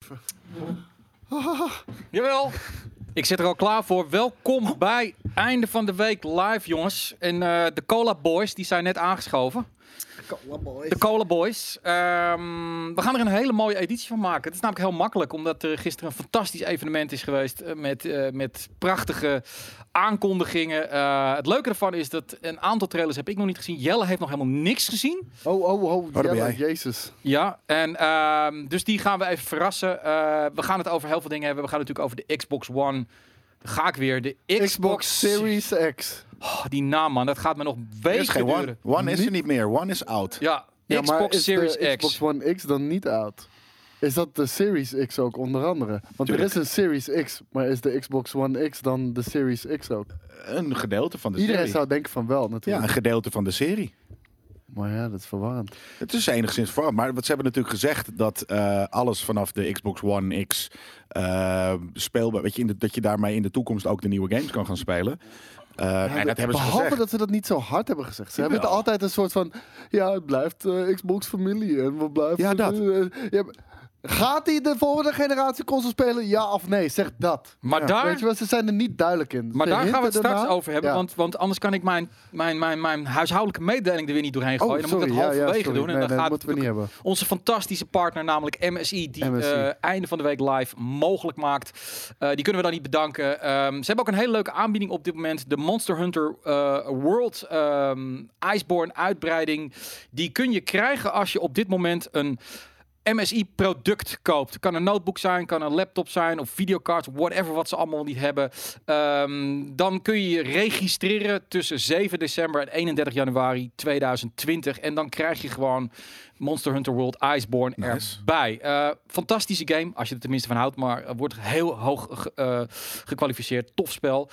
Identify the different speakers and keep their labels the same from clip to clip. Speaker 1: even.
Speaker 2: Jawel. Ik zit er al klaar voor. Welkom bij Einde van de Week live, jongens. En eh, de Cola Boys, die zijn net aangeschoven. De Cola Boys. Ehm, we gaan er een hele mooie editie van maken. Het is namelijk heel makkelijk, omdat er gisteren een fantastisch evenement is geweest. eh, Met, eh, met prachtige aankondigingen. Eh, het leuke ervan is dat een aantal trailers heb ik nog niet gezien. Jelle heeft nog helemaal niks gezien.
Speaker 1: Oh, oh, oh.
Speaker 3: ben
Speaker 1: Jelle,
Speaker 3: jij.
Speaker 1: Jezus.
Speaker 2: Ja, en ehm, dus die gaan we even verrassen. Eh, we gaan het over heel veel dingen hebben. We gaan het natuurlijk over de Xbox One. Ga ik weer. De Xbox,
Speaker 1: Xbox, Series X.
Speaker 2: Oh, die naam, man. Dat gaat me nog
Speaker 3: Er is
Speaker 2: weken
Speaker 3: geen one.
Speaker 2: duren.
Speaker 3: One is er niet meer. One is out.
Speaker 2: Ja,
Speaker 1: Ja, maar
Speaker 2: Xbox
Speaker 1: is de
Speaker 2: Series X.
Speaker 1: Xbox One X dan niet oud? Is dat de Series X ook onder andere? Want er is een Series X, maar is de Xbox One X dan de Series X ook?
Speaker 3: Een gedeelte van de
Speaker 1: Iedereen
Speaker 3: serie.
Speaker 1: zou denken van wel,
Speaker 3: Ja,
Speaker 1: natuurlijk.
Speaker 3: een gedeelte van de serie.
Speaker 1: Maar ja, dat is verwarrend.
Speaker 3: Het is enigszins verwarrend. Maar wat ze hebben natuurlijk gezegd dat eh, alles vanaf de Xbox One X eh, speelbaar. Weet je, in de- dat je daarmee in de toekomst ook de nieuwe games kan gaan spelen. Eh, en dat hebben ze
Speaker 1: Behalve
Speaker 3: gezegd.
Speaker 1: dat ze dat niet zo hard hebben gezegd. Ze hebben het
Speaker 3: Jawel.
Speaker 1: altijd een soort van... Ja, het blijft eh, Xbox-familie en we blijven...
Speaker 3: Ja, dat.
Speaker 1: eh, eh, ja, maar- gaat hij de volgende generatie console spelen? Ja of nee? Zeg dat.
Speaker 2: Maar
Speaker 3: Ja,
Speaker 2: daar,
Speaker 1: Weet je wel, ze zijn er niet duidelijk in.
Speaker 2: maar
Speaker 1: Ze
Speaker 2: daar gaan we het
Speaker 1: hinten
Speaker 2: straks
Speaker 1: ernaar.
Speaker 2: over hebben.
Speaker 1: Ja.
Speaker 2: Want, want anders kan ik mijn, mijn, mijn, mijn huishoudelijke mededeling er weer niet doorheen
Speaker 1: Oh,
Speaker 2: gooien. dan moet ik
Speaker 1: sorry,
Speaker 2: dat
Speaker 1: ja, ja,
Speaker 2: halverwege
Speaker 1: sorry.
Speaker 2: doen. En dan
Speaker 1: Nee, nee, dat
Speaker 2: gaat
Speaker 1: moeten we niet hebben.
Speaker 2: Onze fantastische partner, namelijk MSI, die
Speaker 1: MSI.
Speaker 2: eh, einde van de week live mogelijk maakt. Eh, die kunnen we dan niet bedanken. Ehm, ze hebben ook een hele leuke aanbieding op dit moment. De Monster Hunter eh, World ehm, Iceborne uitbreiding. Die kun je krijgen als je op dit moment een MSI-product koopt. Kan een notebook zijn, kan een laptop zijn of videocards, whatever wat ze allemaal niet hebben. Ehm, dan kun je je registreren tussen 7 december en 31 januari 2020. En dan krijg je gewoon Monster Hunter World Iceborne
Speaker 3: Nice.
Speaker 2: erbij. Eh, fantastische game, als je er tenminste van houdt, maar eh, wordt heel hoog ge- eh, gekwalificeerd. Tof spel.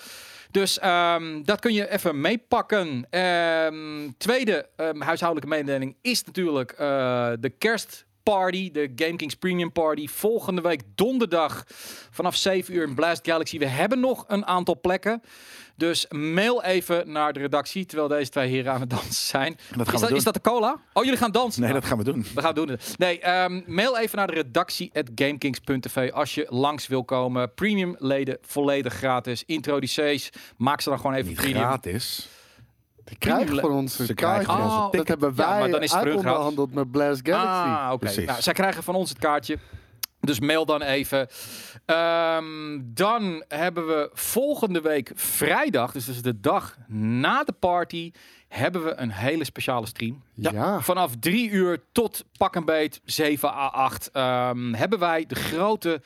Speaker 2: Dus ehm, dat kun je even meepakken. Ehm, tweede ehm, huishoudelijke mededeling is natuurlijk eh, de kerstparty, de Game Kings Premium Party. Volgende week donderdag vanaf 7 uur in Blast Galaxy. We hebben nog een aantal plekken. Dus mail even naar de redactie, terwijl deze twee heren aan het dansen zijn.
Speaker 3: En
Speaker 2: is,
Speaker 3: dat gaan we
Speaker 2: dat,
Speaker 3: doen.
Speaker 2: is dat de cola? Oh, jullie gaan dansen?
Speaker 3: Nee,
Speaker 2: Nou,
Speaker 3: dat gaan we doen.
Speaker 2: we gaan doen. het. Nee, ehm, mail even naar de redactie at gamekings.tv als je langs wil komen. Premium leden volledig gratis. Introducees, maak ze dan gewoon even
Speaker 3: Niet
Speaker 2: premium.
Speaker 3: gratis.
Speaker 1: Ze krijgen van ons
Speaker 3: Ze
Speaker 1: een
Speaker 3: krijgen
Speaker 1: kaartje.
Speaker 3: van ons een
Speaker 2: Oh,
Speaker 1: dat
Speaker 2: ticket.
Speaker 1: hebben
Speaker 2: Ja,
Speaker 1: wij
Speaker 2: maar dan is het voor hun gratis.
Speaker 1: uitonderhandeld met Blast Galaxy.
Speaker 2: Ah, oké.
Speaker 3: Precies.
Speaker 2: Nou, zij krijgen van ons het kaartje. Dus mail dan even. Ehm, dan hebben we volgende week vrijdag, dus dat is de dag na de party, hebben we een hele speciale stream.
Speaker 1: Ja.
Speaker 2: Vanaf drie uur tot pak een beet 7 à 8 ehm, hebben wij de grote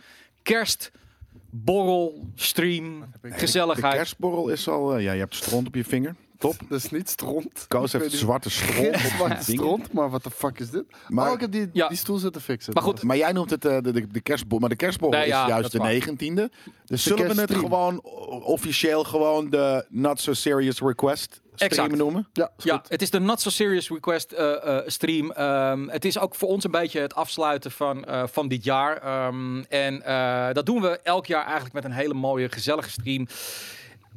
Speaker 2: kerstborrel stream
Speaker 3: De
Speaker 2: gezelligheid.
Speaker 3: kerstborrel is al. eh, ja, je hebt stront op je vinger. Top.
Speaker 1: Dat is niet stront.
Speaker 3: Koos
Speaker 1: Ik
Speaker 3: heeft
Speaker 1: weet niet-
Speaker 3: zwarte stront op zijn
Speaker 1: Zwarte
Speaker 3: vinger.
Speaker 1: stront, maar wat de fuck is dit? Maar,
Speaker 3: Maar-
Speaker 1: ik heb die,
Speaker 2: Ja.
Speaker 1: die stoel zitten fixen.
Speaker 2: Maar goed,
Speaker 3: Maar jij noemt het eh, de, de, de kerstbol. Maar de kerstbol
Speaker 2: Nee, ja,
Speaker 3: is
Speaker 2: dat
Speaker 3: juist de
Speaker 2: is waar.
Speaker 3: 19e. Dus zullen we het
Speaker 1: kerststream.
Speaker 3: gewoon o- officieel gewoon de Not So Serious Request stream
Speaker 2: Exact.
Speaker 3: noemen?
Speaker 1: Ja, is
Speaker 2: Ja,
Speaker 1: goed.
Speaker 2: het is de Not So Serious Request eh, eh, stream. Ehm, het is ook voor ons een beetje het afsluiten van, eh, van dit jaar. Ehm, en eh, dat doen we elk jaar eigenlijk met een hele mooie, gezellige stream.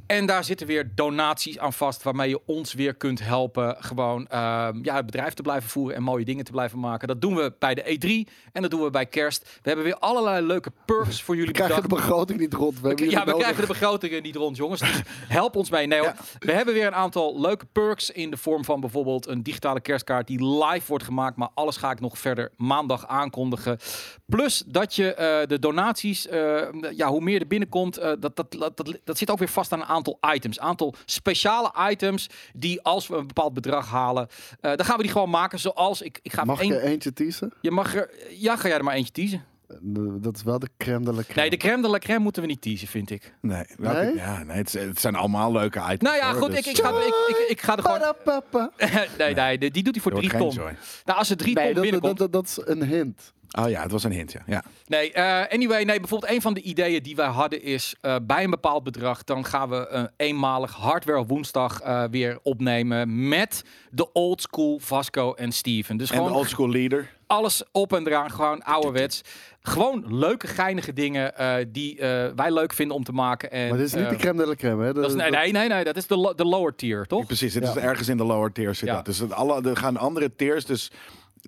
Speaker 2: En daar zitten weer donaties aan vast, waarmee je ons weer kunt helpen. Gewoon ehm, ja, het bedrijf te blijven voeren en mooie dingen te blijven maken. Dat doen we bij de E3 en dat doen we bij Kerst. We hebben weer allerlei leuke perks voor jullie
Speaker 1: We krijgen de
Speaker 2: bedacht.
Speaker 1: begroting niet rond. We hebben
Speaker 2: Ja, we
Speaker 1: jullie nodig.
Speaker 2: krijgen de begrotingen niet rond, jongens. Dus help ons mee. Nee, hoor. We hebben weer een aantal leuke perks in de vorm van bijvoorbeeld een digitale kerstkaart die live wordt gemaakt. Maar alles ga ik nog verder maandag aankondigen. Plus dat je eh, de donaties, eh, ja, hoe meer er binnenkomt, eh, dat, dat, dat, dat, dat zit ook weer vast aan een aantal items. aantal speciale items die als we een bepaald bedrag halen, eh, dan gaan we die gewoon maken. Zoals, ik, ik ga
Speaker 1: Mag ik
Speaker 2: één...
Speaker 1: er eentje teasen?
Speaker 2: Je mag er... Ja, ga jij er maar eentje teasen.
Speaker 1: Eh, Dat is wel de crème de la crème.
Speaker 2: Nee, de crème de la crème moeten we niet teasen, vind ik.
Speaker 3: Nee. welke-
Speaker 1: Nee?
Speaker 3: Ja, nee het, het zijn allemaal leuke items.
Speaker 2: Nou ja,
Speaker 3: hoor,
Speaker 2: goed,
Speaker 3: dus,
Speaker 2: ik, ik, ga, ik, ik, ik ga er gewoon...
Speaker 1: Parapapa.
Speaker 2: nee, nee, die die doet hij voor
Speaker 3: er wordt
Speaker 2: drie
Speaker 3: geen
Speaker 2: ton.
Speaker 3: joy.
Speaker 2: Nou, als er drie
Speaker 1: Nee,
Speaker 2: ton
Speaker 1: dat,
Speaker 2: binnenkomt.
Speaker 1: dat, dat, dat is een hint.
Speaker 3: Oh ja, het was een hint, ja. ja.
Speaker 2: Nee, eh, anyway, nee, bijvoorbeeld een van de ideeën die wij hadden is... eh, bij een bepaald bedrag, dan gaan we eh, eenmalig hardware woensdag eh, weer opnemen... met de old school Vasco en Steven. Dus
Speaker 3: En de
Speaker 2: gewoon
Speaker 3: old school leader.
Speaker 2: alles op en eraan, gewoon ouderwets. Gewoon leuke, geinige dingen eh, die eh, wij leuk vinden om te maken. En,
Speaker 1: Maar dit is niet
Speaker 2: eh,
Speaker 1: de crème de la crème, hè?
Speaker 2: dat is, nee, nee, nee, nee, dat is de, lo- de lower tier, toch?
Speaker 3: Precies, het
Speaker 1: Ja.
Speaker 3: is ergens in de lower tier zit
Speaker 2: Ja.
Speaker 3: dat. Dus het alle, er gaan andere tiers, dus...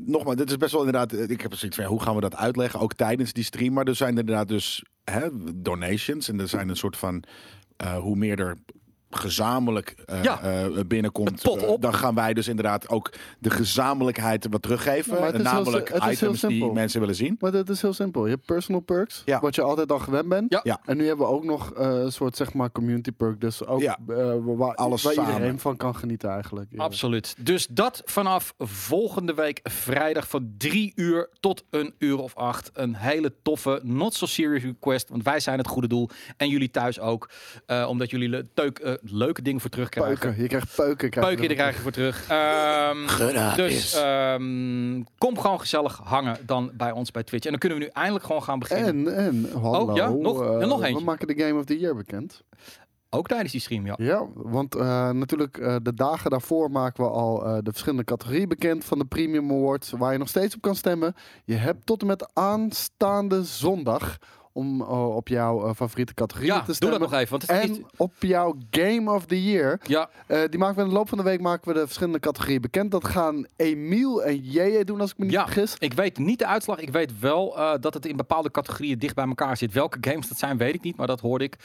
Speaker 3: nogmaals, dit is best wel inderdaad. eh, Ik heb er zoiets van, ja, hoe gaan we dat uitleggen? Ook tijdens die stream. Maar er zijn inderdaad dus hè, donations. En er zijn een soort van. eh, hoe meer er gezamenlijk eh,
Speaker 2: Ja.
Speaker 3: eh,
Speaker 2: Het
Speaker 3: binnenkomt,
Speaker 2: pot
Speaker 3: eh,
Speaker 2: op.
Speaker 3: dan gaan wij dus inderdaad ook de gezamenlijkheid wat teruggeven.
Speaker 1: Ja, maar het is heel
Speaker 3: namelijk
Speaker 1: si- het is heel
Speaker 3: items die
Speaker 1: simpel.
Speaker 3: mensen willen zien.
Speaker 1: Maar dat is heel simpel. Je hebt personal perks,
Speaker 3: Ja.
Speaker 1: wat je altijd al gewend bent.
Speaker 2: Ja.
Speaker 3: Ja.
Speaker 1: En nu hebben we ook nog eh, een soort zeg maar community perk. Dus ook
Speaker 3: Ja.
Speaker 1: eh, waar,
Speaker 3: Alles
Speaker 1: waar
Speaker 3: samen.
Speaker 1: iedereen van kan genieten eigenlijk. Ja.
Speaker 2: Absoluut. Dus dat vanaf volgende week vrijdag van drie uur tot een uur of acht. Een hele toffe, not so serious request. Want wij zijn het goede doel. En jullie thuis ook. Eh, omdat jullie le- teuk, eh, leuke dingen voor terugkrijgen.
Speaker 1: Peuken. Je krijgt peuken. Krijg je
Speaker 2: Peuken, daar
Speaker 1: ervan.
Speaker 2: krijg je voor terug. Ehm, dus ehm, kom gewoon gezellig hangen dan bij ons bij Twitch. En dan kunnen we nu eindelijk gewoon gaan beginnen.
Speaker 1: En, en, hallo.
Speaker 2: Oh, ja, nog-
Speaker 1: eh,
Speaker 2: en nog eentje.
Speaker 1: We maken de Game of the Year bekend.
Speaker 2: Ook tijdens die stream, ja.
Speaker 1: Ja, want eh, natuurlijk eh, de dagen daarvoor maken we al eh, de verschillende categorieën bekend van de Premium Awards, waar je nog steeds op kan stemmen. Je hebt tot en met aanstaande zondag om eh, op jouw eh, favoriete categorie
Speaker 2: Ja,
Speaker 1: te
Speaker 2: doe dat
Speaker 1: stemmen.
Speaker 2: nog even. Want het is,
Speaker 1: En op jouw Game of the Year.
Speaker 2: ja,
Speaker 1: Eh, die maken we in de loop van de week maken we de verschillende categorieën bekend. Dat gaan Emiel en JJ doen, als ik me niet
Speaker 2: Ja.
Speaker 1: vergis.
Speaker 2: Ik weet niet de uitslag. Ik weet wel eh, dat het in bepaalde categorieën dicht bij elkaar zit. Welke games dat zijn, weet ik niet, maar dat hoorde ik.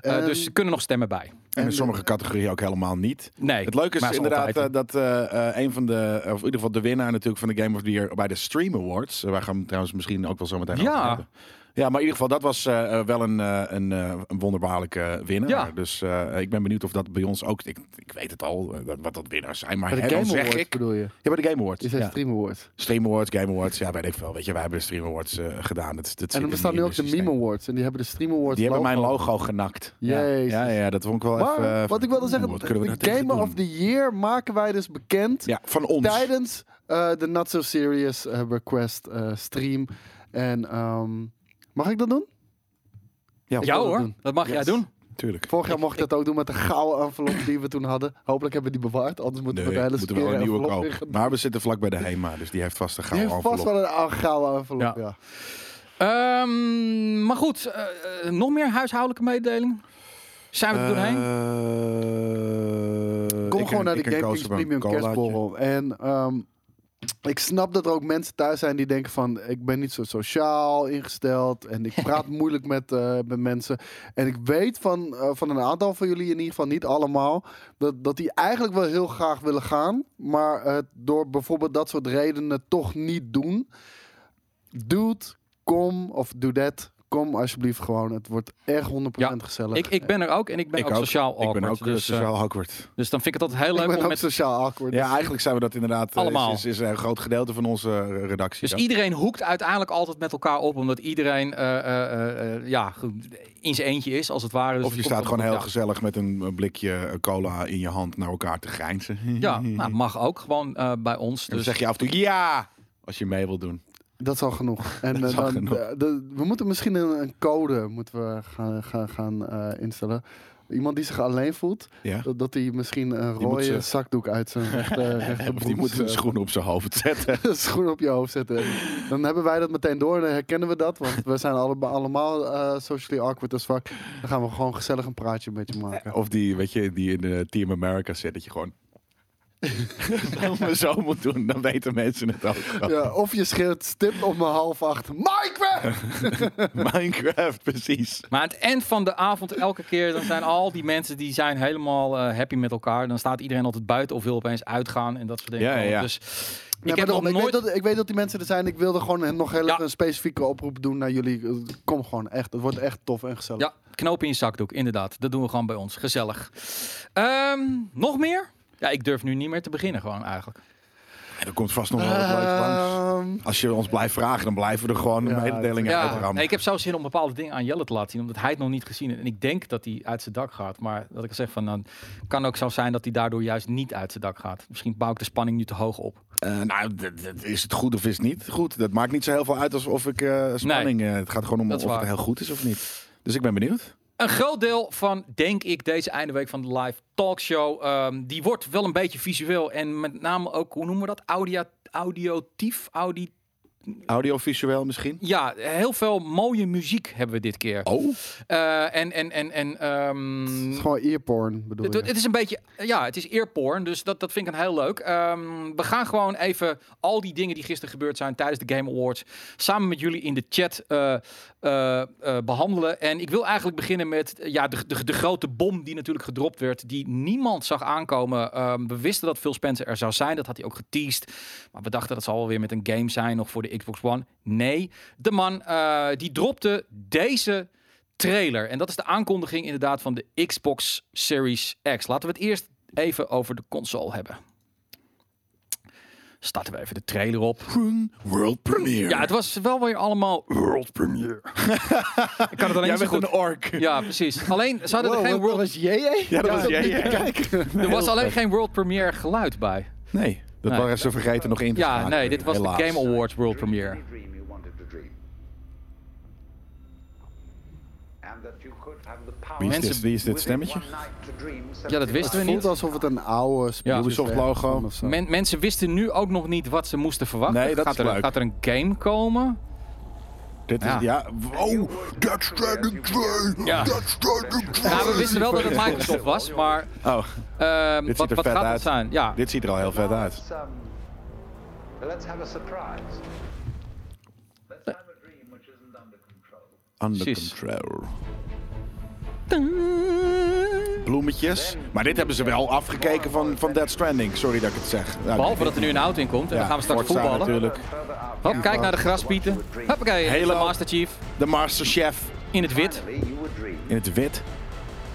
Speaker 2: Eh,
Speaker 1: Ehm,
Speaker 2: dus ze kunnen nog stemmen bij.
Speaker 3: En
Speaker 1: En-
Speaker 3: in sommige categorieën ook helemaal niet.
Speaker 2: Nee,
Speaker 3: Het leuke
Speaker 2: maar
Speaker 3: is
Speaker 2: ze
Speaker 3: inderdaad
Speaker 2: altijd-
Speaker 3: eh, dat eh, eh, een van de, of in ieder geval de winnaar natuurlijk van de Game of the Year bij de Stream Awards. eh, waar gaan we trouwens misschien ook wel zo meteen
Speaker 2: Ja.
Speaker 3: over hebben. Ja, maar in ieder geval, dat was eh, eh, wel een, eh, een, eh, een wonderbaarlijke winnaar.
Speaker 2: Ja.
Speaker 3: Dus eh, ik ben benieuwd of dat bij ons ook, ik, ik weet het al, eh, wat dat winnaars zijn. Maar
Speaker 1: Bij
Speaker 3: hè,
Speaker 1: de
Speaker 3: dan
Speaker 1: Game
Speaker 3: zeg
Speaker 1: Awards
Speaker 3: ik,
Speaker 1: bedoel je?
Speaker 3: ja, bij de Game Awards.
Speaker 1: Is het
Speaker 3: Ja.
Speaker 1: Stream Awards.
Speaker 3: Stream Awards, Game Awards, ja, weet ik veel. Weet je, wij hebben de Stream Awards eh, gedaan. Het, het
Speaker 1: En
Speaker 3: zit
Speaker 1: er bestaan
Speaker 3: niet
Speaker 1: nu
Speaker 3: in
Speaker 1: ook de
Speaker 3: het systeem.
Speaker 1: Meme Awards. En die hebben de Stream Awards
Speaker 3: Die hebben mijn
Speaker 1: logo.
Speaker 3: logo genakt.
Speaker 1: Jezus.
Speaker 3: Ja, ja, ja, dat vond ik wel
Speaker 1: Maar
Speaker 3: even... eh,
Speaker 1: wat ik wilde
Speaker 3: oeh,
Speaker 1: zeggen,
Speaker 3: wat kunnen we daar
Speaker 1: de
Speaker 3: tegen
Speaker 1: Game
Speaker 3: doen?
Speaker 1: of the Year maken wij dus bekend
Speaker 3: Ja, van ons.
Speaker 1: tijdens eh, de Not So Serious eh, Request eh, stream. En ehm, mag ik dat doen?
Speaker 3: Ja,
Speaker 2: Ja
Speaker 1: wil dat
Speaker 2: hoor,
Speaker 1: doen.
Speaker 2: dat mag jij
Speaker 1: Yes.
Speaker 2: doen.
Speaker 3: natuurlijk.
Speaker 1: Vorig jaar mocht ik dat ook doen met de gouden envelop die we toen hadden. Hopelijk hebben we die bewaard, anders moeten we de hele
Speaker 3: moeten we wel
Speaker 1: skere
Speaker 3: een nieuwe
Speaker 1: envelop weer
Speaker 3: kopen.
Speaker 1: gaan-
Speaker 3: Maar we zitten vlak bij de HEMA, dus die heeft vast een
Speaker 1: Die
Speaker 3: gouden
Speaker 1: heeft vast
Speaker 3: envelop.
Speaker 1: wel een ou- gouden envelop,
Speaker 2: Ja.
Speaker 1: ja.
Speaker 2: Ehm, maar goed, eh, eh, nog meer huishoudelijke mededelingen? Zijn we er
Speaker 3: Eh,
Speaker 2: doorheen?
Speaker 3: doorheen?
Speaker 1: Kom gewoon naar de Game Kings Premium Kerstborrel. En ehm, ik snap dat er ook mensen thuis zijn die denken van... ik ben niet zo sociaal ingesteld en ik praat moeilijk met, eh, met mensen. En ik weet van, eh, van een aantal van jullie, in ieder geval niet allemaal... dat, dat die eigenlijk wel heel graag willen gaan... maar het door bijvoorbeeld dat soort redenen toch niet doen. Dude, kom of doe dat... Kom alsjeblieft gewoon. Het wordt echt 100% gezellig.
Speaker 2: Ik, ik ben er ook en ik ben
Speaker 3: Ik
Speaker 2: ook,
Speaker 3: ook.
Speaker 2: sociaal
Speaker 3: Ik
Speaker 2: awkward.
Speaker 3: ben ook eh,
Speaker 2: dus, eh,
Speaker 3: sociaal awkward.
Speaker 2: dus dan vind ik het altijd heel
Speaker 1: Ik
Speaker 2: leuk
Speaker 1: ben
Speaker 2: om
Speaker 1: ook
Speaker 2: met...
Speaker 1: sociaal awkward.
Speaker 3: Ja, eigenlijk zijn we dat inderdaad. eh,
Speaker 2: Allemaal.
Speaker 3: Is, is een groot gedeelte van onze eh, redactie.
Speaker 2: Dus
Speaker 3: dat.
Speaker 2: iedereen hoekt uiteindelijk altijd met elkaar op, omdat iedereen eh, eh, eh, eh, ja, ge- in zijn eentje is, als het ware. Dus
Speaker 3: of je
Speaker 2: het
Speaker 3: staat
Speaker 2: komt
Speaker 3: gewoon
Speaker 2: wel-
Speaker 3: heel
Speaker 2: ja.
Speaker 3: gezellig met een eh, blikje eh, cola in je hand naar elkaar te grijnzen.
Speaker 2: Ja,
Speaker 3: En
Speaker 2: nou, mag ook gewoon eh, bij ons.
Speaker 3: dan
Speaker 2: Dus
Speaker 3: zeg je af en toe ja als je mee wilt doen.
Speaker 1: Dat is al genoeg. En
Speaker 3: Dat is
Speaker 1: eh,
Speaker 3: al
Speaker 1: dan,
Speaker 3: genoeg.
Speaker 1: eh, de- we moeten misschien een, een code moeten we gaan, gaan, gaan eh, instellen. Iemand die zich alleen voelt,
Speaker 3: Ja.
Speaker 1: dat- dat hij misschien een
Speaker 3: Die moet
Speaker 1: rode
Speaker 3: ze-
Speaker 1: zakdoek uit zijn rechter,
Speaker 3: Of die
Speaker 1: eh,
Speaker 3: moet een schoen op zijn hoofd zetten.
Speaker 1: schoen op je hoofd zetten. Dan hebben wij dat meteen door en dan herkennen we dat. Want we zijn alle, allemaal eh, socially awkward as fuck. Dan gaan we gewoon gezellig een praatje met je maken.
Speaker 3: Of die, weet je, die in eh, Team America zit, dat je gewoon... Als we zo moet doen, dan weten mensen het ook. gewoon.
Speaker 1: Ja, of je schreeuwt stipt op mijn half acht. Minecraft!
Speaker 3: Minecraft, precies.
Speaker 2: Maar aan het eind van de avond, elke keer, dan zijn al die mensen die zijn helemaal eh, happy met elkaar. Dan staat iedereen altijd buiten of wil opeens uitgaan en dat soort dingen.
Speaker 3: Ja, ja, ja.
Speaker 2: Dus
Speaker 1: Nee,
Speaker 2: ik heb
Speaker 1: maar
Speaker 2: nog
Speaker 1: daarom,
Speaker 2: nooit...
Speaker 1: weet dat, ik weet dat die mensen er zijn. Ik wilde gewoon hen nog heel
Speaker 2: Ja.
Speaker 1: even een specifieke oproep doen naar jullie. Eh, Kom gewoon echt. Het wordt echt tof en gezellig.
Speaker 2: Ja, knoop in je zakdoek, inderdaad. Dat doen we gewoon bij ons. Gezellig. Ehm, nog meer? Ja, ik durf nu niet meer te beginnen gewoon eigenlijk.
Speaker 3: En er komt vast nog wel wat leuks langs.
Speaker 1: Ehm,
Speaker 3: Als je ons blijft vragen, dan blijven we er gewoon
Speaker 1: Ja,
Speaker 3: een hele deling
Speaker 2: Eh.
Speaker 3: uit
Speaker 2: Ja,
Speaker 3: rammen.
Speaker 2: nee, ik heb zelfs zin om bepaalde dingen aan Jelle te laten zien, omdat hij het nog niet gezien heeft. En ik denk dat hij uit zijn dak gaat, maar dat ik al zeg van, dan kan ook zo zijn dat hij daardoor juist niet uit zijn dak gaat. Misschien bouw ik de spanning nu te hoog op.
Speaker 3: Eh, nou, d- d- is het goed of is het niet goed? Dat maakt niet zo heel veel uit als of ik eh, spanning... eh, het gaat gewoon om
Speaker 2: dat
Speaker 3: of
Speaker 2: is waar.
Speaker 3: het heel goed is of niet. Dus ik ben benieuwd.
Speaker 2: Een groot deel van, denk ik, deze eindeweek van de live talkshow, ehm, die wordt wel een beetje visueel en met name ook, hoe noemen we dat, audio, audiotief, audi,
Speaker 3: Audiovisueel misschien?
Speaker 2: Ja, heel veel mooie muziek hebben we dit keer.
Speaker 3: Oh,
Speaker 2: Eh, en en, en, en ehm,
Speaker 1: Het is gewoon earporn, bedoel
Speaker 2: het,
Speaker 1: je?
Speaker 2: het is een beetje, ja, het is earporn, dus dat, dat vind ik een heel leuk. Ehm, we gaan gewoon even al die dingen die gisteren gebeurd zijn tijdens de Game Awards samen met jullie in de chat eh, eh, eh, behandelen. En ik wil eigenlijk beginnen met eh, ja, de, de, de grote bom die natuurlijk gedropt werd, die niemand zag aankomen. Ehm, we wisten dat Phil Spencer er zou zijn, dat had hij ook geteased. Maar we dachten dat zal wel weer met een game zijn, nog voor de Xbox One. Nee, de man eh, die dropte deze trailer. En dat is de aankondiging inderdaad van de Xbox Series X. Laten we het eerst even over de console hebben. Starten we even de trailer op.
Speaker 3: world premiere.
Speaker 2: Ja, het was wel weer allemaal...
Speaker 3: world premiere.
Speaker 2: Ik kan het alleen
Speaker 3: Jij
Speaker 2: zo
Speaker 3: bent
Speaker 2: goed...
Speaker 3: een ork.
Speaker 2: Ja, precies. Alleen, ze hadden
Speaker 1: Wow,
Speaker 2: er, geen
Speaker 1: wat-
Speaker 2: world...
Speaker 1: was JJ?
Speaker 3: Ja, dat was jij. hè?
Speaker 2: er was alleen geen world premiere geluid bij.
Speaker 3: Nee, dat
Speaker 2: Nee.
Speaker 3: waren ze vergeten nog in te
Speaker 2: Ja,
Speaker 3: schakelen,
Speaker 2: nee, dit was
Speaker 3: helaas.
Speaker 2: de Game Awards world premiere.
Speaker 4: dream you wanted to dream. And that you could have the power
Speaker 3: Wie is,
Speaker 2: Mensen-
Speaker 3: dit, wie is dit
Speaker 4: within
Speaker 3: stemmetje?
Speaker 4: one night to dream
Speaker 2: Ja, dat wisten we
Speaker 1: Het
Speaker 2: niet.
Speaker 1: voelt alsof het een oude
Speaker 2: Ja.
Speaker 3: Ubisoft logo.
Speaker 1: of zo.
Speaker 2: Men- mensen wisten nu ook nog niet wat ze moesten verwachten.
Speaker 3: Nee, dat
Speaker 2: gaat,
Speaker 3: is
Speaker 2: er,
Speaker 3: leuk.
Speaker 2: gaat er een game komen?
Speaker 3: Dit is,
Speaker 2: Ja.
Speaker 3: ja. Oh, Dead Stranding 2!
Speaker 2: Ja.
Speaker 3: Dead Stranding 2!
Speaker 2: Nou, we wisten wel dat het Microsoft was, maar
Speaker 3: Oh,
Speaker 2: ehm,
Speaker 3: dit
Speaker 2: wat,
Speaker 3: ziet
Speaker 2: wat
Speaker 3: er vet
Speaker 2: gaat
Speaker 3: uit.
Speaker 2: het zijn? Ja,
Speaker 3: Dit ziet er al heel vet uit.
Speaker 4: Let's, um, let's have a surprise. Let's have a dream which isn't under control.
Speaker 3: Under
Speaker 2: Precies.
Speaker 3: control. Bloemetjes. Maar dit hebben ze wel afgekeken van, van Dead Stranding. Sorry dat ik het zeg. Nou,
Speaker 2: Behalve dat er nu een auto in komt en
Speaker 3: Ja,
Speaker 2: dan gaan we straks
Speaker 3: Forza
Speaker 2: voetballen.
Speaker 3: natuurlijk.
Speaker 4: Further out,
Speaker 2: Hop, kijk naar de graspieten. Hoppakee, hele
Speaker 3: Halo.
Speaker 2: Master Chief
Speaker 3: De Masterchef
Speaker 2: in het wit.
Speaker 4: finally you would dream.
Speaker 3: in het wit.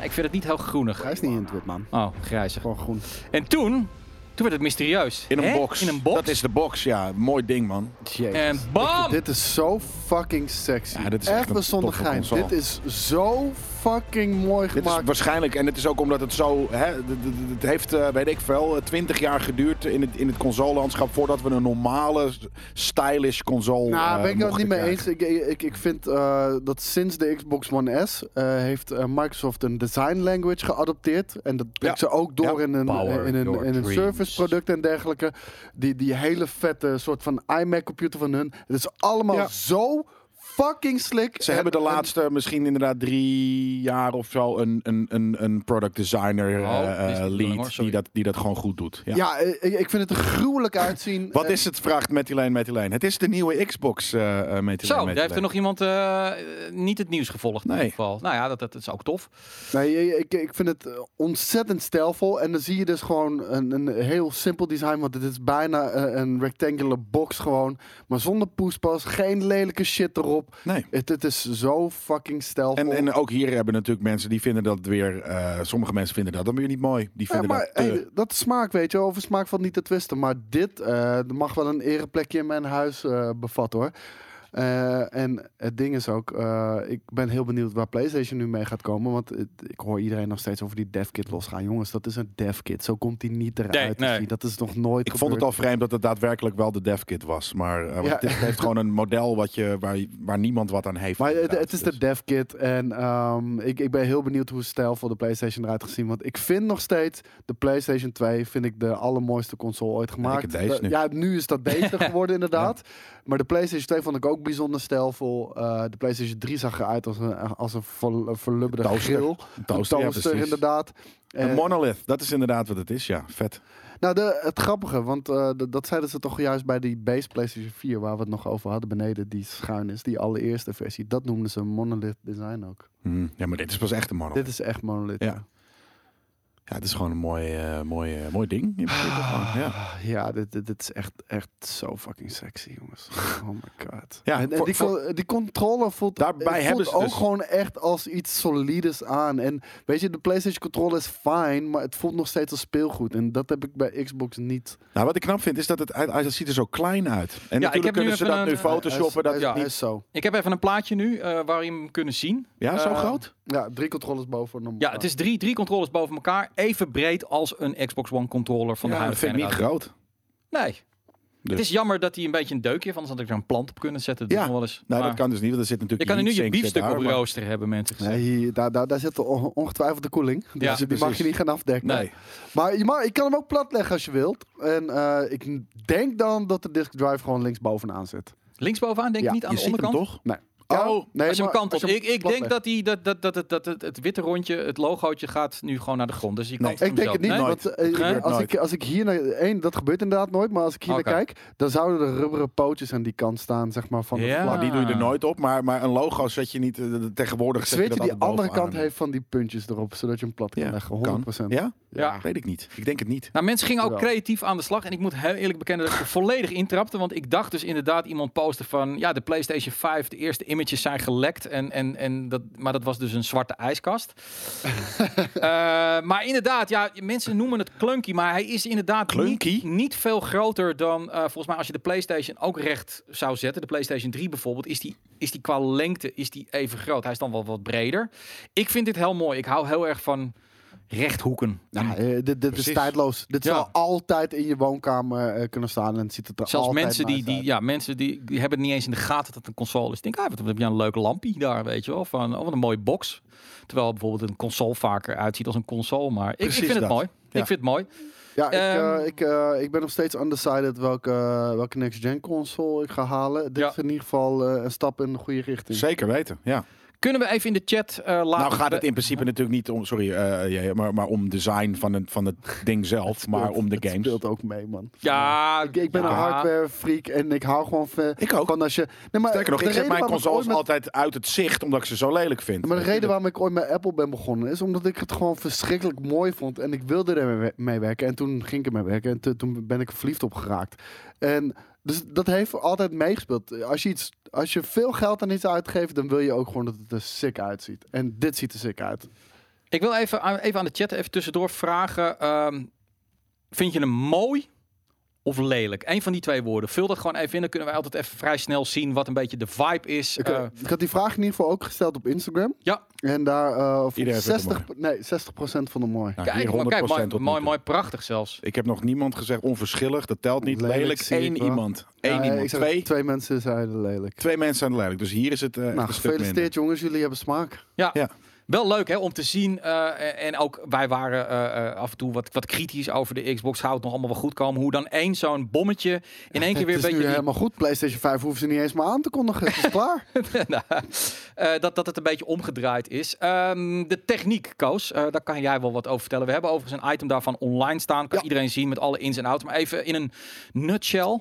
Speaker 2: Ik vind het niet heel groenig.
Speaker 1: Hij is niet in het wit, man.
Speaker 2: Oh, grijzig.
Speaker 1: Gewoon groen.
Speaker 2: En toen, toen werd het mysterieus.
Speaker 3: In een
Speaker 2: Hè?
Speaker 3: box.
Speaker 2: In een box.
Speaker 3: Dat is de box, ja. Mooi ding, man.
Speaker 2: En
Speaker 1: Jezus.
Speaker 2: bam!
Speaker 1: Dit is zo fucking sexy.
Speaker 3: Ja, dit is echt een
Speaker 1: Even zonder
Speaker 3: toffe
Speaker 1: geheim.
Speaker 3: console.
Speaker 1: Dit is zo fucking mooi
Speaker 3: Dit is
Speaker 1: gemaakt.
Speaker 3: waarschijnlijk, en het is ook omdat het zo. Hè, d- d- d- het heeft, eh, weet ik veel, twintig jaar geduurd in het, in het consolelandschap voordat we een normale, s- stylish console.
Speaker 1: Nou,
Speaker 3: eh,
Speaker 1: ben ik het
Speaker 3: mochten
Speaker 1: niet mee
Speaker 3: krijgen.
Speaker 1: eens. Ik, ik, ik vind eh, dat sinds de Xbox One S eh, heeft eh, Microsoft een design language geadopteerd. En dat brengt ze ook door
Speaker 3: Ja.
Speaker 1: in een,
Speaker 2: Power
Speaker 1: in een,
Speaker 2: your
Speaker 1: in een
Speaker 2: dreams.
Speaker 1: serviceproduct en dergelijke. Die, die hele vette soort van iMac computer van hun. Het is allemaal
Speaker 3: Ja.
Speaker 1: zo fucking slick.
Speaker 3: Ze
Speaker 1: En-
Speaker 3: hebben de
Speaker 1: en-
Speaker 3: laatste, misschien inderdaad drie jaar of zo, een, een, een, een product designer eh,
Speaker 2: Oh, dit is de
Speaker 3: eh,
Speaker 2: bedoeling, hoor,
Speaker 3: lead
Speaker 2: sorry.
Speaker 3: die dat, die dat gewoon goed doet. Ja.
Speaker 1: Ja, eh, ik, ik vind het er gruwelijk uitzien.
Speaker 3: Wat
Speaker 1: En-
Speaker 3: is het? Vraagt Metilijn Metilijn. Het is de nieuwe Xbox eh eh, Metilijn
Speaker 2: Zo, daar
Speaker 3: Metilijn.
Speaker 2: heeft er nog iemand eh, eh, niet het nieuws gevolgd in
Speaker 3: Nee.
Speaker 2: ieder geval. Nou ja, dat, dat is ook tof.
Speaker 1: Nee, ik, ik vind het eh, ontzettend stijlvol. En dan zie je dus gewoon een, een heel simpel design. Want het is bijna eh, een, rectangular box gewoon. Maar zonder poespas, geen lelijke shit erop.
Speaker 3: Nee.
Speaker 1: Het, het is zo fucking stijlvol.
Speaker 3: En, en ook hier hebben natuurlijk mensen die vinden dat weer. eh, sommige mensen vinden dat dan weer niet mooi. Die
Speaker 1: ja,
Speaker 3: vinden
Speaker 1: maar eh,
Speaker 3: dat. eh, te-
Speaker 1: hey, dat is smaak, weet je. wel. Over smaak valt niet te twisten. Maar dit eh, mag wel een ereplekje in mijn huis eh, bevatten, hoor. Eh, en het ding is ook, eh, ik ben heel benieuwd waar PlayStation nu mee gaat komen. Want het- ik hoor iedereen nog steeds over die devkit losgaan. Jongens, dat is een devkit. Zo komt die niet eruit.
Speaker 2: Nee,
Speaker 1: te
Speaker 2: nee.
Speaker 1: zien. Dat is nog nooit
Speaker 3: Ik vond het
Speaker 1: gebeurd.
Speaker 3: al vreemd dat het daadwerkelijk wel de devkit was. Maar eh, want
Speaker 1: Ja.
Speaker 3: dit heeft gewoon een model wat je, waar, je- waar niemand wat aan heeft.
Speaker 1: Maar het,
Speaker 3: inderdaad.
Speaker 1: het is de
Speaker 3: Dus-
Speaker 1: devkit. En ehm, ik, ik ben heel benieuwd hoe stijlvol de PlayStation eruit gaat zien. Want ik vind nog steeds de PlayStation 2 vind ik de allermooiste console ooit gemaakt.
Speaker 3: het deze
Speaker 1: De-
Speaker 3: nu.
Speaker 1: Ja, nu is dat beter geworden inderdaad. Maar de PlayStation 2 vond ik ook bijzonder stijlvol. Eh, de PlayStation 3 zag eruit als een, als een ver, verlubberde
Speaker 3: Toaster.
Speaker 1: grill.
Speaker 3: Een toaster, ja, precies.
Speaker 1: inderdaad.
Speaker 3: Een
Speaker 1: En-
Speaker 3: monolith, dat is inderdaad wat het is, ja. Vet.
Speaker 1: nou, de, het grappige, want eh, d- dat zeiden ze toch juist bij die base PlayStation 4... waar we het nog over hadden beneden, die schuin is. Die allereerste versie. Dat noemden ze monolith design ook.
Speaker 3: Hm. Ja, maar dit is pas echt een monolith.
Speaker 1: Dit is echt monolith.
Speaker 3: Ja. Ja, het is gewoon een mooi, eh, mooi, eh, mooi ding. in principe gewoon, ja.
Speaker 1: Ah, Ja, dit, dit, dit is echt, echt zo fucking sexy, jongens. Oh my god.
Speaker 3: Ja,
Speaker 1: en, en
Speaker 3: voor-
Speaker 1: die,
Speaker 3: voor-
Speaker 1: con- die controller voelt,
Speaker 3: Daarbij
Speaker 1: voelt
Speaker 3: hebben ze
Speaker 1: ook
Speaker 3: dus-
Speaker 1: gewoon echt als iets solides aan. En weet je, de PlayStation controller is fijn, maar het voelt nog steeds als speelgoed. En dat heb ik bij Xbox niet.
Speaker 3: Nou, wat ik knap vind is dat het, uit- uit- het ziet er zo klein uit.
Speaker 2: ik heb nu
Speaker 3: En natuurlijk kunnen ze
Speaker 2: even
Speaker 3: dat
Speaker 2: een- eh,
Speaker 3: nu photoshoppen. Dat
Speaker 1: Hij is-
Speaker 3: het
Speaker 1: hij
Speaker 3: niet-
Speaker 1: is zo.
Speaker 2: Ik heb even een plaatje nu eh waar je hem kunnen zien.
Speaker 3: ja, zo
Speaker 2: Eh,
Speaker 3: groot?
Speaker 1: Ja, drie controllers boven normaal.
Speaker 2: Ja, het is drie, drie controllers boven elkaar. Even breed als een Xbox One controller van de
Speaker 3: Ja, dat
Speaker 2: huidige
Speaker 3: vind ik niet
Speaker 2: generatie.
Speaker 3: groot.
Speaker 2: Nee. Het is jammer dat hij een beetje een deukje heeft, anders had ik er een plant op kunnen zetten. Dat
Speaker 3: Ja,
Speaker 2: is nog wel eens.
Speaker 3: Nou,
Speaker 2: maar-
Speaker 3: dat kan dus niet, want er zit
Speaker 2: Je
Speaker 3: natuurlijk
Speaker 2: kan er nu je
Speaker 3: heatsink zit
Speaker 2: biefstuk
Speaker 3: daar,
Speaker 2: op
Speaker 3: maar-
Speaker 2: rooster hebben, mensen. gezegd.
Speaker 1: Nee, hier- daar, daar, daar zit on- ongetwijfeld de koeling. Dus
Speaker 2: Ja,
Speaker 1: die mag
Speaker 3: precies.
Speaker 1: je niet gaan afdekken.
Speaker 2: Nee.
Speaker 3: Nee.
Speaker 1: Maar je, mag, je kan hem ook plat leggen als je wilt. En eh, ik denk dan dat de disk drive gewoon linksbovenaan zit.
Speaker 2: Linksbovenaan denk ik
Speaker 1: Ja,
Speaker 2: niet aan
Speaker 3: je
Speaker 2: de
Speaker 3: ziet hem
Speaker 2: onderkant.
Speaker 3: toch?
Speaker 1: Nee.
Speaker 3: Oh,
Speaker 1: nee,
Speaker 2: als je hem
Speaker 1: maar
Speaker 2: kantelt.
Speaker 1: als je hem
Speaker 2: Ik, ik
Speaker 1: plat
Speaker 2: denk
Speaker 1: legt.
Speaker 2: dat, die, dat, dat, dat, dat, dat- het- het witte rondje, het logootje gaat nu gewoon naar de grond. Dus je
Speaker 3: Nee,
Speaker 2: kan
Speaker 1: Ik denk het niet, want eh,
Speaker 2: gebeurt
Speaker 1: als,
Speaker 3: nooit.
Speaker 1: ik, als ik hier naar... één, dat gebeurt inderdaad nooit, maar als ik hier
Speaker 2: Oké.
Speaker 1: naar kijk... dan zouden er rubberen pootjes aan die kant staan, zeg maar, van de
Speaker 2: Ja.
Speaker 1: vlag.
Speaker 3: Nou, die doe je er
Speaker 2: Ah.
Speaker 3: nooit op, maar, maar een logo zet je niet eh, de- de- tegenwoordig. Zet je
Speaker 1: Weet
Speaker 3: dat
Speaker 1: je, die
Speaker 3: altijd
Speaker 1: andere
Speaker 3: bovenaan.
Speaker 1: kant heeft van die puntjes erop, zodat je hem plat kan
Speaker 3: Ja,
Speaker 1: leggen, 100%.
Speaker 3: kan. Ja?
Speaker 2: Ja.
Speaker 3: Weet ik niet. Ik denk het niet.
Speaker 2: Nou, mensen gingen ook
Speaker 1: Jawel.
Speaker 2: creatief aan de slag. En ik moet heel eerlijk bekennen dat ik er volledig intrapte. Want ik dacht dus inderdaad iemand posten van... Ja, de PlayStation 5, de eerste images zijn gelekt. En, en, en dat, maar dat was dus een zwarte ijskast. Eh, maar inderdaad, ja, mensen noemen het clunky. Maar hij is inderdaad
Speaker 3: Clunky?
Speaker 2: niet, niet veel groter dan... eh, volgens mij als je de PlayStation ook recht zou zetten. De PlayStation 3 bijvoorbeeld. Is die, is die qua lengte is die even groot. Hij is dan wel wat breder. Ik vind dit heel mooi. Ik hou heel erg van rechthoeken.
Speaker 1: Ja, eh, dit, dit is
Speaker 3: Precies.
Speaker 1: tijdloos. Dit
Speaker 2: Ja.
Speaker 1: zal altijd in je woonkamer eh, kunnen staan en het ziet het er
Speaker 2: Zelfs
Speaker 1: altijd
Speaker 2: mensen die,
Speaker 1: nice
Speaker 2: die,
Speaker 1: uit.
Speaker 2: ja, mensen die, die hebben het niet eens in de gaten dat het een console is. Ik denk, ah, wat wat heb je een leuk lampje daar, weet je wel? Van, oh, wat een mooie box. Terwijl bijvoorbeeld een console vaker uitziet als een console. Maar ik, ik
Speaker 3: Precies
Speaker 2: vind het
Speaker 3: dat.
Speaker 2: mooi.
Speaker 3: Ja.
Speaker 2: Ik vind het mooi.
Speaker 1: Ja, ik, eh,
Speaker 2: Ehm.
Speaker 1: ik, eh, ik ben nog steeds undecided welke, eh, welke next-gen console ik ga halen. Dit
Speaker 2: Ja.
Speaker 1: is in ieder geval eh, een stap in de goede richting.
Speaker 3: Zeker weten, ja.
Speaker 2: Kunnen we even in de chat eh laten...
Speaker 3: nou gaat het in principe natuurlijk niet om, sorry, eh, ja, ja, maar, maar om design van het, van het ding zelf, maar om de
Speaker 1: Het
Speaker 3: games.
Speaker 1: speelt ook mee, man.
Speaker 2: Ja,
Speaker 1: Ik, ik ben
Speaker 2: ja.
Speaker 1: een hardware freak en ik hou gewoon van,
Speaker 3: Ik ook.
Speaker 1: van als je... Nee, maar
Speaker 3: Sterker nog,
Speaker 1: Eh, de
Speaker 3: ik zet
Speaker 1: reden
Speaker 3: mijn
Speaker 1: waarom ik
Speaker 3: consoles
Speaker 1: ooit met-
Speaker 3: altijd uit het zicht, omdat ik ze zo lelijk vind.
Speaker 1: Maar de reden waarom ik ooit met Apple ben begonnen is omdat ik het gewoon verschrikkelijk mooi vond. En ik wilde er mee- mee werken. En toen ging ik ermee werken. En te- toen ben ik er verliefd op geraakt. En dus dat heeft altijd meegespeeld. Als je, iets, als je veel geld aan iets uitgeeft, dan wil je ook gewoon dat het er sick uitziet. En dit ziet er sick uit.
Speaker 2: Ik wil even aan, even aan de chat even tussendoor vragen. ehm, vind je hem mooi of lelijk? Eén van die twee woorden. Vul dat gewoon even in. Dan kunnen wij altijd even vrij snel zien wat een beetje de vibe is.
Speaker 1: Ik,
Speaker 2: Eh,
Speaker 1: eh, ik had die vraag in ieder geval ook gesteld op Instagram.
Speaker 2: ja,
Speaker 1: En daar eh vond
Speaker 3: Iedereen vindt hem
Speaker 1: 60, nee, 60% vond hem mooi.
Speaker 3: Nou, hier
Speaker 2: kijk, maar,
Speaker 3: 100%
Speaker 2: kijk maar,
Speaker 3: tot nu
Speaker 2: mooi,
Speaker 3: toe.
Speaker 2: mooi, prachtig zelfs.
Speaker 3: Ik heb nog niemand gezegd onverschillig, dat telt niet.
Speaker 1: Lelijk
Speaker 3: Lelijk,
Speaker 1: zie ik
Speaker 3: één
Speaker 1: wel.
Speaker 3: iemand. Eén
Speaker 1: Ja,
Speaker 3: iemand.
Speaker 1: ik zag-
Speaker 3: Twee,
Speaker 1: twee mensen zeiden lelijk.
Speaker 3: twee mensen zijn lelijk, dus hier is het eh,
Speaker 1: Nou,
Speaker 3: een stuk minder.
Speaker 1: gefeliciteerd jongens, jullie hebben smaak.
Speaker 2: Ja.
Speaker 3: Ja.
Speaker 2: Wel leuk hè, om te zien. eh, en ook wij waren eh, eh, af en toe wat, wat kritisch over de Xbox. Zou het nog allemaal wel goed komen? Hoe dan één zo'n bommetje in één keer
Speaker 1: Het
Speaker 2: weer een
Speaker 1: is
Speaker 2: beetje.
Speaker 1: nu
Speaker 2: die-
Speaker 1: helemaal goed. PlayStation 5 hoeven ze niet eens meer aan te kondigen. Het is klaar.
Speaker 2: Nou, eh, dat, dat het een beetje omgedraaid is. Ehm, de techniek, Koos, eh, daar kan jij wel wat over vertellen. We hebben overigens een item daarvan online staan. Kan
Speaker 1: Ja.
Speaker 2: iedereen zien met alle ins en outs. Maar even in een nutshell.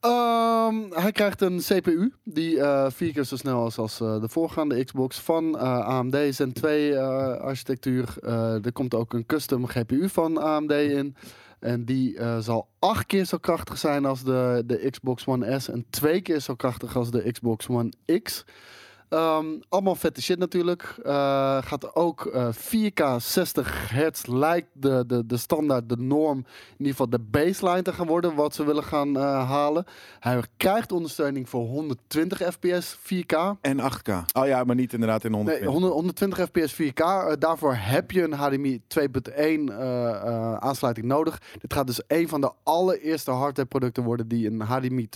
Speaker 1: Ehm, hij krijgt een CPU die eh, vier keer zo snel is als eh, de voorgaande Xbox van eh, AMD Zen 2 eh, architectuur. Eh, er komt ook een custom GPU van AMD in. En die eh, zal acht keer zo krachtig zijn als de, de Xbox One S en twee keer zo krachtig als de Xbox One X. Ehm, allemaal vette shit natuurlijk. Eh, gaat ook eh, 4K 60 hertz lijkt de, de, de standaard, de norm, in ieder geval de baseline te gaan worden wat ze willen gaan eh, halen. Hij krijgt ondersteuning voor 120 fps 4K.
Speaker 3: En 8K. Oh ja, maar niet inderdaad in 100.
Speaker 1: Nee, 100 120 fps 4K. Eh, daarvoor heb je een HDMI 2.1 eh, eh, aansluiting nodig. Dit gaat dus een van de allereerste hardware producten worden die een HDMI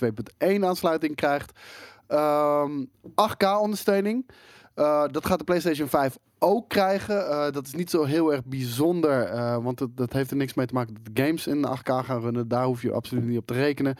Speaker 1: 2.1 aansluiting krijgt. Ehm, 8K ondersteuning. Eh, dat gaat de PlayStation 5 ook krijgen. Eh, dat is niet zo heel erg bijzonder, eh, want dat, dat heeft er niks mee te maken dat de games in 8K gaan runnen. Daar hoef je absoluut niet op te rekenen.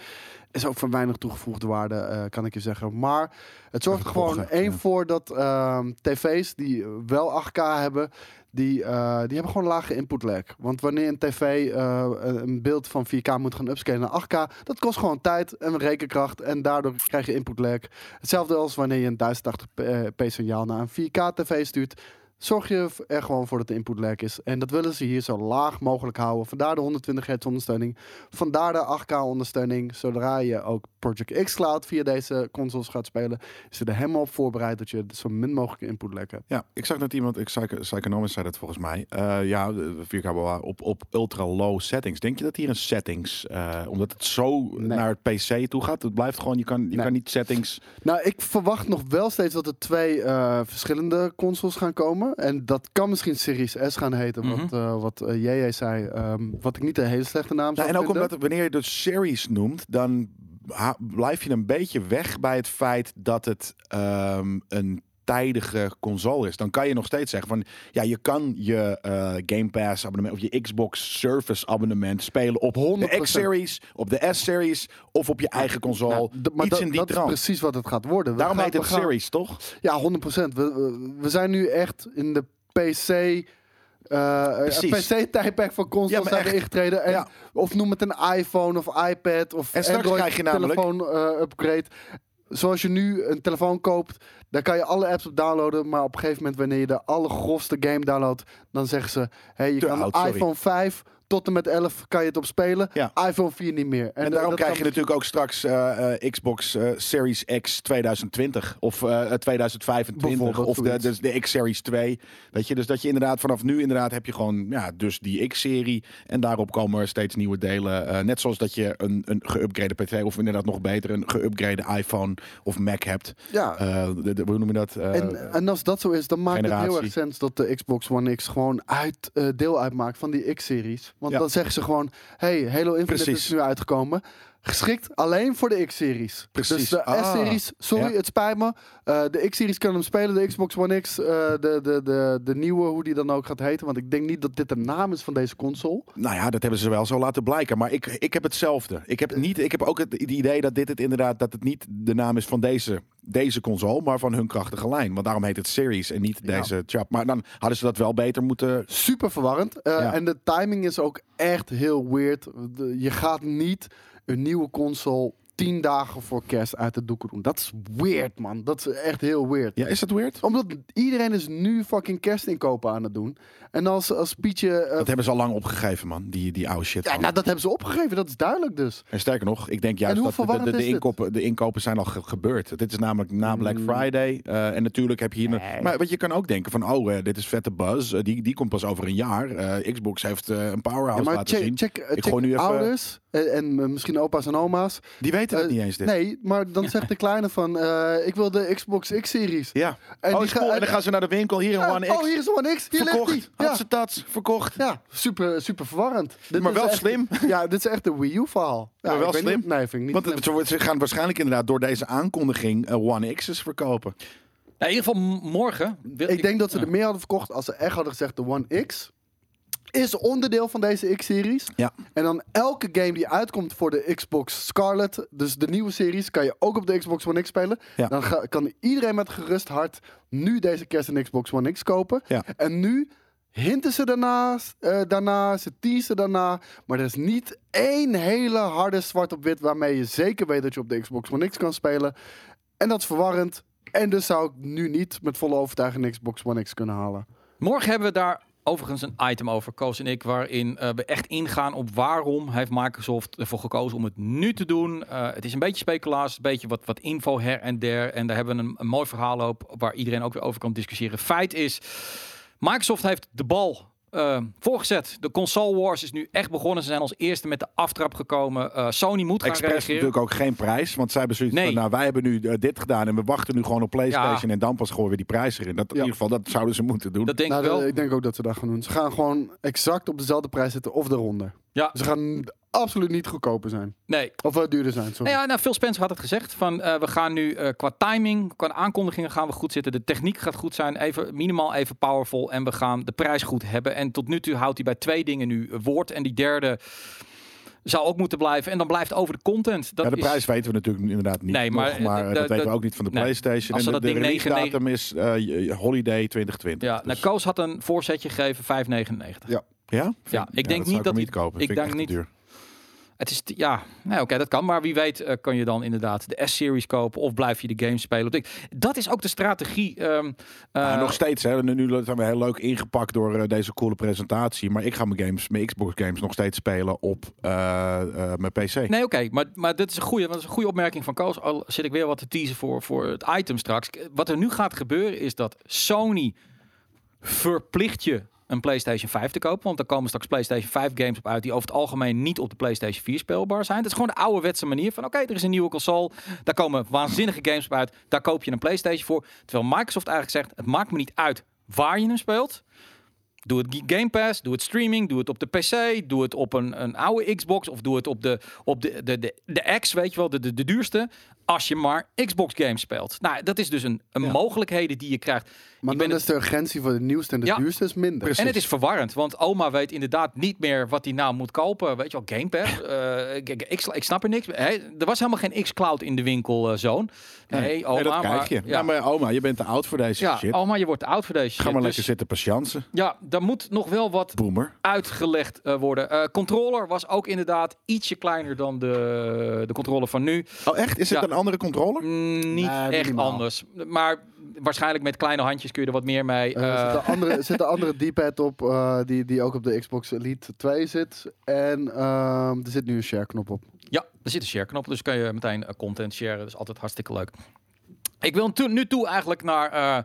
Speaker 1: Is ook van weinig toegevoegde waarde, eh, kan ik je zeggen. Maar het zorgt er
Speaker 3: Even
Speaker 1: gewoon
Speaker 3: pochen,
Speaker 1: één
Speaker 3: ja.
Speaker 1: voor dat ehm, tv's die wel 8K hebben, die, eh, die hebben gewoon lage input lag. Want wanneer een tv eh, een beeld van 4K moet gaan upscalen naar 8K, dat kost gewoon tijd en rekenkracht en daardoor krijg je input lag. Hetzelfde als wanneer je een 1080p eh, signaal naar een 4K tv stuurt. Zorg je er gewoon voor dat de input lag is. En dat willen ze hier zo laag mogelijk houden. Vandaar de 120 hertz ondersteuning. Vandaar de 8K ondersteuning. Zodra je ook Project X Cloud via deze consoles gaat spelen, is er helemaal op voorbereid dat je zo min mogelijk input lag hebt.
Speaker 3: Ja, ik zag net iemand, ik, Psycho- Psychonomist zei dat volgens mij. Eh, ja, de 4K bewaar- op, op ultra low settings. Denk je dat hier een settings, eh, omdat het zo naar het PC toe gaat, het blijft gewoon, je kan, je
Speaker 1: Nee.
Speaker 3: kan niet settings.
Speaker 1: Nou, ik verwacht nog wel steeds dat er twee eh, verschillende consoles gaan komen. En dat kan misschien Series S gaan heten, wat, eh, wat eh, JJ zei. ehm, wat ik niet een hele slechte naam zou
Speaker 3: Mhm. Nou, en ook
Speaker 1: vinden.
Speaker 3: omdat wanneer je de series noemt, dan ha- blijf je een beetje weg bij het feit dat het ehm, een tijdige console is, dan kan je nog steeds zeggen van ja, je kan je eh, Game Pass abonnement of je Xbox Service abonnement spelen op
Speaker 1: 100%.
Speaker 3: de X-series, op de S-series of op je eigen console.
Speaker 1: nou, D- maar
Speaker 3: Iets
Speaker 1: dat,
Speaker 3: in die
Speaker 1: dat is
Speaker 3: trant.
Speaker 1: precies wat het gaat worden. We
Speaker 3: Daarom
Speaker 1: gaan-
Speaker 3: heet het
Speaker 1: we gaan-
Speaker 3: Series, toch?
Speaker 1: Ja, 100%. We, we, we zijn nu echt in de PC. eh
Speaker 3: Precies.
Speaker 1: PC-tijdperk van
Speaker 3: Ja,
Speaker 1: consoles
Speaker 3: maar
Speaker 1: zijn we
Speaker 3: echt.
Speaker 1: ingetreden. En,
Speaker 3: Ja.
Speaker 1: Of noem het een iPhone of iPad of
Speaker 3: En straks krijg je namelijk-
Speaker 1: Android-telefoon-upgrade. Zoals je nu een telefoon koopt, daar kan je alle apps op downloaden. Maar op een gegeven moment, wanneer je de allergrofste game downloadt, dan zeggen ze... Hey, je
Speaker 3: Te
Speaker 1: kan
Speaker 3: oud,
Speaker 1: een
Speaker 3: sorry.
Speaker 1: iPhone 5 tot en met 11 kan je het op spelen.
Speaker 3: Ja.
Speaker 1: iPhone 4 niet meer.
Speaker 3: En,
Speaker 1: dat-
Speaker 3: daarom
Speaker 1: dat
Speaker 3: krijg je
Speaker 1: kan- dus-
Speaker 3: natuurlijk ook straks eh, eh, Xbox eh, Series X 2020 of eh, 2025
Speaker 1: Bijvoorbeeld,
Speaker 3: of de, de,
Speaker 1: zoiets.
Speaker 3: de X-Series 2. Weet je, dus dat je inderdaad vanaf nu inderdaad heb je gewoon ja, dus die X-serie en daarop komen er steeds nieuwe delen. Eh, net zoals dat je een, een geüpgrade PC of inderdaad nog beter een geüpgrade iPhone of Mac hebt.
Speaker 1: Ja.
Speaker 3: Eh, de- de- hoe noem je dat? Eh,
Speaker 1: En, en als dat zo is, dan maakt het heel
Speaker 3: generatie.
Speaker 1: erg sens dat de Xbox One X gewoon uit, eh, deel uitmaakt van die X-series. Want
Speaker 3: Ja.
Speaker 1: dan zeggen ze gewoon, hey, Halo Infinite
Speaker 3: Precies.
Speaker 1: is nu uitgekomen. Geschikt alleen voor de X-series.
Speaker 3: Precies.
Speaker 1: Dus de
Speaker 3: Ah.
Speaker 1: S-series, sorry,
Speaker 3: Ja.
Speaker 1: het spijt me. Eh, de X-series kan hem spelen, de Xbox One X, eh, de, de, de, de nieuwe, hoe die dan ook gaat heten. Want ik denk niet dat dit de naam is van deze console.
Speaker 3: Nou ja, dat hebben ze wel zo laten blijken. Maar ik, ik heb hetzelfde. Ik heb, niet, ik heb ook het het idee dat dit het inderdaad dat het niet de naam is van deze, deze console, maar van hun krachtige lijn. Want daarom heet het Series en niet
Speaker 1: Ja.
Speaker 3: deze chap. Maar dan hadden ze dat wel beter moeten.
Speaker 1: super verwarrend. Eh,
Speaker 3: Ja.
Speaker 1: En de timing is ook echt heel weird. De- je gaat niet een nieuwe console tien dagen voor kerst uit de doeken doen. Dat is weird, man. Dat is echt heel weird.
Speaker 3: Ja, is dat weird?
Speaker 1: Omdat iedereen is nu fucking kerstinkopen aan het doen. En als, als Pietje... eh,
Speaker 3: Dat hebben ze al lang opgegeven, man. Die, die oude shit.
Speaker 1: ja,
Speaker 3: man.
Speaker 1: nou, dat hebben ze opgegeven. Dat is duidelijk dus.
Speaker 3: En sterker nog, ik denk juist
Speaker 1: En hoe
Speaker 3: dat de- de,
Speaker 1: verwarrend
Speaker 3: de,
Speaker 1: is Hmm. dit?
Speaker 3: inkopen, de inkopen zijn al ge- gebeurd. Dit is namelijk na Black Friday. eh, en natuurlijk heb je hier... een- Maar wat je kan ook denken van, oh, eh, dit is vette buzz. Eh, die, die komt pas over een jaar. Eh, Xbox heeft eh, een powerhouse
Speaker 1: Ja, maar
Speaker 3: laten
Speaker 1: check,
Speaker 3: zien.
Speaker 1: check, eh,
Speaker 3: Ik
Speaker 1: check
Speaker 3: gooi nu even-
Speaker 1: ouders en, en, eh, misschien opa's en oma's.
Speaker 3: Die weten het
Speaker 1: Eh,
Speaker 3: niet eens dit.
Speaker 1: Nee, maar dan zegt de kleine van... eh, ik wil de Xbox X-series.
Speaker 3: Ja.
Speaker 1: En
Speaker 3: En, oh,
Speaker 1: die
Speaker 3: is
Speaker 1: ga-
Speaker 3: cool. en
Speaker 1: en-
Speaker 3: dan gaan ze naar de winkel. Hier een
Speaker 1: Ja,
Speaker 3: One X.
Speaker 1: oh, hier is de One X. Hier
Speaker 3: verkocht.
Speaker 1: ligt die.
Speaker 3: Had ze dat verkocht.
Speaker 1: Ja, super, super verwarrend. Dit
Speaker 3: Maar
Speaker 1: is
Speaker 3: wel
Speaker 1: echt-
Speaker 3: slim.
Speaker 1: Ja, dit is echt een Wii U-verhaal. Ja,
Speaker 3: maar wel
Speaker 1: ik weet
Speaker 3: slim.
Speaker 1: niet- nee, vind ik niet
Speaker 3: Want
Speaker 1: slim.
Speaker 3: het- ze wordt- ze gaan waarschijnlijk inderdaad door deze aankondiging eh, One X's verkopen.
Speaker 2: Nou, in ieder geval m- morgen. wil
Speaker 1: Ik denk dat ze er meer hadden verkocht als ze echt hadden gezegd de One X is onderdeel van deze X-series.
Speaker 3: Ja.
Speaker 1: En dan elke game die uitkomt voor de Xbox Scarlet, dus de nieuwe series, kan je ook op de Xbox One X spelen.
Speaker 3: Ja.
Speaker 1: Dan ga- kan iedereen met gerust hart nu deze kerst een Xbox One X kopen.
Speaker 3: Ja.
Speaker 1: En nu hinten ze daarnaast, eh, daarna, ze teasen daarna, maar er is niet één hele harde zwart op wit waarmee je zeker weet dat je op de Xbox One X kan spelen. En dat is verwarrend. En dus zou ik nu niet met volle overtuiging een Xbox One X kunnen halen.
Speaker 2: Morgen hebben we daar overigens een item over, Koos en ik, waarin eh, we echt ingaan op waarom heeft Microsoft ervoor gekozen om het nu te doen. Eh, het is een beetje speculaas, een beetje wat, wat info her en der. En daar hebben we een, een mooi verhaal op waar iedereen ook weer over kan discussiëren. Feit is, Microsoft heeft de bal eh, voorgezet. De console wars is nu echt begonnen. Ze zijn als eerste met de aftrap gekomen. Eh, Sony moet gaan
Speaker 3: Express
Speaker 2: reageren.
Speaker 3: natuurlijk ook geen prijs. Want zij hebben zoiets
Speaker 2: Nee.
Speaker 3: van, nou, wij hebben nu eh, dit gedaan en we wachten nu gewoon op PlayStation.
Speaker 2: Ja.
Speaker 3: En dan pas gooien we die prijs erin. Dat, In
Speaker 1: Ja.
Speaker 3: ieder geval, dat zouden ze moeten doen.
Speaker 2: Dat denk
Speaker 1: Nou,
Speaker 2: ik wel.
Speaker 1: dat- ik denk ook dat ze dat gaan doen. Ze gaan gewoon exact op dezelfde prijs zitten of eronder.
Speaker 2: Ja.
Speaker 1: Ze gaan absoluut niet goedkoper zijn.
Speaker 2: Nee,
Speaker 1: Of wel duurder zijn, sorry.
Speaker 2: Nou ja, nou, Phil Spencer had het gezegd. Van, eh, we gaan nu eh, qua timing, qua aankondigingen gaan we goed zitten. De techniek gaat goed zijn. Even, minimaal even powerful. En we gaan de prijs goed hebben. En tot nu toe houdt hij bij twee dingen nu eh, woord. En die derde zou ook moeten blijven. En dan blijft over de content. Dat
Speaker 3: ja, de
Speaker 2: is-
Speaker 3: prijs weten we natuurlijk inderdaad niet.
Speaker 2: Nee, maar,
Speaker 3: nog, maar eh,
Speaker 2: eh,
Speaker 3: dat
Speaker 2: de-
Speaker 3: weten we
Speaker 2: de-
Speaker 3: ook niet van de
Speaker 2: nee.
Speaker 3: PlayStation.
Speaker 2: Als ze
Speaker 3: en de,
Speaker 2: dat
Speaker 3: de
Speaker 2: ding
Speaker 3: release
Speaker 2: 9,9
Speaker 3: datum is eh, holiday 2020.
Speaker 2: Ja, nou,
Speaker 3: Dus-
Speaker 2: Koos had een voorzetje gegeven, 5,99.
Speaker 3: ja?
Speaker 2: Ja, ik denk
Speaker 3: dat zou
Speaker 2: niet
Speaker 3: ik
Speaker 2: dat
Speaker 3: hem
Speaker 2: die-
Speaker 3: niet kopen.
Speaker 2: ik
Speaker 3: Vind
Speaker 2: denk
Speaker 3: echt te
Speaker 2: niet-
Speaker 3: duur.
Speaker 2: Het is, t- ja, nou, oké, dat kan. Maar wie weet eh, kan je dan inderdaad de S-series kopen of blijf je de game spelen. op de- Dat is ook de strategie. ehm,
Speaker 3: Ja,
Speaker 2: eh,
Speaker 3: nog steeds, hè. Nu- Nu zijn we heel leuk ingepakt door eh, deze coole presentatie. Maar ik ga mijn games, mijn Xbox games nog steeds spelen op eh, eh, mijn PC.
Speaker 2: Nee, oké, maar, maar dit is een goede, want dat is een goede opmerking van Koos. Al zit ik weer wat te teasen voor, voor het item straks. K- Wat er nu gaat gebeuren is dat Sony verplicht je een PlayStation 5 te kopen. Want er komen straks PlayStation 5 games op uit die over het algemeen niet op de PlayStation 4 speelbaar zijn. Dat is gewoon de ouderwetse manier van oké, er is een nieuwe console. Daar komen waanzinnige games op uit. Daar koop je een PlayStation voor. Terwijl Microsoft eigenlijk zegt, het maakt me niet uit waar je hem speelt. Doe het Game Pass, doe het streaming, doe het op de PC, doe het op een, een oude Xbox of doe het op de, op de, de, de, de X, weet je wel, de, de, de duurste. Als je maar Xbox games speelt. Nou, dat is dus een, een mogelijkheden die je krijgt.
Speaker 1: Maar
Speaker 2: Ik
Speaker 1: dan
Speaker 2: ben
Speaker 1: is de urgentie voor de nieuwste en de
Speaker 2: Ja.
Speaker 1: duurste is minder.
Speaker 2: En het is verwarrend, want oma weet inderdaad niet meer wat hij nou moet kopen. Weet je wel, Game Pass. eh, ik, ik- ik, sla- ik snap er niks. Hè, er was helemaal geen X-Cloud in de winkel, eh, zoon. Nee, oma.
Speaker 3: Nee, dat krijg
Speaker 2: maar-
Speaker 3: je. Ja.
Speaker 2: Ja,
Speaker 3: maar oma, je bent te oud voor deze
Speaker 2: ja,
Speaker 3: shit.
Speaker 2: oma, je wordt te oud voor deze shit.
Speaker 3: Ga maar
Speaker 2: Dus,
Speaker 3: lekker zitten patiënten.
Speaker 2: Ja, daar moet nog wel wat
Speaker 3: Boomer.
Speaker 2: uitgelegd eh, worden. Eh, controller was ook inderdaad ietsje kleiner dan de, de controller van nu.
Speaker 3: Oh echt? Is het
Speaker 2: Ja.
Speaker 3: een andere controller?
Speaker 2: Mm, niet
Speaker 3: Nou,
Speaker 1: Nee,
Speaker 2: echt
Speaker 1: minimaal.
Speaker 2: anders. Maar waarschijnlijk met kleine handjes kun je er wat meer mee.
Speaker 1: Eh,
Speaker 2: eh,
Speaker 1: er zit een andere, zit een andere D-pad op eh, die, die ook op de Xbox Elite 2 zit. En ehm, er zit nu een share-knop op.
Speaker 2: Ja, er zit een share-knop, dus kan je meteen eh, content sharen. Dat is altijd hartstikke leuk. Ik wil to- nu toe eigenlijk naar eh,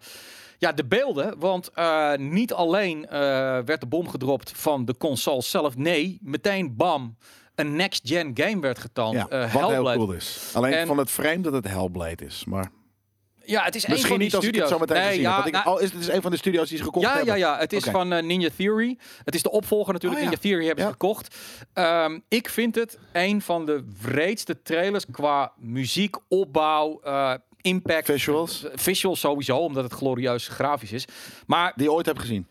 Speaker 2: ja, de beelden. Want eh, niet alleen eh, werd de bom gedropt van de console zelf. Nee, meteen bam, een next-gen game werd getoond.
Speaker 3: Ja,
Speaker 2: Eh,
Speaker 3: wat
Speaker 2: Hellblade.
Speaker 3: heel cool is. Alleen
Speaker 2: En-
Speaker 3: van het frame dat het Hellblade is. Maar
Speaker 2: Ja, het is één
Speaker 3: misschien
Speaker 2: van die
Speaker 3: niet als ik het
Speaker 2: studio's.
Speaker 3: zo meteen
Speaker 2: Nee,
Speaker 3: gezien
Speaker 2: ja,
Speaker 3: heb. Want ik,
Speaker 2: nou,
Speaker 3: oh, is, dit is een van de studio's die ze gekocht
Speaker 2: ja, ja,
Speaker 3: hebben?
Speaker 2: ja, het is
Speaker 3: Oké.
Speaker 2: van eh, Ninja Theory. Het is de opvolger natuurlijk.
Speaker 3: Oh, ja.
Speaker 2: Ninja Theory hebben ze
Speaker 3: Ja.
Speaker 2: gekocht. Ehm, ik vind het een van de wreedste trailers qua muziek, opbouw, eh, impact.
Speaker 3: Visuals?
Speaker 2: Visual sowieso, omdat het glorieus grafisch is. Maar
Speaker 3: Die je ooit hebt gezien?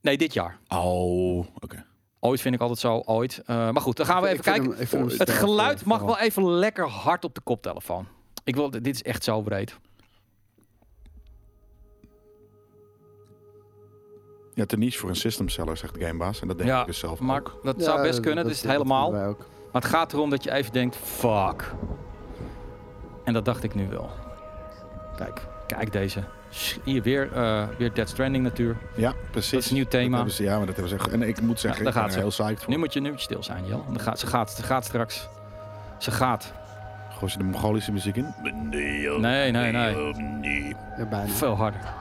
Speaker 2: nee, dit jaar.
Speaker 3: Oh, oké.
Speaker 2: Ooit vind ik altijd zo, ooit. Eh, maar goed, dan gaan we
Speaker 1: Ik
Speaker 2: even
Speaker 1: vind
Speaker 2: kijken.
Speaker 1: hem- ik vind hem
Speaker 2: het
Speaker 1: sterk,
Speaker 2: geluid
Speaker 1: eh,
Speaker 2: mag
Speaker 1: vooral.
Speaker 2: wel even lekker hard op de koptelefoon. Ik wil, dit is echt zo breed.
Speaker 3: Ja, te niche voor een system seller, zegt de gamebaas. En dat denk ik dus zelf
Speaker 2: maar
Speaker 3: ook.
Speaker 2: dat zou
Speaker 1: Ja,
Speaker 2: best kunnen. Dat is het helemaal.
Speaker 1: vinden wij ook.
Speaker 2: Maar het gaat erom dat je even denkt, fuck. En dat dacht ik nu wel. Kijk, kijk deze. Sch- Hier weer, eh weer Dead Stranding natuur.
Speaker 3: Ja, precies.
Speaker 2: Dat is een nieuw thema.
Speaker 3: hebben ze, ja, maar dat hebben ze echt. En ik moet zeggen,
Speaker 2: Ja,
Speaker 3: ik
Speaker 2: daar
Speaker 3: ben
Speaker 2: gaat
Speaker 3: er heel psyched voor.
Speaker 2: Nu moet je, nu moet je stil zijn, Jel. Want dan gaat, ze, gaat, ze gaat straks. Ze gaat.
Speaker 3: Gooi ze de Mongolische muziek in?
Speaker 2: Nee, nee, nee.
Speaker 3: nee.
Speaker 1: Ja, bijna.
Speaker 2: Veel harder.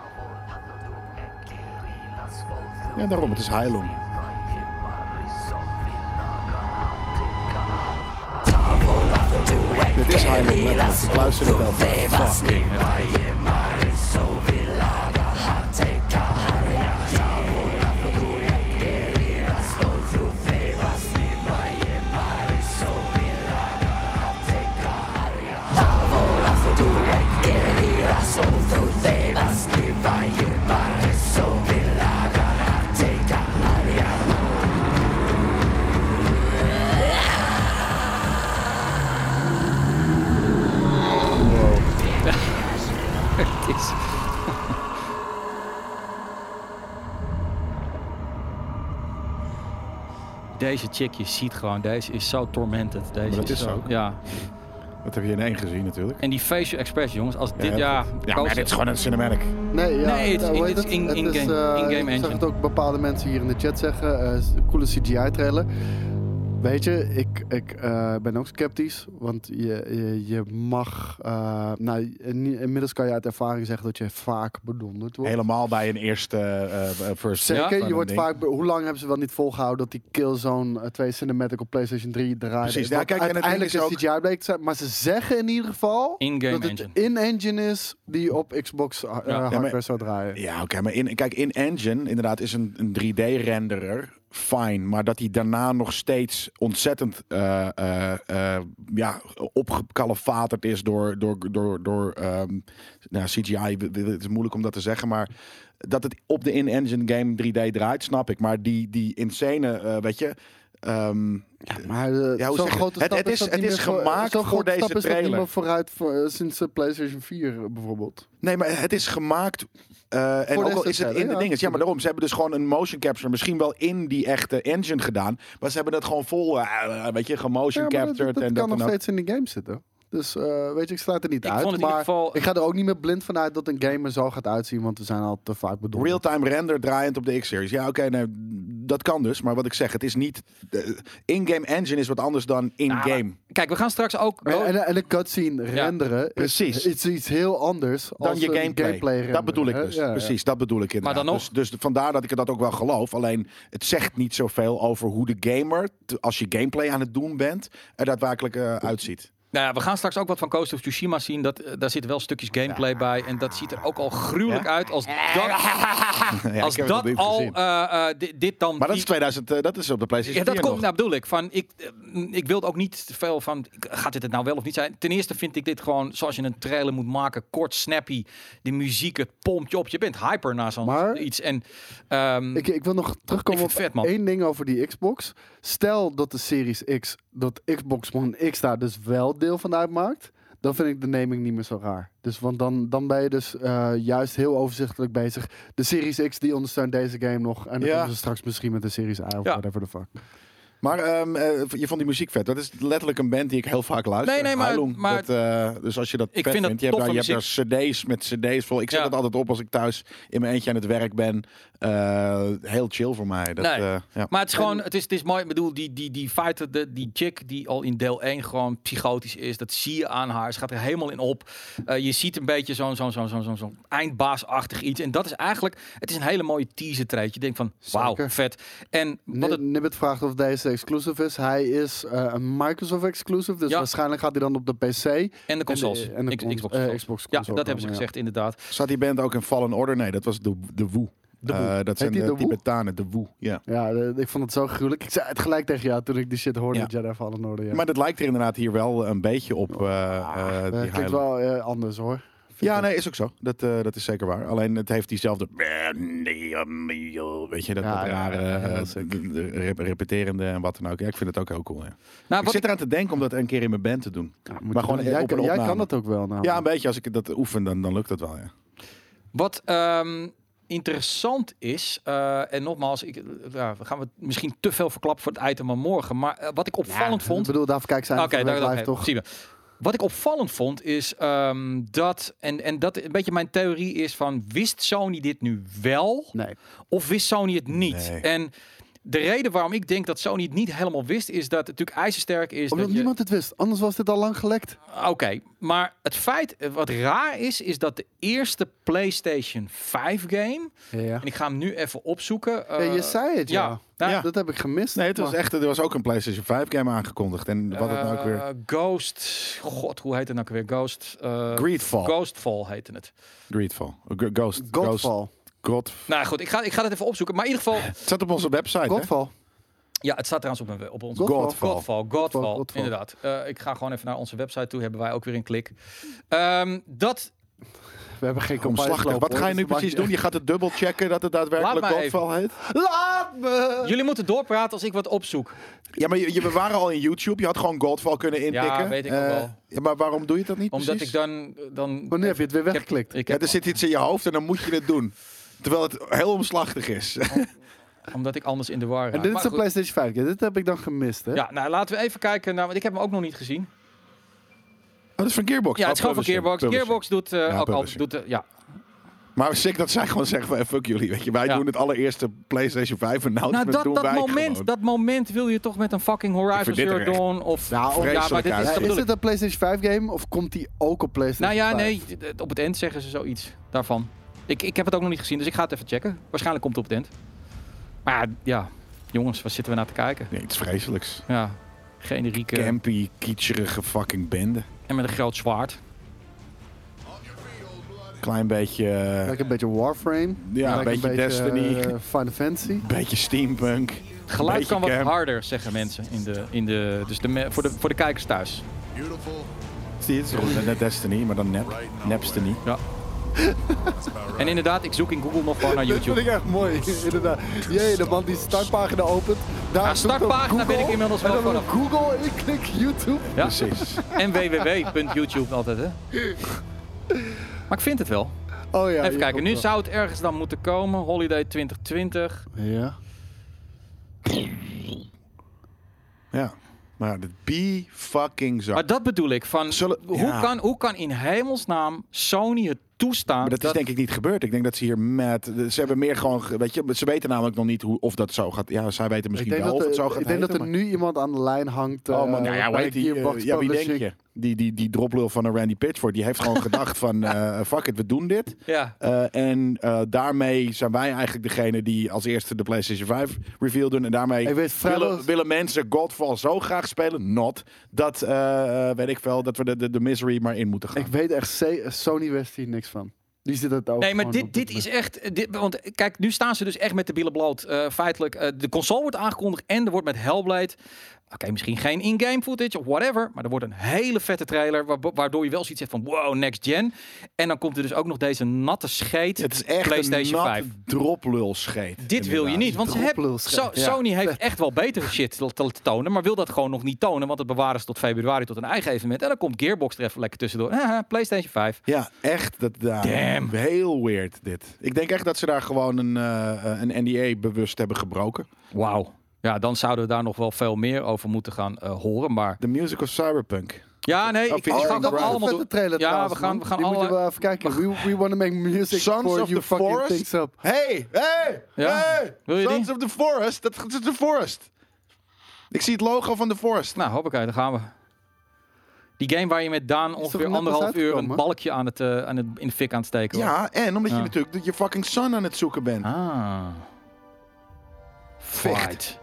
Speaker 3: Ja, daarom. Het is Heilung. Dit is Heilung. letterlijk. Ik luister het wel. Fuck.
Speaker 2: Het is... Deze chick, je ziet gewoon, deze is zo tormented. Deze
Speaker 3: Maar dat is
Speaker 2: zo,
Speaker 3: ze ook.
Speaker 2: Ja.
Speaker 3: Dat heb je in één gezien natuurlijk.
Speaker 2: En die facial expression, jongens, als dit,
Speaker 3: heel
Speaker 2: ja...
Speaker 3: goed. ja, maar dit is gewoon een cinematic.
Speaker 1: Nee, ja,
Speaker 2: Nee, het is-
Speaker 1: ja, hoe
Speaker 2: dit
Speaker 1: heet
Speaker 2: is in-
Speaker 1: Het
Speaker 2: in-game-
Speaker 1: eh,
Speaker 2: in-game
Speaker 1: Ik
Speaker 2: engine.
Speaker 1: zag het ook bepaalde mensen hier in de chat zeggen. eh, is een coole CGI-trailer. Weet je, ik, ik eh, ben ook sceptisch. Want je, je, je mag... eh, nou, in- inmiddels kan je uit ervaring zeggen dat je vaak bedonderd wordt.
Speaker 3: Helemaal bij een eerste eh, eh, first.
Speaker 2: Ja.
Speaker 1: Zeker,
Speaker 3: van
Speaker 1: je
Speaker 3: een
Speaker 1: wordt
Speaker 3: ding.
Speaker 1: vaak... be- Hoe lang hebben ze wel niet volgehouden dat die Killzone eh, 2 Cinematic op PlayStation 3 draaide?
Speaker 3: Precies, ja,
Speaker 1: Wat
Speaker 3: kijk, en het ding
Speaker 1: uiteindelijk
Speaker 3: is ook-
Speaker 1: CGI bleek te zijn. Maar ze zeggen in ieder geval...
Speaker 2: In-game
Speaker 1: dat het
Speaker 2: engine.
Speaker 1: in-engine is die op Xbox eh, hardware
Speaker 3: maar-
Speaker 1: zou draaien.
Speaker 3: Ja, oké, maar in, kijk, in Engine inderdaad is een, een 3D-renderer fijn, maar dat hij daarna nog steeds ontzettend eh eh, eh, ja, opgekalefaterd is door, door, door, door ehm, nou, CGI. w- w- Het is moeilijk om dat te zeggen, maar dat het op de in-engine game 3D draait, snap ik. Maar die, die insane, eh, weet je. ehm,
Speaker 1: Maar eh,
Speaker 3: Ja, hoe
Speaker 1: zo'n
Speaker 3: zeg je?
Speaker 1: grote
Speaker 3: Het-
Speaker 1: stap
Speaker 3: het
Speaker 1: is,
Speaker 3: is-
Speaker 1: dat
Speaker 3: het
Speaker 1: niet
Speaker 3: is
Speaker 1: meer voor-
Speaker 3: gemaakt
Speaker 1: zo'n
Speaker 3: voor
Speaker 1: grote
Speaker 3: deze
Speaker 1: stap is dat niet
Speaker 3: trailer.
Speaker 1: meer vooruit voor, eh, sinds de PlayStation 4 bijvoorbeeld.
Speaker 3: Nee, maar het is gemaakt. eh, en
Speaker 1: Voor de
Speaker 3: ook al is het
Speaker 1: SSL,
Speaker 3: in de
Speaker 1: ja.
Speaker 3: dingen. Ja, maar daarom. Ze hebben dus gewoon een motion capture. Misschien wel in die echte engine gedaan. Maar ze hebben dat gewoon vol. eh, weet je,
Speaker 1: Ja,
Speaker 3: gemotion
Speaker 1: maar dat,
Speaker 3: captured.
Speaker 1: dat
Speaker 3: en
Speaker 1: kan nog
Speaker 3: en
Speaker 1: steeds in de game zitten. Dus eh, weet je, ik sluit er niet
Speaker 2: Ik
Speaker 1: uit.
Speaker 2: vond het in
Speaker 1: maar
Speaker 2: ieder geval-
Speaker 1: ik ga er ook niet meer blind van uit dat een game er zo gaat uitzien, want we zijn al te vaak bedoeld.
Speaker 3: Real-time render draaiend op de X-series. Ja, oké, nee, dat kan dus. Maar wat ik zeg, het is niet. de- in-game engine is wat anders dan
Speaker 2: Nou,
Speaker 3: in-game.
Speaker 2: Kijk, we gaan straks ook...
Speaker 1: En, en, en een cutscene renderen is-
Speaker 3: precies.
Speaker 1: is iets heel anders
Speaker 3: dan
Speaker 1: als
Speaker 3: je
Speaker 1: een
Speaker 3: gameplay.
Speaker 1: renderen,
Speaker 3: dat bedoel ik
Speaker 1: hè?
Speaker 3: dus.
Speaker 1: Ja, ja.
Speaker 3: Precies, dat bedoel ik inderdaad.
Speaker 2: dan nog-
Speaker 3: Dus, dus vandaar dat ik dat ook wel geloof. Alleen het zegt niet zoveel over hoe de gamer, te- als je gameplay aan het doen bent, er daadwerkelijk eh, uitziet.
Speaker 2: Nou ja, we gaan straks ook wat van Coast of Tsushima zien. Dat, eh, daar zitten wel stukjes gameplay bij. En dat ziet er ook al gruwelijk uit. Als dat,
Speaker 3: ik
Speaker 2: als
Speaker 3: heb het nog
Speaker 2: dat
Speaker 3: niet
Speaker 2: al
Speaker 3: gezien.
Speaker 2: eh, eh, di- dit dan...
Speaker 3: Maar dat is
Speaker 2: die-
Speaker 3: 2000, eh, dat is op de PlayStation
Speaker 2: ja, dat
Speaker 3: 4
Speaker 2: komt,
Speaker 3: nog.
Speaker 2: nou bedoel ik. Van, ik, eh, ik wil ook niet te veel van, gaat dit het nou wel of niet zijn? Ten eerste vind ik dit gewoon, zoals je een trailer moet maken, kort, snappy. De muziek, het pompt je op. Je bent hyper na zo'n
Speaker 1: Maar-
Speaker 2: iets. En, ehm,
Speaker 1: Ik, ik wil nog terugkomen
Speaker 2: Ik
Speaker 1: op
Speaker 2: vind het vet, man.
Speaker 1: één ding over die Xbox. Stel dat de Series X, dat Xbox One X daar dus wel deel van uitmaakt. Dan vind ik de naming niet meer zo raar. Dus, want dan, dan ben je dus eh, juist heel overzichtelijk bezig. De Series X die ondersteunt deze game nog. En dan
Speaker 3: Ja.
Speaker 1: komen ze straks misschien met de Series I of
Speaker 2: Ja.
Speaker 1: whatever the fuck.
Speaker 3: Maar ehm, eh, je vond die muziek vet. Dat is letterlijk een band die ik heel vaak luister.
Speaker 2: Nee, nee, maar-
Speaker 3: Heilung.
Speaker 2: maar-
Speaker 3: Dat, eh, dus als je dat
Speaker 2: Ik
Speaker 3: vet
Speaker 2: vind dat
Speaker 3: vindt, je hebt, daar,
Speaker 2: toffe
Speaker 3: je hebt daar cd's met cd's vol. Ik zet
Speaker 2: Ja.
Speaker 3: dat altijd op als ik thuis in mijn eentje aan het werk ben. Eh, heel chill voor mij. Dat,
Speaker 2: Nee.
Speaker 3: eh, ja.
Speaker 2: Maar het is gewoon, het is, het is mooi. Ik bedoel, die, die, die fighter, de, die chick die al in deel 1 gewoon psychotisch is, dat zie je aan haar. Ze gaat er helemaal in op. Eh, je ziet een beetje zo'n zo'n zo'n zo'n zo'n zo'n eindbaasachtig iets. En dat is eigenlijk, het is een hele mooie teaser treetje. Je denkt van, wauw,
Speaker 1: Zeker.
Speaker 2: vet. En wat
Speaker 1: Ni-
Speaker 2: het,
Speaker 1: Nibbit vraagt of deze exclusive is. Hij is eh, een Microsoft exclusive. Dus
Speaker 2: Ja.
Speaker 1: waarschijnlijk gaat hij dan op de PC. En
Speaker 2: en de consoles.
Speaker 1: de- en de
Speaker 2: X-
Speaker 1: cons-
Speaker 2: Xbox,
Speaker 1: eh,
Speaker 2: consoles.
Speaker 1: Xbox
Speaker 2: Ja,
Speaker 1: console
Speaker 2: dat hebben ze
Speaker 1: komen, ja.
Speaker 2: gezegd, inderdaad.
Speaker 3: Zat die band ook in Fallen Order? Nee, dat was de, de Woe.
Speaker 1: De Woe.
Speaker 3: Eh, dat zijn
Speaker 1: die
Speaker 3: de,
Speaker 1: de Woe?
Speaker 3: Tibetanen, de Woe. Ja.
Speaker 1: Ja, de- ik vond het zo gruwelijk. Ik zei het gelijk tegen jou toen ik die shit hoorde.
Speaker 3: Ja.
Speaker 1: Jedi Fallen Order. Ja.
Speaker 3: Maar dat lijkt er inderdaad hier wel een beetje op. eh,
Speaker 2: Ah,
Speaker 3: eh, die
Speaker 1: Eh, klinkt
Speaker 3: Heilung.
Speaker 1: wel eh, anders hoor.
Speaker 3: Ja, nee, is ook zo. Dat, eh, dat is zeker waar. Alleen het heeft diezelfde. Weet je,
Speaker 1: Ja,
Speaker 3: dat, dat
Speaker 1: ja,
Speaker 3: rare,
Speaker 1: ja, ja,
Speaker 3: eh,
Speaker 1: dat is zeker.
Speaker 3: de- de rep- repeterende en wat dan ook. Ja, ik vind het ook heel cool. Ja.
Speaker 2: Nou,
Speaker 3: Ik
Speaker 2: wat
Speaker 3: zit eraan te denken om dat een keer in mijn band te doen.
Speaker 1: Moet
Speaker 3: maar
Speaker 1: je
Speaker 3: gewoon
Speaker 1: doen.
Speaker 3: eh,
Speaker 1: jij,
Speaker 3: op een
Speaker 1: kan- jij
Speaker 3: opname.
Speaker 1: kan dat ook wel. Nou.
Speaker 3: Ja, een beetje. Als ik dat oefen, dan, dan lukt dat wel. Ja.
Speaker 2: Wat ehm, interessant is, eh, en nogmaals, ik, ja, we gaan we misschien te veel verklappen voor het item van morgen. Maar eh, wat ik opvallend
Speaker 1: Ik
Speaker 2: vond.
Speaker 1: bedoel, daarvoor kijk zijn
Speaker 2: Oké, daar
Speaker 1: blijft
Speaker 2: oké,
Speaker 1: toch.
Speaker 2: zien we. Wat ik opvallend vond is ehm, dat, en, en dat een beetje mijn theorie is van, wist Sony dit nu wel
Speaker 1: Nee.
Speaker 2: of wist Sony het niet?
Speaker 3: Nee.
Speaker 2: En de reden waarom ik denk dat Sony het niet helemaal wist, is dat het natuurlijk ijzersterk is.
Speaker 1: Omdat
Speaker 2: dat je-
Speaker 1: niemand het wist. Anders was dit al lang gelekt.
Speaker 2: Oké, maar het feit, eh, wat raar is, is dat de eerste PlayStation 5 game,
Speaker 1: Ja.
Speaker 2: en ik ga hem nu even opzoeken. eh,
Speaker 1: je zei het ja.
Speaker 2: ja, nou,
Speaker 1: Dat heb ik gemist.
Speaker 3: Nee, het was
Speaker 1: maar-
Speaker 3: echt, er was ook een PlayStation 5 game aangekondigd. En wat het nou ook weer.
Speaker 2: eh, Ghost, god, hoe heet het nou ook weer? Ghost, eh,
Speaker 3: Greedfall.
Speaker 2: Ghostfall heette het.
Speaker 3: Greedfall. G- Ghost. Ghost.
Speaker 1: Godfall.
Speaker 3: God.
Speaker 2: Nou goed, ik ga, ik ga dat even opzoeken. Maar in ieder geval,
Speaker 3: Het staat op onze website. hè?
Speaker 1: Godfall.
Speaker 2: ja, het staat trouwens op, mijn, we- op ons.
Speaker 1: Godfall.
Speaker 3: Godfall.
Speaker 2: Godfall, Godfall,
Speaker 1: Godfall, Godfall.
Speaker 2: inderdaad. Eh, ik ga gewoon even naar onze website toe, hebben wij ook weer een klik. Ehm, dat,
Speaker 1: We hebben geen
Speaker 3: Omslachtig.
Speaker 1: campagne
Speaker 3: Wat ga je
Speaker 1: lopen,
Speaker 3: nu
Speaker 1: hoor. Dus
Speaker 3: precies doen? Je gaat het dubbel checken dat het daadwerkelijk
Speaker 2: Laat mij even.
Speaker 3: Godfall heet?
Speaker 1: dat maakt niet- Laat me!
Speaker 2: jullie moeten doorpraten als ik wat opzoek.
Speaker 3: Ja, maar je, je- we waren al in YouTube. Je had gewoon Godfall kunnen intikken.
Speaker 2: weet ik ook
Speaker 3: Eh,
Speaker 2: wel.
Speaker 3: ja, maar waarom doe je dat niet
Speaker 2: Omdat ik
Speaker 3: precies?
Speaker 2: dan... dan
Speaker 1: Wanneer heb je het weer
Speaker 2: ik heb-
Speaker 1: weggeklikt?
Speaker 2: ik
Speaker 3: Ja,
Speaker 2: heb,
Speaker 3: er zit iets in je hoofd en dan moet je het doen. Terwijl het heel omslachtig is. Oh,
Speaker 2: Omdat ik anders in de war raak.
Speaker 1: En dit is
Speaker 2: Maar
Speaker 1: de
Speaker 2: goed.
Speaker 1: PlayStation 5. Ja, dit heb ik dan gemist, hè?
Speaker 2: Ja, nou laten we even kijken. Nou, want ik heb hem ook nog niet gezien.
Speaker 3: Oh, dat is van Gearbox.
Speaker 2: Ja,
Speaker 3: Oh,
Speaker 2: het is gewoon van
Speaker 3: publishing,
Speaker 2: Gearbox.
Speaker 3: publishing.
Speaker 2: Gearbox doet eh,
Speaker 3: Ja,
Speaker 2: ook al...
Speaker 3: publishing.
Speaker 2: Doet, eh, ja.
Speaker 3: Maar sick dat zij gewoon zeggen van eh, fuck jullie. Weet je, wij
Speaker 2: Ja.
Speaker 3: doen het allereerste PlayStation 5 announcement.
Speaker 2: Nou, dat,
Speaker 3: doen
Speaker 2: dat,
Speaker 3: wij
Speaker 2: moment,
Speaker 3: gewoon.
Speaker 2: dat moment wil je toch met een fucking Horizon
Speaker 3: vind dit
Speaker 2: Zero
Speaker 3: er echt
Speaker 2: Dawn of...
Speaker 1: Nou,
Speaker 2: of- ja, maar dit is
Speaker 3: vreselijk uit.
Speaker 2: de
Speaker 1: Ja, is
Speaker 2: bedoeling.
Speaker 1: dit een PlayStation 5 game of komt die ook op
Speaker 2: Nou
Speaker 1: PlayStation
Speaker 2: ja,
Speaker 1: 5?
Speaker 2: nee, d- d- op het eind zeggen ze zoiets daarvan. Ik, ik heb het ook nog niet gezien, dus ik ga het even checken. Waarschijnlijk komt het op het eind. Maar ja, jongens, waar zitten we naar te kijken?
Speaker 3: Nee, iets vreselijks.
Speaker 2: Ja, generieke
Speaker 3: Campy, kietserige fucking bende.
Speaker 2: en met een groot zwaard.
Speaker 3: Klein beetje... eh,
Speaker 1: Lijkt een beetje Warframe.
Speaker 3: ja, een
Speaker 1: Lijkt
Speaker 3: beetje Destiny.
Speaker 1: eh, Final Fantasy.
Speaker 3: beetje steampunk.
Speaker 2: Het geluid
Speaker 3: beetje
Speaker 2: kan wat
Speaker 3: camp.
Speaker 2: harder, zeggen mensen. In de, in de, dus de me- voor, de, voor de kijkers thuis.
Speaker 5: Beautiful,
Speaker 3: Zie je, het is gewoon Net Destiny, maar dan nep.
Speaker 5: Right now,
Speaker 3: Nepstiny.
Speaker 2: Ja.
Speaker 5: that's about right.
Speaker 2: En inderdaad, ik zoek in Google nog gewoon naar
Speaker 1: Dat vind
Speaker 2: YouTube.
Speaker 1: ik echt mooi, inderdaad. Jee, de man die startpagina opent. Daar
Speaker 2: Ja,
Speaker 1: zoekt op
Speaker 2: startpagina
Speaker 1: Google,
Speaker 2: ben ik inmiddels wel
Speaker 1: en dan op
Speaker 2: vanaf.
Speaker 1: Google en ik klik YouTube.
Speaker 2: Ja.
Speaker 3: Precies.
Speaker 2: En www.youtube altijd, hè. Maar ik vind het wel.
Speaker 1: Oh ja.
Speaker 2: Even
Speaker 1: je
Speaker 2: kijken,
Speaker 1: komt
Speaker 2: nu
Speaker 1: wel.
Speaker 2: zou het ergens dan moeten komen. Holiday 2020.
Speaker 1: Ja.
Speaker 3: Ja. Maar de be fucking zo.
Speaker 2: Maar dat bedoel ik. Van,
Speaker 3: Zullen-
Speaker 2: hoe,
Speaker 3: ja.
Speaker 2: kan, hoe kan in hemelsnaam Sony het toestaan.
Speaker 3: Maar dat, is denk ik niet gebeurd. Ik denk dat ze hier met... Ze hebben meer gewoon... ge- Weet je, ze weten namelijk nog niet hoe, of dat zo gaat... Ja, zij weten
Speaker 1: Ik
Speaker 3: misschien
Speaker 1: denk,
Speaker 3: wel
Speaker 1: dat,
Speaker 3: of
Speaker 1: er-
Speaker 3: het zo gaat
Speaker 1: ik denk dat
Speaker 3: heten,
Speaker 1: er
Speaker 3: maar-
Speaker 1: nu iemand aan de lijn hangt.
Speaker 3: Oh man,
Speaker 1: eh,
Speaker 3: nou ja, hoe
Speaker 1: bij
Speaker 3: heet die,
Speaker 1: Gearbox
Speaker 3: eh, ja, wie denk
Speaker 1: Publishing.
Speaker 3: je? Die, die, die droplul van een Randy Pitchford, die heeft gewoon gedacht van, eh, fuck it, we doen dit.
Speaker 2: Ja.
Speaker 3: Eh, en eh, daarmee zijn wij eigenlijk degene die als eerste de PlayStation 5 reveal doen. En daarmee
Speaker 1: Ik weet
Speaker 3: willen,
Speaker 1: vrijwel-
Speaker 3: willen mensen Godfall zo graag spelen, not, dat, eh, eh, weet ik wel, dat we de, de, de misery maar in moeten gaan.
Speaker 1: Ik weet echt, ze- Sony wist hier niks van. Die zit het ook.
Speaker 2: Nee, maar
Speaker 1: gewoon
Speaker 2: dit,
Speaker 1: op
Speaker 2: dit is echt. Dit, want kijk, nu staan ze dus echt met de billen bloot. Eh, feitelijk, eh, de console wordt aangekondigd en er wordt met Hellblade. Oké, misschien geen in-game footage of whatever. Maar er wordt een hele vette trailer. wa- Waardoor je wel zoiets hebt van: wow, next gen. En dan komt er dus ook nog deze natte scheet.
Speaker 3: het is echt een
Speaker 2: PlayStation
Speaker 3: nat
Speaker 2: 5.
Speaker 3: droplul scheet.
Speaker 2: Dit wil je
Speaker 3: inderdaad.
Speaker 2: niet, want ze hebben,
Speaker 1: Droplulschijf.
Speaker 2: Zo- Sony heeft echt wel betere shit te, te tonen, maar wil dat gewoon nog niet tonen, want het bewaren ze tot februari tot een eigen evenement. En dan komt Gearbox er even lekker tussendoor. Haha, PlayStation 5.
Speaker 3: Ja, echt. Dat, daar
Speaker 2: Damn.
Speaker 3: Heel weird dit. Ik denk echt dat ze daar gewoon een, eh, een NDA bewust hebben gebroken.
Speaker 2: Wauw. Ja, dan zouden we daar nog wel veel meer over moeten gaan eh, horen. Maar
Speaker 3: The Music of Cyberpunk.
Speaker 2: ja,
Speaker 1: Nou,
Speaker 2: nee, ik,
Speaker 1: Oh,
Speaker 3: vind
Speaker 2: ik
Speaker 3: je
Speaker 2: ga
Speaker 3: het
Speaker 2: dat
Speaker 3: wel
Speaker 2: allemaal
Speaker 1: vette
Speaker 2: doen.
Speaker 1: trailer
Speaker 2: Ja,
Speaker 1: trouwens,
Speaker 2: we gaan-
Speaker 1: man.
Speaker 2: we gaan
Speaker 1: Die moeten
Speaker 2: alle-
Speaker 1: we even kijken. We, we want to make music
Speaker 3: Sons
Speaker 1: for
Speaker 3: of
Speaker 1: you
Speaker 3: the
Speaker 1: fucking
Speaker 3: Forest?
Speaker 1: things up.
Speaker 3: Hey, hey,
Speaker 2: Ja,
Speaker 3: hey.
Speaker 2: wil je die?
Speaker 3: Sons of the Forest. Dat dat is de Forest. Ik zie het logo van de Forest.
Speaker 2: Nou, hoppakee, daar gaan we. Die game waar je met Daan ongeveer
Speaker 1: net pas
Speaker 2: anderhalf uur een
Speaker 1: uitgekomen?
Speaker 2: balkje aan het, eh, aan het, in de fik aan het steken was.
Speaker 3: ja, en omdat
Speaker 2: Ja.
Speaker 3: je natuurlijk je fucking son aan het zoeken bent.
Speaker 2: Ah.
Speaker 3: Vecht.
Speaker 2: Fight.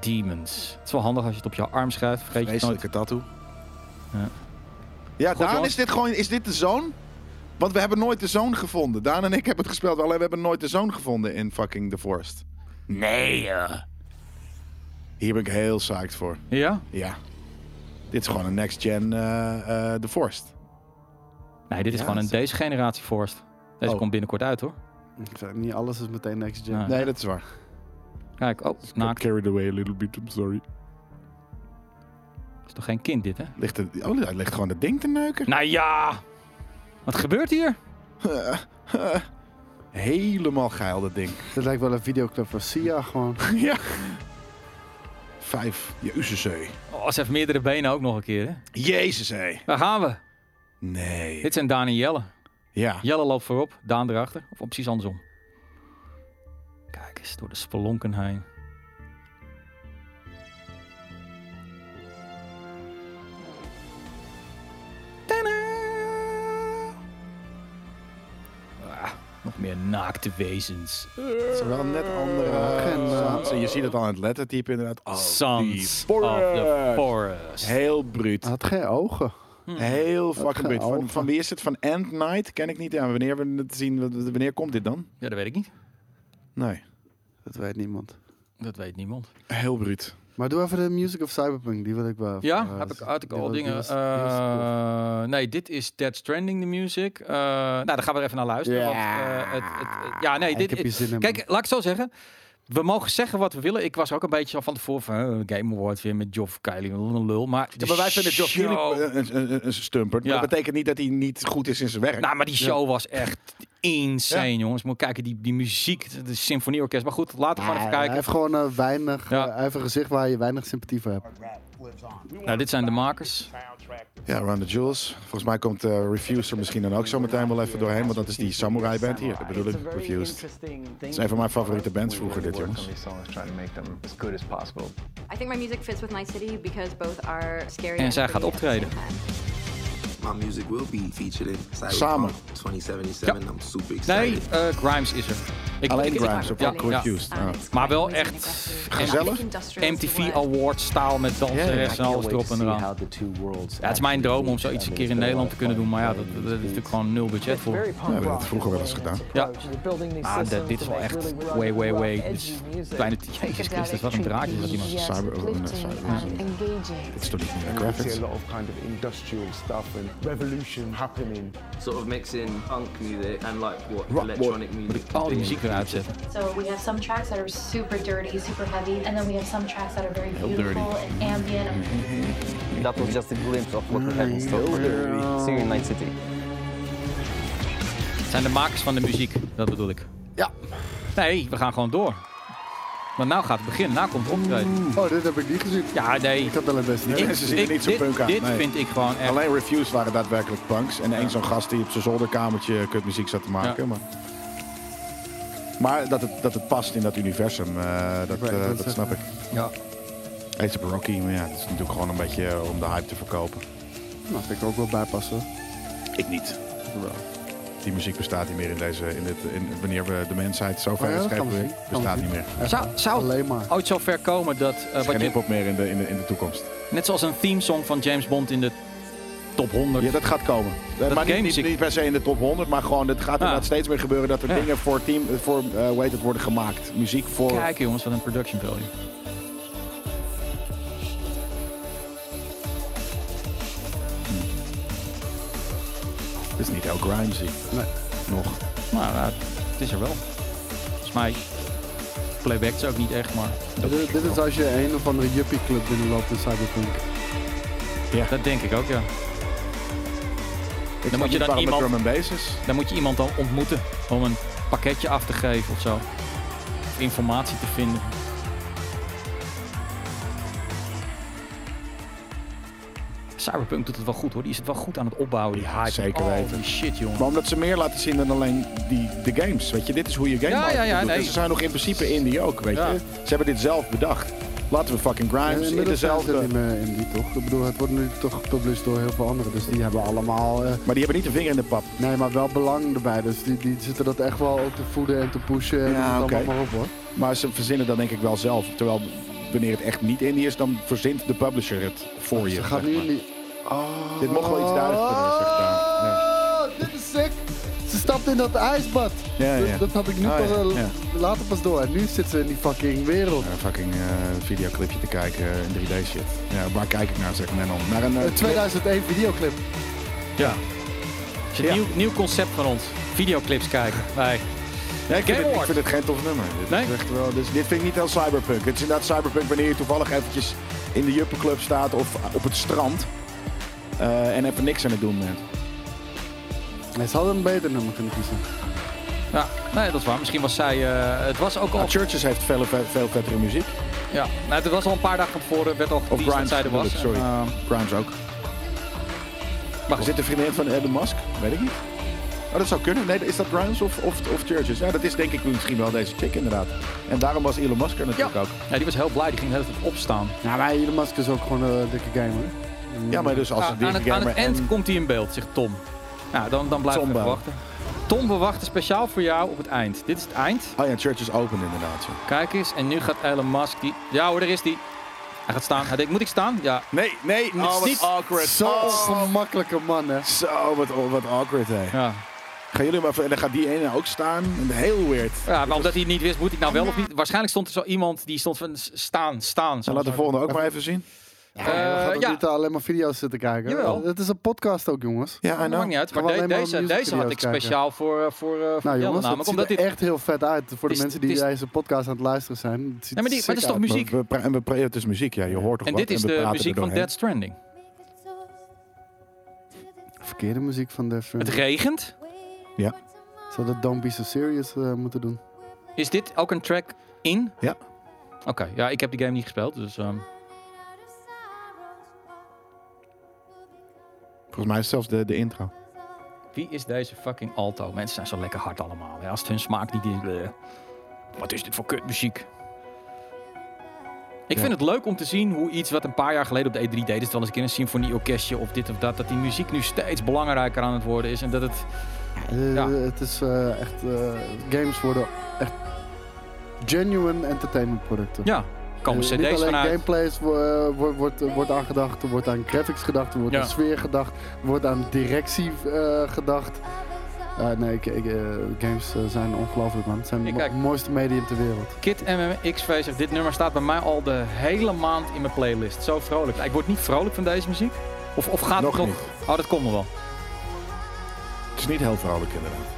Speaker 2: Demons. Het is wel handig als je het op je arm schrijft. Vergeet je het nooit.
Speaker 3: Vreselijke tattoo.
Speaker 2: Ja.
Speaker 3: Ja,
Speaker 2: Goed,
Speaker 3: Daan,
Speaker 2: jongens.
Speaker 3: is dit gewoon is dit de zoon? Want we hebben nooit de zoon gevonden. Daan en ik hebben het gespeeld, alleen we hebben nooit de zoon gevonden in fucking The Forest. Nee, Hier ben ik heel psyched voor.
Speaker 2: Ja?
Speaker 3: Ja. Dit is gewoon een next-gen eh, eh, The Forest.
Speaker 2: Nee, dit is
Speaker 3: Ja,
Speaker 2: gewoon een
Speaker 3: dat
Speaker 2: deze generatie Forest. Deze
Speaker 3: Oh.
Speaker 2: komt binnenkort uit hoor.
Speaker 1: Ik zei, niet alles is meteen next gen.
Speaker 2: Nee.
Speaker 3: Nee, dat is waar.
Speaker 2: Kijk, oh,
Speaker 3: Not
Speaker 2: naakt.
Speaker 3: carried away a little bit, I'm sorry.
Speaker 2: is toch geen kind dit hè?
Speaker 3: Ligt het, oh, hij ligt gewoon dat ding te neuken.
Speaker 2: Nou ja! Wat gebeurt hier?
Speaker 3: Helemaal geil, dat ding.
Speaker 1: Dit lijkt wel een videoclip van Sia gewoon.
Speaker 3: ja. Vijf. Jezus, hé.
Speaker 2: Oh, ze heeft meerdere benen ook nog een keer hè?
Speaker 3: Jezus, hé.
Speaker 2: Daar gaan we.
Speaker 3: Nee.
Speaker 2: Dit zijn Daan en Jelle.
Speaker 3: Ja.
Speaker 2: Jelle loopt voorop, Daan erachter. Of precies andersom. Kijk eens door de spelonken heen. Tadaa! Ah, nog meer naakte wezens.
Speaker 3: Het zijn wel net andere
Speaker 1: agenda.
Speaker 3: Sans. En je ziet het al aan het lettertype inderdaad. Oh, die
Speaker 2: Sons of Ah. the
Speaker 3: forest.
Speaker 2: forest.
Speaker 3: Heel bruut.
Speaker 1: Hij had geen ogen.
Speaker 3: Heel fucking bruut. Van,
Speaker 1: geil.
Speaker 3: van wie is het? Van End Night? Ken ik niet. Ja, wanneer, we het zien, w- wanneer komt dit dan?
Speaker 2: Ja, dat weet ik niet.
Speaker 3: Nee.
Speaker 1: Dat weet niemand.
Speaker 2: Dat weet niemand.
Speaker 3: Heel bruut.
Speaker 1: Maar doe even de music of Cyberpunk, die wil ik wel. even,
Speaker 2: Ja,
Speaker 1: eh,
Speaker 2: heb ik, had ik
Speaker 1: die
Speaker 2: al
Speaker 1: wil- die
Speaker 2: dingen.
Speaker 1: was- die was cool.
Speaker 2: eh, nee, dit is Dead Stranding, de music. Eh, nou, daar gaan we er even naar luisteren. want, eh, het, het, het- ja, nee,
Speaker 1: Ik
Speaker 2: dit,
Speaker 1: heb hier
Speaker 2: het-
Speaker 1: zin in,
Speaker 2: Kijk,
Speaker 1: man.
Speaker 2: laat ik het zo zeggen. We mogen zeggen wat we willen. Ik was ook een beetje van tevoren van eh, Game Award weer met Geoff Kylie, wat een lul. Maar, de
Speaker 3: Ja, maar wij vinden Josh
Speaker 2: show-
Speaker 3: Jullie eh, een, een, een, een stumpert. Maar
Speaker 2: Ja.
Speaker 3: dat betekent niet dat hij niet goed is in zijn werk.
Speaker 2: Nou, maar die show was echt insane, jongens. Moet kijken, die, die muziek, de, de symfonieorkest. Maar goed, laten we gewoon even
Speaker 1: Hij
Speaker 2: kijken.
Speaker 1: heeft gewoon eh, weinig,
Speaker 2: Ja.
Speaker 1: eh, hij heeft een gezicht waar je weinig sympathie voor hebt.
Speaker 2: Nou, dit zijn de makers.
Speaker 3: Ja, Run the Jewels. Volgens mij komt eh Refuser misschien dan ook zo meteen wel even doorheen. Want dat is die samurai band hier. Dat bedoel ik, Refused.
Speaker 6: Het
Speaker 3: is een van mijn favoriete bands vroeger, dit, jongens.
Speaker 7: these songs, try to make them as good as possible.
Speaker 8: I think my music fits with my city because both are scary.
Speaker 2: En
Speaker 8: and
Speaker 2: zij gaat
Speaker 8: pretty at the same
Speaker 2: optreden.
Speaker 8: time.
Speaker 9: My music will be featured in
Speaker 3: Samen.
Speaker 9: Cyberpunk 2077. I'm super excited.
Speaker 2: Nee, eh, Grimes is er. Ik,
Speaker 3: Alleen
Speaker 2: ik-
Speaker 3: Grimes of
Speaker 2: ja,
Speaker 3: Rock Refused.
Speaker 8: Um,
Speaker 3: Ah.
Speaker 8: it's
Speaker 2: Maar
Speaker 8: quite
Speaker 2: wel
Speaker 8: amazing
Speaker 2: echt
Speaker 8: aggressive.
Speaker 3: gezellig.
Speaker 8: I think industrial is the
Speaker 2: MTV
Speaker 8: word.
Speaker 2: Award staal met dansen
Speaker 3: Ja,
Speaker 2: en alles erop en eraan. Ja, het is mijn droom om zoiets een keer in Nederland te kunnen doen, maar ja, dat, dat is natuurlijk gewoon nul budget voor.
Speaker 6: We hebben
Speaker 3: dat vroeger wel eens gedaan.
Speaker 2: Ja. Ah, dit- dit is wel echt way, way, way. Dit is kleine Jezus Christus, wat een draadje is dat iemand.
Speaker 3: Cyber- oh, nee, cyber- Het is toch niet meer graphics?
Speaker 10: lot of kind of industrial stuff and revolution happening.
Speaker 7: Sort of mixing punk music and like what
Speaker 3: Rock-
Speaker 7: electronic
Speaker 2: Moet
Speaker 7: music.
Speaker 2: ik al die muziek weer uitzetten.
Speaker 11: So we have some tracks that are super dirty, super heavy, and then we have some tracks that are very beautiful and ambient.
Speaker 6: That was just a glimpse of what
Speaker 3: Mm-hmm.
Speaker 6: happens to Syrian Night City.
Speaker 2: Het zijn de makers van de muziek, dat bedoel ik. Ja. Nee, we gaan gewoon door. Want nou gaat het beginnen, nou komt het optreden.
Speaker 1: Oh, dit heb ik niet gezien.
Speaker 2: Ja, nee.
Speaker 1: Ik had wel het beste.
Speaker 2: Ik-
Speaker 3: Nee, ze zitten
Speaker 2: ik-
Speaker 3: niet zo
Speaker 2: dit-
Speaker 3: punk aan.
Speaker 2: dit
Speaker 3: nee.
Speaker 2: vind ik gewoon echt-
Speaker 3: Alleen reviews waren daadwerkelijk punks. En één zo'n gast die op zijn zolderkamertje kutmuziek zat te
Speaker 2: Ja.
Speaker 3: maken. Maar, maar dat, het, dat het past in dat universum, eh, dat,
Speaker 1: wou
Speaker 3: eh,
Speaker 1: net
Speaker 3: dat
Speaker 1: zeggen.
Speaker 3: snap ik.
Speaker 2: Ja.
Speaker 3: Ace of Rocky, maar ja, dat is natuurlijk gewoon een beetje eh, om de hype te verkopen.
Speaker 1: Nou, vind ik ook wel bijpassen.
Speaker 3: Ik niet. Die muziek bestaat niet meer in deze, in dit, in, wanneer we de mensheid zo ver
Speaker 1: Oh ja,
Speaker 3: is
Speaker 1: dat gaan we
Speaker 3: geëvolueerd,
Speaker 1: zien. Gaan we
Speaker 3: bestaat
Speaker 1: zien.
Speaker 3: niet meer.
Speaker 2: Zou, zou het
Speaker 1: Alleen maar.
Speaker 2: ooit zo ver komen dat... eh,
Speaker 3: Er
Speaker 2: wat
Speaker 3: is geen
Speaker 2: je,
Speaker 3: hip-hop meer in de, in, de, in de toekomst.
Speaker 2: net zoals een theme song van James Bond in de top 100.
Speaker 3: Ja, dat gaat komen. Eh,
Speaker 2: Dat
Speaker 3: maar niet, niet,
Speaker 2: gamemuziek-
Speaker 3: niet per se in de top 100, maar gewoon, het gaat inderdaad steeds meer gebeuren dat er
Speaker 2: Ja.
Speaker 3: dingen voor team, voor, eh, hoe heet het, worden gemaakt. Muziek voor...
Speaker 2: Kijk jongens, wat een production value.
Speaker 3: Het is niet heel grimesy.
Speaker 1: Nee.
Speaker 3: Nog.
Speaker 2: Maar eh, het is er wel. Volgens mij playback is ook niet echt, maar
Speaker 1: Dit, dit is als je een of andere juppie club binnenloopt in Cyberpunk.
Speaker 2: dat denk ik ook, ja.
Speaker 3: Ik
Speaker 2: moet
Speaker 3: dan
Speaker 2: je
Speaker 3: moet je
Speaker 2: dan
Speaker 3: dan
Speaker 2: iemand-
Speaker 3: iemand... drum and bass is.
Speaker 2: Dan moet je iemand dan ontmoeten om een pakketje af te geven of zo. Informatie te vinden. Cyberpunk doet het wel goed hoor. Die is het wel goed aan het opbouwen. Die
Speaker 3: Ja,
Speaker 2: hype.
Speaker 3: zeker
Speaker 2: Holy
Speaker 3: weten.
Speaker 2: shit jongen.
Speaker 3: Maar omdat ze meer laten zien dan alleen die, de games. Weet je, dit is hoe je game
Speaker 2: Ja, ja, ja,
Speaker 3: doet.
Speaker 2: nee.
Speaker 3: En dus ze zijn nog in principe indie ook, weet
Speaker 2: Ja.
Speaker 3: je. Ze hebben dit zelf bedacht. Laten we fucking
Speaker 1: En
Speaker 3: grimes in
Speaker 1: inmiddels zijn ze
Speaker 3: dezelfde...
Speaker 1: niet meer in die toch? Ik bedoel, het wordt nu toch gepublished door heel veel anderen. Dus die hebben allemaal... eh,
Speaker 3: Maar die hebben niet de vinger in de pap.
Speaker 1: nee, maar wel belang erbij. Dus die, die zitten dat echt wel ook te voeden en te pushen. En
Speaker 3: Ja,
Speaker 1: ja,
Speaker 3: oké.
Speaker 1: allemaal maar op hoor.
Speaker 3: Maar ze verzinnen dat denk ik wel zelf. Terwijl wanneer het echt niet indie is, dan verzint de publisher het voor je.
Speaker 1: Ze gaan
Speaker 3: zeg
Speaker 1: nu
Speaker 3: maar.
Speaker 1: niet... Oh.
Speaker 3: Dit mocht wel iets duidelijker worden, zegt Daan.
Speaker 1: Oh, Dit is sick. Ze stapt in dat ijsbad.
Speaker 3: Ja, ja.
Speaker 1: Dat, dat had ik nu
Speaker 3: Oh,
Speaker 1: pas
Speaker 3: ja,
Speaker 1: wel-
Speaker 3: ja.
Speaker 1: later pas door. En nu zitten ze in die fucking wereld.
Speaker 3: Een fucking eh, videoclipje te kijken eh, in 3D shit. Ja, waar kijk ik naar, zeg men dan. Naar een eh,
Speaker 1: Een 2001 videoclip.
Speaker 2: Ja. Het is een
Speaker 3: Ja.
Speaker 2: nieuw, nieuw concept van ons. Videoclips kijken. Hey.
Speaker 3: Ja, ik, vind
Speaker 2: Game
Speaker 3: het, ik
Speaker 2: Awards.
Speaker 3: vind het geen tof nummer. Dit,
Speaker 2: Nee?
Speaker 3: is echt wel, dit, is- dit vind ik niet heel cyberpunk. Het is inderdaad cyberpunk wanneer je toevallig eventjes in de juppenclub staat of op het strand. eh, en even niks aan het doen bent.
Speaker 1: Nee, ze hadden een beter nummer kunnen kiezen.
Speaker 2: Ja, nee, dat is waar. Misschien was zij. eh, het was ook al.
Speaker 3: Nou, Churches heeft veel, ve- veel vettere muziek.
Speaker 2: Ja, nou, het was al een paar dagen van tevoren. werd al
Speaker 3: Of
Speaker 2: geteased dat
Speaker 3: Grimes,
Speaker 2: zij er was.
Speaker 3: bedoel ik, Oh, sorry.
Speaker 2: En,
Speaker 3: Grimes ook.
Speaker 2: eh, maar
Speaker 3: Er
Speaker 2: goed.
Speaker 3: zit een vriendin van Elon Musk? Weet ik niet. Oh, dat zou kunnen. Nee, is dat Grimes of, of, of Churches? Ja, dat is denk ik misschien wel deze chick inderdaad. En daarom was Elon Musk er
Speaker 2: Ja.
Speaker 3: natuurlijk ook.
Speaker 2: ja, die was heel blij. Die ging de hele tijd opstaan.
Speaker 1: Nou, maar Elon Musk is ook gewoon
Speaker 3: eh,
Speaker 1: een dikke gamer.
Speaker 3: Ja, maar dus als
Speaker 2: Ah,
Speaker 3: een
Speaker 2: aan, het, aan
Speaker 3: gamer
Speaker 2: het eind
Speaker 3: en
Speaker 2: komt hij in beeld, zegt Tom. Nou, dan, dan blijven we
Speaker 3: Tom
Speaker 2: even
Speaker 3: Bouw.
Speaker 2: wachten. Tom, we wachten speciaal voor jou op het eind. Dit is het eind.
Speaker 3: Oh ja, Churches open inderdaad. ja.
Speaker 2: Kijk eens. En nu gaat Elon Musk die... Ja hoor, daar is die. Hij gaat staan. Hij denkt, moet ik staan? Ja.
Speaker 3: Nee, nee,
Speaker 2: Het is
Speaker 3: oh,
Speaker 2: niet-
Speaker 3: wat awkward.
Speaker 1: Zo
Speaker 2: Oh.
Speaker 1: ongemakkelijke man, hè.
Speaker 3: Zo, wat, wat awkward, hè.
Speaker 2: Ja,
Speaker 3: Gaan jullie maar, en dan gaat die ene ook staan. En Heel weird.
Speaker 2: ja maar omdat hij niet wist, moet ik nou wel of niet? Waarschijnlijk stond er zo iemand die stond van s- staan, staan.
Speaker 3: Laat de volgende ook maar even zien.
Speaker 2: Eh,
Speaker 1: we gaan
Speaker 2: ja.
Speaker 1: niet alleen maar video's zitten kijken.
Speaker 2: Jawel.
Speaker 1: Het is een podcast ook, jongens.
Speaker 3: Ja, I know.
Speaker 2: Maakt niet uit, maar
Speaker 1: Gaan we
Speaker 2: de-
Speaker 1: alleen maar
Speaker 2: deze,
Speaker 1: music
Speaker 2: deze had ik
Speaker 1: video's kijken?
Speaker 2: speciaal voor, eh, voor, eh, voor
Speaker 1: Nou
Speaker 2: Jelle
Speaker 1: jongens, het
Speaker 2: namelijk.
Speaker 1: ziet er
Speaker 2: Omdat dit...
Speaker 1: echt heel vet uit. Voor de
Speaker 2: Is-
Speaker 1: mensen
Speaker 2: het
Speaker 1: die
Speaker 2: is-
Speaker 1: deze podcast aan het luisteren zijn. Het ziet
Speaker 2: Nee, maar, die,
Speaker 1: er
Speaker 2: maar dat is toch
Speaker 1: sick uit.
Speaker 2: muziek?
Speaker 3: We, pra- en we pra- het is muziek, ja. Je hoort toch
Speaker 2: En
Speaker 3: wat
Speaker 2: dit is
Speaker 3: we
Speaker 2: de
Speaker 3: praten
Speaker 2: muziek
Speaker 3: er
Speaker 2: van
Speaker 3: doorheen.
Speaker 2: Dead Stranding.
Speaker 1: Verkeerde muziek van Death
Speaker 2: Het
Speaker 1: Stranding.
Speaker 2: regent.
Speaker 3: Ja.
Speaker 1: Ze hadden Don't Be So Serious eh, moeten doen.
Speaker 2: Is dit ook een track in?
Speaker 3: Ja.
Speaker 2: Oké, ja, ik heb die game niet gespeeld, dus... ehm,
Speaker 3: Volgens mij is het zelfs de, de intro.
Speaker 2: Wie is deze fucking alto? Mensen zijn zo lekker hard allemaal. Hè? Als het hun smaak niet is. bleh. Wat is dit voor kutmuziek? Ik
Speaker 3: Ja.
Speaker 2: vind het leuk om te zien hoe iets wat een paar jaar geleden op de E3 deed. Dus wel eens een keer een symfonieorkestje of dit of dat. Dat die muziek nu steeds belangrijker aan het worden is. En dat het.
Speaker 1: Eh,
Speaker 2: Ja.
Speaker 1: Het is eh, echt... eh, games worden echt genuine entertainment producten.
Speaker 2: Ja, komen
Speaker 1: Eh,
Speaker 2: CD's
Speaker 1: niet alleen
Speaker 2: vanuit.
Speaker 1: gameplays wo- wordt, wordt, eh, wordt aan gedacht, er wordt aan graphics gedacht, er wordt
Speaker 2: Ja.
Speaker 1: aan sfeer gedacht, er wordt aan directie eh, gedacht. Eh, nee, ik, ik, eh, games eh, zijn ongelooflijk man. Het zijn
Speaker 2: Ik
Speaker 1: het
Speaker 2: kijk.
Speaker 1: mooiste medium ter wereld.
Speaker 2: Kid MMXV zegt: Dit nummer staat bij mij al de hele maand in mijn playlist. Zo vrolijk. Ik word niet vrolijk van deze muziek. Of, of gaat
Speaker 3: Nog
Speaker 2: het nog.
Speaker 3: niet.
Speaker 2: Oh, dat komt nog wel.
Speaker 3: Het is niet heel vrolijk, inderdaad.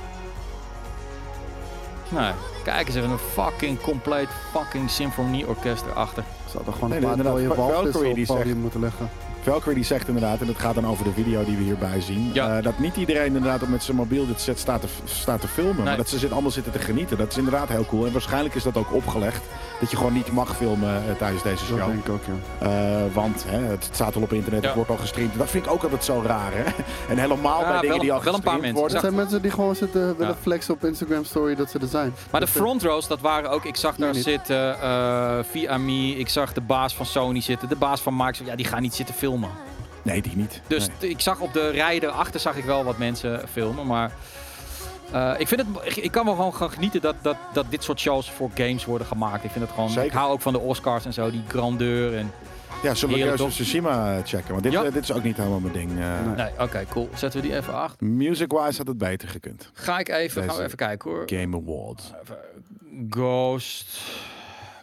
Speaker 2: Nee. Kijk eens even een fucking compleet fucking symfonieorkest erachter.
Speaker 1: Ze hadden gewoon
Speaker 3: Nee,
Speaker 1: een
Speaker 3: nee,
Speaker 1: paar mooie
Speaker 3: inderdaad. Valkyrie
Speaker 1: walvissen op
Speaker 3: die
Speaker 1: het podium moeten leggen.
Speaker 3: Valkyrie die zegt inderdaad, en dat gaat dan over de video die we hierbij zien,
Speaker 2: Ja.
Speaker 3: eh, dat niet iedereen inderdaad op met zijn mobiel dit set staat te, staat te filmen. Maar dat ze zit, allemaal zitten te genieten. Dat is inderdaad heel cool. En waarschijnlijk is dat ook opgelegd. Dat je gewoon niet mag filmen eh, tijdens deze show.
Speaker 1: denk ik ook, ja.
Speaker 3: Eh, want hè, het staat al op internet,
Speaker 2: Ja.
Speaker 3: het wordt al gestreamd. Dat vind ik ook altijd zo raar. Hè? En helemaal
Speaker 2: Ja,
Speaker 3: bij dingen
Speaker 2: Ah, wel-
Speaker 3: die al
Speaker 2: wel een paar
Speaker 3: gestreamd
Speaker 2: mensen.
Speaker 3: worden.
Speaker 1: Dat zijn mensen die gewoon zitten willen
Speaker 2: Ja.
Speaker 1: flexen op Instagram story dat ze er zijn.
Speaker 2: Maar de
Speaker 1: Dat vind-
Speaker 2: front rows, dat waren ook. Ik zag daar
Speaker 1: niet.
Speaker 2: zitten eh Viami. Ik zag de baas van Sony zitten. De baas van Microsoft. Ja, die gaan niet zitten filmen.
Speaker 3: Nee, die niet.
Speaker 2: Dus
Speaker 3: Nee.
Speaker 2: t- ik zag op de rij erachter zag ik wel wat mensen filmen. Maar eh, ik, vind het, ik, ik kan wel gewoon gaan genieten dat, dat, dat dit soort shows voor games worden gemaakt. Ik vind het gewoon. Ik
Speaker 3: Zeker.
Speaker 2: hou ook van de Oscars en zo, die grandeur. En,
Speaker 3: Ja, zullen we
Speaker 2: Heerlijk,
Speaker 3: Ghost of
Speaker 2: toch?
Speaker 3: Tsushima checken? Want dit,
Speaker 2: Ja.
Speaker 3: eh, dit is ook niet helemaal mijn ding. eh.
Speaker 2: nee, oké, cool. Zetten we die even achter.
Speaker 3: Music-wise had het beter gekund.
Speaker 2: Ga ik even, gaan we
Speaker 3: Deze-
Speaker 2: even kijken hoor.
Speaker 3: Game Awards.
Speaker 2: Ghost.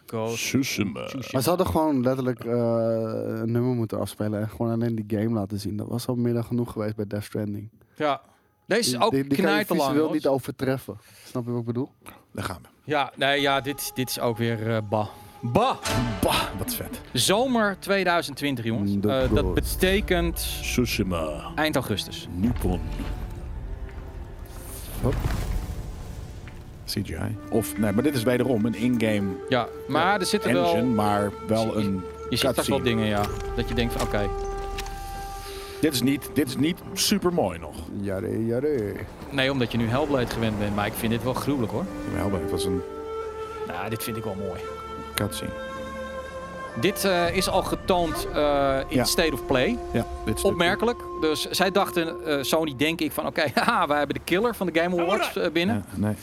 Speaker 2: Ghost.
Speaker 3: Tsushima.
Speaker 1: Maar ze hadden gewoon letterlijk eh, een nummer moeten afspelen en gewoon alleen die game laten zien. Dat was al meer dan genoeg geweest bij Death Stranding.
Speaker 2: Ja. Deze is ook
Speaker 1: die, die kan je
Speaker 2: knijterlang.
Speaker 1: visueel
Speaker 2: hoor.
Speaker 1: niet overtreffen. Snap je wat ik bedoel?
Speaker 3: Daar gaan we.
Speaker 2: Ja, nee, ja, dit, dit is ook weer eh, bah. Bah!
Speaker 3: Bah, wat vet.
Speaker 2: Zomer 2020, jongens.
Speaker 1: Mm, dat
Speaker 2: Eh, dat
Speaker 1: klopt.
Speaker 2: betekent
Speaker 3: Tsushima.
Speaker 2: eind augustus.
Speaker 3: Nippon. Hop. CGI. Of, nee, maar dit is wederom een in-game
Speaker 2: Ja, maar er zitten
Speaker 3: engine,
Speaker 2: wel...
Speaker 3: maar wel een
Speaker 2: Je ziet toch wel
Speaker 3: cutscene.
Speaker 2: dingen, ja. Dat je denkt van, oké.
Speaker 3: Dit is niet, dit is niet super mooi nog.
Speaker 1: Jare, jare.
Speaker 2: Nee, omdat je nu Hellblade gewend bent. Maar ik vind dit wel gruwelijk, hoor.
Speaker 3: Wel, maar het was een
Speaker 2: Nou, dit vind ik wel mooi.
Speaker 3: cutscene.
Speaker 2: Dit eh, is al getoond eh, in
Speaker 3: Ja.
Speaker 2: State of Play.
Speaker 3: Ja, dit is
Speaker 2: Opmerkelijk. Dus zij dachten, eh, Sony denk ik van... Oké, haha, wij hebben de killer van de Game Awards eh, binnen.
Speaker 3: Ja, nee.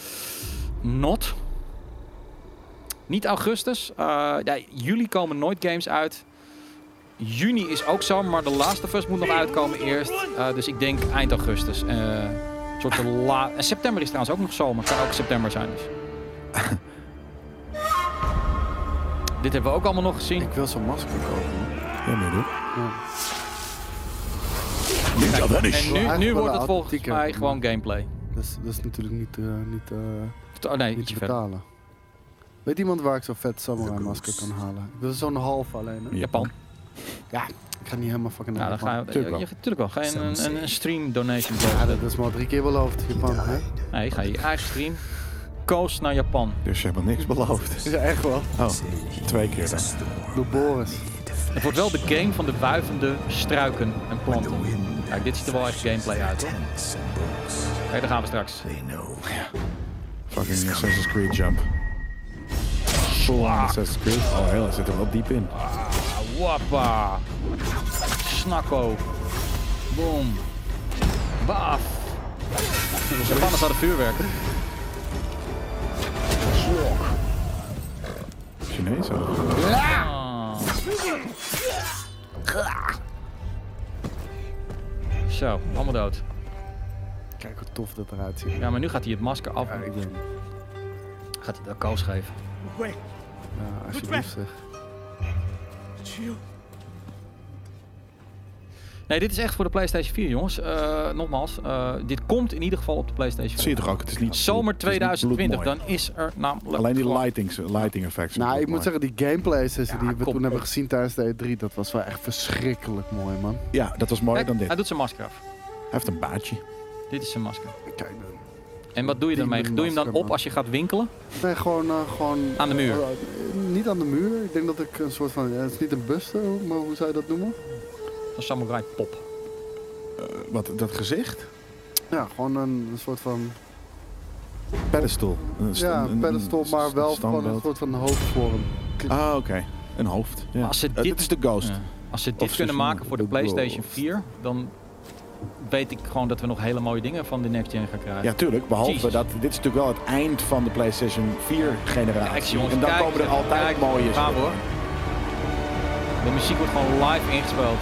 Speaker 2: Not. Niet augustus. Eh, ja, juli komen nooit games uit. Juni is ook zo, maar The Last of Us moet nog uitkomen eerst. Eh, dus ik denk eind augustus. Eh, een soort van la- en september is trouwens ook nog zomer. Kan ook september zijn dus. Dit hebben we ook allemaal nog gezien.
Speaker 1: Ik wil zo'n masker kopen.
Speaker 3: Ja, maar doe. Ninja
Speaker 2: En
Speaker 3: Vanish.
Speaker 2: nu,
Speaker 1: eigenlijk
Speaker 2: nu
Speaker 1: wel
Speaker 2: wordt
Speaker 1: de
Speaker 2: het volgens
Speaker 1: authentieke,
Speaker 2: mij
Speaker 1: maar-
Speaker 2: gewoon gameplay.
Speaker 1: Dat is, dat is natuurlijk niet, eh, niet, eh,
Speaker 2: Oh nee,
Speaker 1: niet
Speaker 2: ietsje
Speaker 1: te
Speaker 2: verder.
Speaker 1: betalen. Weet iemand waar ik zo'n vet samurai masker kan halen? Ik wil zo'n half alleen. Hè?
Speaker 2: Japan.
Speaker 1: Ik ga niet helemaal fucking naar
Speaker 2: Nou, dan
Speaker 1: Japan.
Speaker 2: gaan we...
Speaker 3: Tuurlijk wel.
Speaker 2: Ja, tuurlijk wel. Ga je een, een, een stream donation
Speaker 1: Ja,
Speaker 2: doen?
Speaker 1: dat is maar drie keer beloofd, Japan. Hè?
Speaker 2: Nee, ga je je eigen stream. Coast naar Japan.
Speaker 3: Dus je hebt nog niks beloofd.
Speaker 1: Ja, echt wel.
Speaker 3: Oh, twee keer dan.
Speaker 1: Door Boris.
Speaker 2: Het wordt wel de game van de wuivende struiken en planten. Kijk, dit ziet er wel echt gameplay uit hoor. Kijk, daar gaan we straks.
Speaker 3: Fucking Assassin's Creed jump. Slaan Assassin's Creed. Oh, heel, hij zit er wel diep in.
Speaker 2: Wappa. Snakko. Boom. Baaf. Japanners hadden vuurwerk.
Speaker 3: Chinees ook.
Speaker 2: Zo, allemaal dood.
Speaker 1: Kijk hoe tof dat eruit ziet.
Speaker 2: Ja, maar nu gaat hij het masker af.
Speaker 1: Ja, ik weet niet.
Speaker 2: Gaat hij de koos geven.
Speaker 1: Ja, alsjeblieft zeg.
Speaker 2: Nee, dit is echt voor de PlayStation 4, jongens. Eh, nogmaals, eh, dit komt in ieder geval op de PlayStation 4.
Speaker 3: Zie je toch ook, het is niet...
Speaker 2: Zomer
Speaker 3: het is niet
Speaker 2: 2020,
Speaker 3: bloedmooi.
Speaker 2: dan is er namelijk.
Speaker 3: Alleen die
Speaker 2: gewoon-
Speaker 3: lighting, lighting effects.
Speaker 1: Nou, ik moet zeggen, die gameplay sessie
Speaker 2: Ja,
Speaker 1: die we
Speaker 2: kom
Speaker 1: toen
Speaker 2: op.
Speaker 1: hebben gezien tijdens de E3, dat was wel echt verschrikkelijk mooi, man.
Speaker 3: Ja, dat was mooier
Speaker 2: Kijk,
Speaker 3: dan
Speaker 2: Hij
Speaker 3: dit. Hij
Speaker 2: doet zijn masker af.
Speaker 3: heeft een baardje.
Speaker 2: Dit is zijn masker.
Speaker 1: Kijk dan.
Speaker 2: En wat doe je
Speaker 1: Die
Speaker 2: daarmee?
Speaker 1: met
Speaker 2: Doe je hem dan
Speaker 1: masker,
Speaker 2: op
Speaker 1: man.
Speaker 2: als je gaat winkelen?
Speaker 1: Nee, gewoon... eh, gewoon
Speaker 2: Aan de muur.
Speaker 1: Eh, niet aan de muur. Ik denk dat ik een soort van... ja, het is niet een buste, maar hoe zou je dat noemen?
Speaker 2: Een samurai pop.
Speaker 3: Eh, Wat, dat gezicht?
Speaker 1: Ja, gewoon een, een soort van...
Speaker 3: Pedestal. Een sta-
Speaker 1: Ja,
Speaker 3: een- een
Speaker 1: een pedestal, maar wel van een
Speaker 3: standbeeld.
Speaker 1: soort van hoofdvorm.
Speaker 3: Ah, oké. Een hoofd. Ja.
Speaker 2: Als ze
Speaker 3: Eh,
Speaker 2: dit-
Speaker 3: is de ghost.
Speaker 2: Ja. Als ze dit
Speaker 3: Of
Speaker 2: kunnen
Speaker 3: ze zien
Speaker 2: maken voor de
Speaker 3: de
Speaker 2: PlayStation
Speaker 3: glow.
Speaker 2: 4, dan weet ik gewoon dat we nog hele mooie dingen van de next gen gaan krijgen.
Speaker 3: Ja, tuurlijk. Behalve
Speaker 2: Jezus.
Speaker 3: dat dit is natuurlijk wel het eind van de PlayStation 4
Speaker 2: Kijk,
Speaker 3: generatie.
Speaker 2: jongens,
Speaker 3: en dan
Speaker 2: kijk,
Speaker 3: komen er
Speaker 2: zeg,
Speaker 3: altijd
Speaker 2: kijk,
Speaker 3: mooie
Speaker 2: Gaan we hoor. De muziek wordt gewoon live ingespeeld.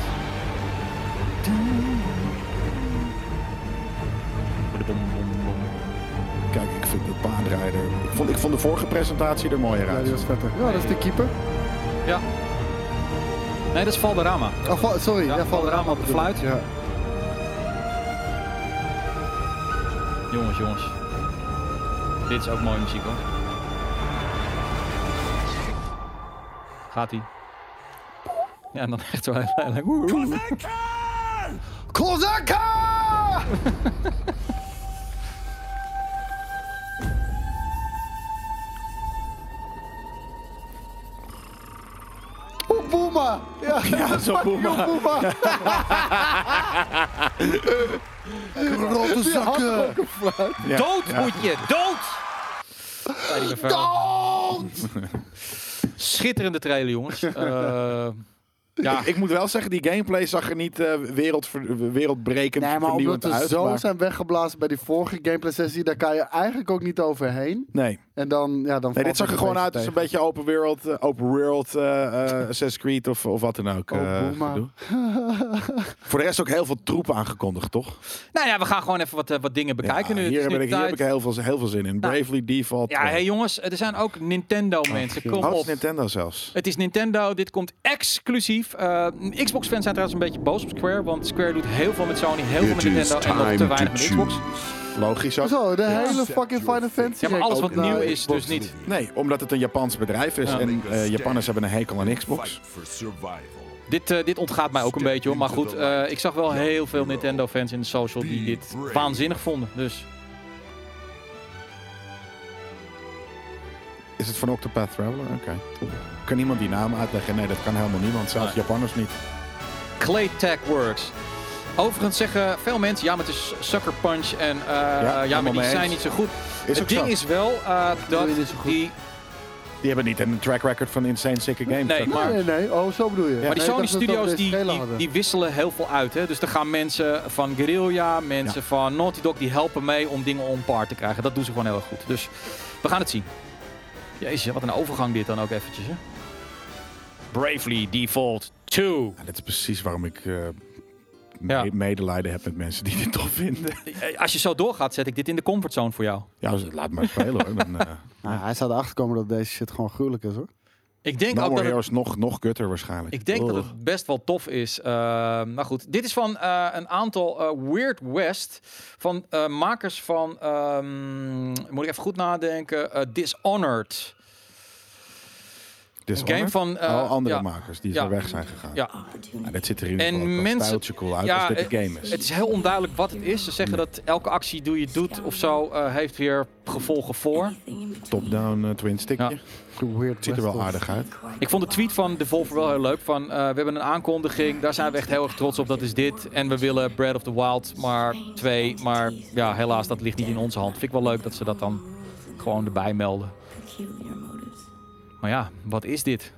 Speaker 3: Kijk, ik vind de paardrijder. Ik vond, ik vond de vorige presentatie er mooier
Speaker 1: Ja,
Speaker 3: uit.
Speaker 1: die was vetter. Ja, dat is de keeper.
Speaker 2: Ja. Nee, dat is Valderrama.
Speaker 1: Oh, val- sorry.
Speaker 2: Ja,
Speaker 1: Ja,
Speaker 2: Valderrama op de
Speaker 1: bedoel ik.
Speaker 2: fluit.
Speaker 1: Ja.
Speaker 2: Jongens, jongens. Dit is ook mooie muziek hoor. Gaat ie. Ja, en dan echt zo heel lelijk. Woe, woe.
Speaker 1: Kozaka! Oeh, Boema! Ja, ja
Speaker 3: zo Boema.
Speaker 1: Grote zakken!
Speaker 3: Ja,
Speaker 2: Dood
Speaker 3: ja.
Speaker 2: moet je, dood! Bij die bevel.
Speaker 1: Dood!
Speaker 2: Schitterende trailer, jongens. Eh, ja,
Speaker 3: Ik moet wel zeggen, die gameplay zag er niet eh wereldver- wereldbrekend
Speaker 1: Nee, maar
Speaker 3: vernieuwend
Speaker 1: omdat we
Speaker 3: uit.
Speaker 1: zo
Speaker 3: maar-
Speaker 1: zijn weggeblazen bij die vorige gameplay-sessie, daar kan je eigenlijk ook niet overheen.
Speaker 3: Nee.
Speaker 1: En dan, ja, dan
Speaker 3: Nee,
Speaker 1: valt
Speaker 3: dit zag
Speaker 1: het
Speaker 3: er gewoon
Speaker 1: beetje
Speaker 3: uit als een
Speaker 1: tegen.
Speaker 3: beetje open world, eh, open world eh, eh, Assassin's Creed of, of wat dan ook.
Speaker 1: Oh,
Speaker 3: eh,
Speaker 1: boema.
Speaker 3: gedoe. Voor de rest ook heel veel troepen aangekondigd, toch?
Speaker 2: nou ja, we gaan gewoon even wat, eh, wat dingen bekijken
Speaker 3: Ja,
Speaker 2: nu. Het
Speaker 3: Hier,
Speaker 2: is nu
Speaker 3: heb ik, hier
Speaker 2: tijd. Nou,
Speaker 3: heb ik heel veel, heel veel zin in. Bravely Default.
Speaker 2: Ja,
Speaker 3: eh,
Speaker 2: hey jongens, er zijn ook Nintendo-mensen. Kom
Speaker 3: oh, het is
Speaker 2: op.
Speaker 3: Nintendo zelfs.
Speaker 2: Het is Nintendo, dit komt exclusief. Eh, Xbox-fans zijn trouwens een beetje boos op Square, want Square doet heel veel met Sony, heel veel met Nintendo en nog te weinig met Xbox.
Speaker 3: Logisch ook.
Speaker 1: Zo, de hele fucking Final Fantasy.
Speaker 2: Ja, maar alles
Speaker 1: ook
Speaker 2: wat
Speaker 1: naar
Speaker 2: nieuw is,
Speaker 1: Xbox.
Speaker 2: dus niet.
Speaker 3: Nee, omdat het een Japans bedrijf is en eh, Japanners hebben een hekel aan Xbox.
Speaker 5: for survival.
Speaker 2: Dit, eh, dit ontgaat mij ook een beetje hoor. Maar goed, eh, ik zag wel heel veel Nintendo-fans in de social die dit waanzinnig vonden. Dus
Speaker 3: Is het van Octopath Traveler? Oké. Kan iemand die naam uitleggen? Nee, dat kan helemaal niemand. Zelfs Japanners niet.
Speaker 2: Clay Tech Works. Overigens zeggen veel mensen, ja, maar het is Sucker Punch en eh, ja,
Speaker 3: helemaal
Speaker 2: maar die
Speaker 3: mee
Speaker 2: zijn
Speaker 3: eens.
Speaker 2: niet zo goed.
Speaker 3: Is
Speaker 2: het
Speaker 3: ook
Speaker 2: ding
Speaker 3: zo.
Speaker 2: is wel eh, dat
Speaker 1: je niet zo goed?
Speaker 2: die...
Speaker 3: Die hebben niet een track record van Insane Sicker Games.
Speaker 2: Nee, maar-
Speaker 1: Nee, nee, nee. Oh, zo bedoel je.
Speaker 2: Maar die
Speaker 1: Nee, ik
Speaker 2: Sony
Speaker 1: dacht dat we
Speaker 2: Studios
Speaker 1: deze
Speaker 2: die,
Speaker 1: gele
Speaker 2: die,
Speaker 1: hadden.
Speaker 2: die wisselen heel veel uit. Hè? Dus er gaan mensen van Guerrilla, mensen van Naughty Dog, die helpen mee om dingen on par te krijgen. Dat doen ze gewoon heel erg goed. Dus we gaan het zien. Jezus, wat een overgang dit dan ook eventjes. Hè? Bravely Default 2.
Speaker 3: Ja, dit is precies waarom ik eh, me-
Speaker 2: Ja.
Speaker 3: medelijden heb met mensen die dit tof vinden.
Speaker 2: Eh, Als je zo doorgaat, zet ik dit in de comfortzone voor jou.
Speaker 3: Ja, dus laat maar spelen hoor. Dan, eh
Speaker 1: Nou, hij zou erachter komen dat deze shit gewoon gruwelijk is, hoor.
Speaker 2: Ik denk
Speaker 3: no
Speaker 2: ook
Speaker 3: More
Speaker 2: dat het,
Speaker 3: Heroes nog, nog gutter waarschijnlijk.
Speaker 2: ik denk dat
Speaker 3: Oh.
Speaker 2: het best wel tof is. Eh, maar goed, dit is van eh, een aantal eh, Weird West. Van eh, makers van, ehm, moet ik even goed nadenken, eh, Dishonored.
Speaker 3: Dishonored?
Speaker 2: game van, eh,
Speaker 3: Al Oh, andere
Speaker 2: ja.
Speaker 3: makers die
Speaker 2: Ja.
Speaker 3: zo weg zijn gegaan.
Speaker 2: Ja.
Speaker 3: Nou, dat zit er in
Speaker 2: En
Speaker 3: ieder geval ook wel
Speaker 2: mensen-
Speaker 3: stijltje cool uit
Speaker 2: ja,
Speaker 3: als dit de game is.
Speaker 2: Het is heel onduidelijk wat het is. Ze zeggen dat elke actie die je doet of zo eh, heeft weer gevolgen voor.
Speaker 3: Top-down eh, twin stickje.
Speaker 2: Ja.
Speaker 1: Weird
Speaker 3: Ziet er wel
Speaker 1: West,
Speaker 3: aardig uit.
Speaker 2: Ik vond de tweet van Devolver wel heel leuk. Van, eh, we hebben een aankondiging, daar zijn we echt heel erg trots op. Dat is dit. En we willen Breath of the Wild maar twee. Maar ja, helaas, dat ligt niet in onze hand. Vind ik wel leuk dat ze dat dan gewoon erbij melden. Maar ja, wat is dit?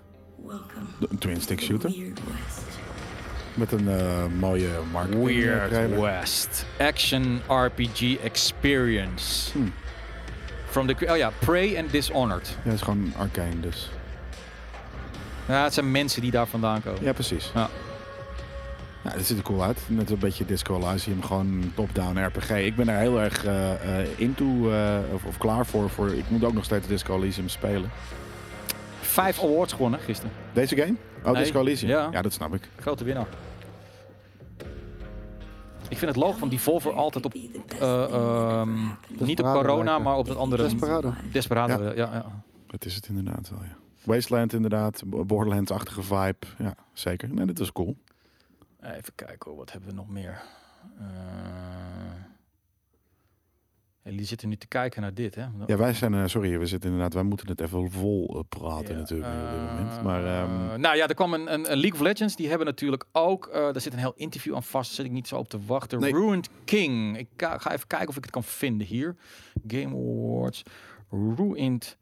Speaker 3: Een twin stick shooter. Met een eh, mooie marketing eh, trailer.
Speaker 2: West Action RPG Experience. From the, oh ja, Prey and Dishonored.
Speaker 3: Ja, het is gewoon arcane dus.
Speaker 2: Ja, het zijn mensen die daar vandaan komen.
Speaker 3: Ja, precies.
Speaker 2: Ja.
Speaker 3: Ja, dat ziet er cool uit. Net een beetje Disco Elysium, gewoon een top-down RPG. Ik ben daar heel erg eh, eh, into eh, of, of klaar voor, voor. Ik moet ook nog steeds Disco Elysium spelen.
Speaker 2: Vijf awards gewonnen gisteren.
Speaker 3: Deze game? Oh,
Speaker 2: Nee.
Speaker 3: Disco Elysium.
Speaker 2: Ja.
Speaker 3: Ja. dat snap ik.
Speaker 2: Grote winnaar. Ik vind het logo van Devolver altijd op... eh, ehm, niet op corona,
Speaker 1: lijken.
Speaker 2: maar op dat andere...
Speaker 1: Desperado.
Speaker 2: Ehm, Desperado, ja. ja, ja.
Speaker 3: Dat is het inderdaad wel, ja. Wasteland inderdaad, Bo- Borderlands-achtige vibe. Ja, zeker. Nee, dit was cool.
Speaker 2: Even kijken hoor, wat hebben we nog meer? Eh, jullie zitten nu te kijken naar dit, hè?
Speaker 3: Ja, wij zijn, eh, sorry, we zitten inderdaad, wij moeten het even vol eh, praten
Speaker 2: Ja,
Speaker 3: natuurlijk op dit moment.
Speaker 2: eh,
Speaker 3: Maar ehm,
Speaker 2: nou ja, er kwam een, een, een League of Legends. Die hebben natuurlijk ook... eh, daar zit een heel interview aan vast. Daar zit ik niet zo op te wachten.
Speaker 3: Nee.
Speaker 2: Ruined King. Ik ka- ga even kijken of ik het kan vinden hier. Game Awards. Ruined...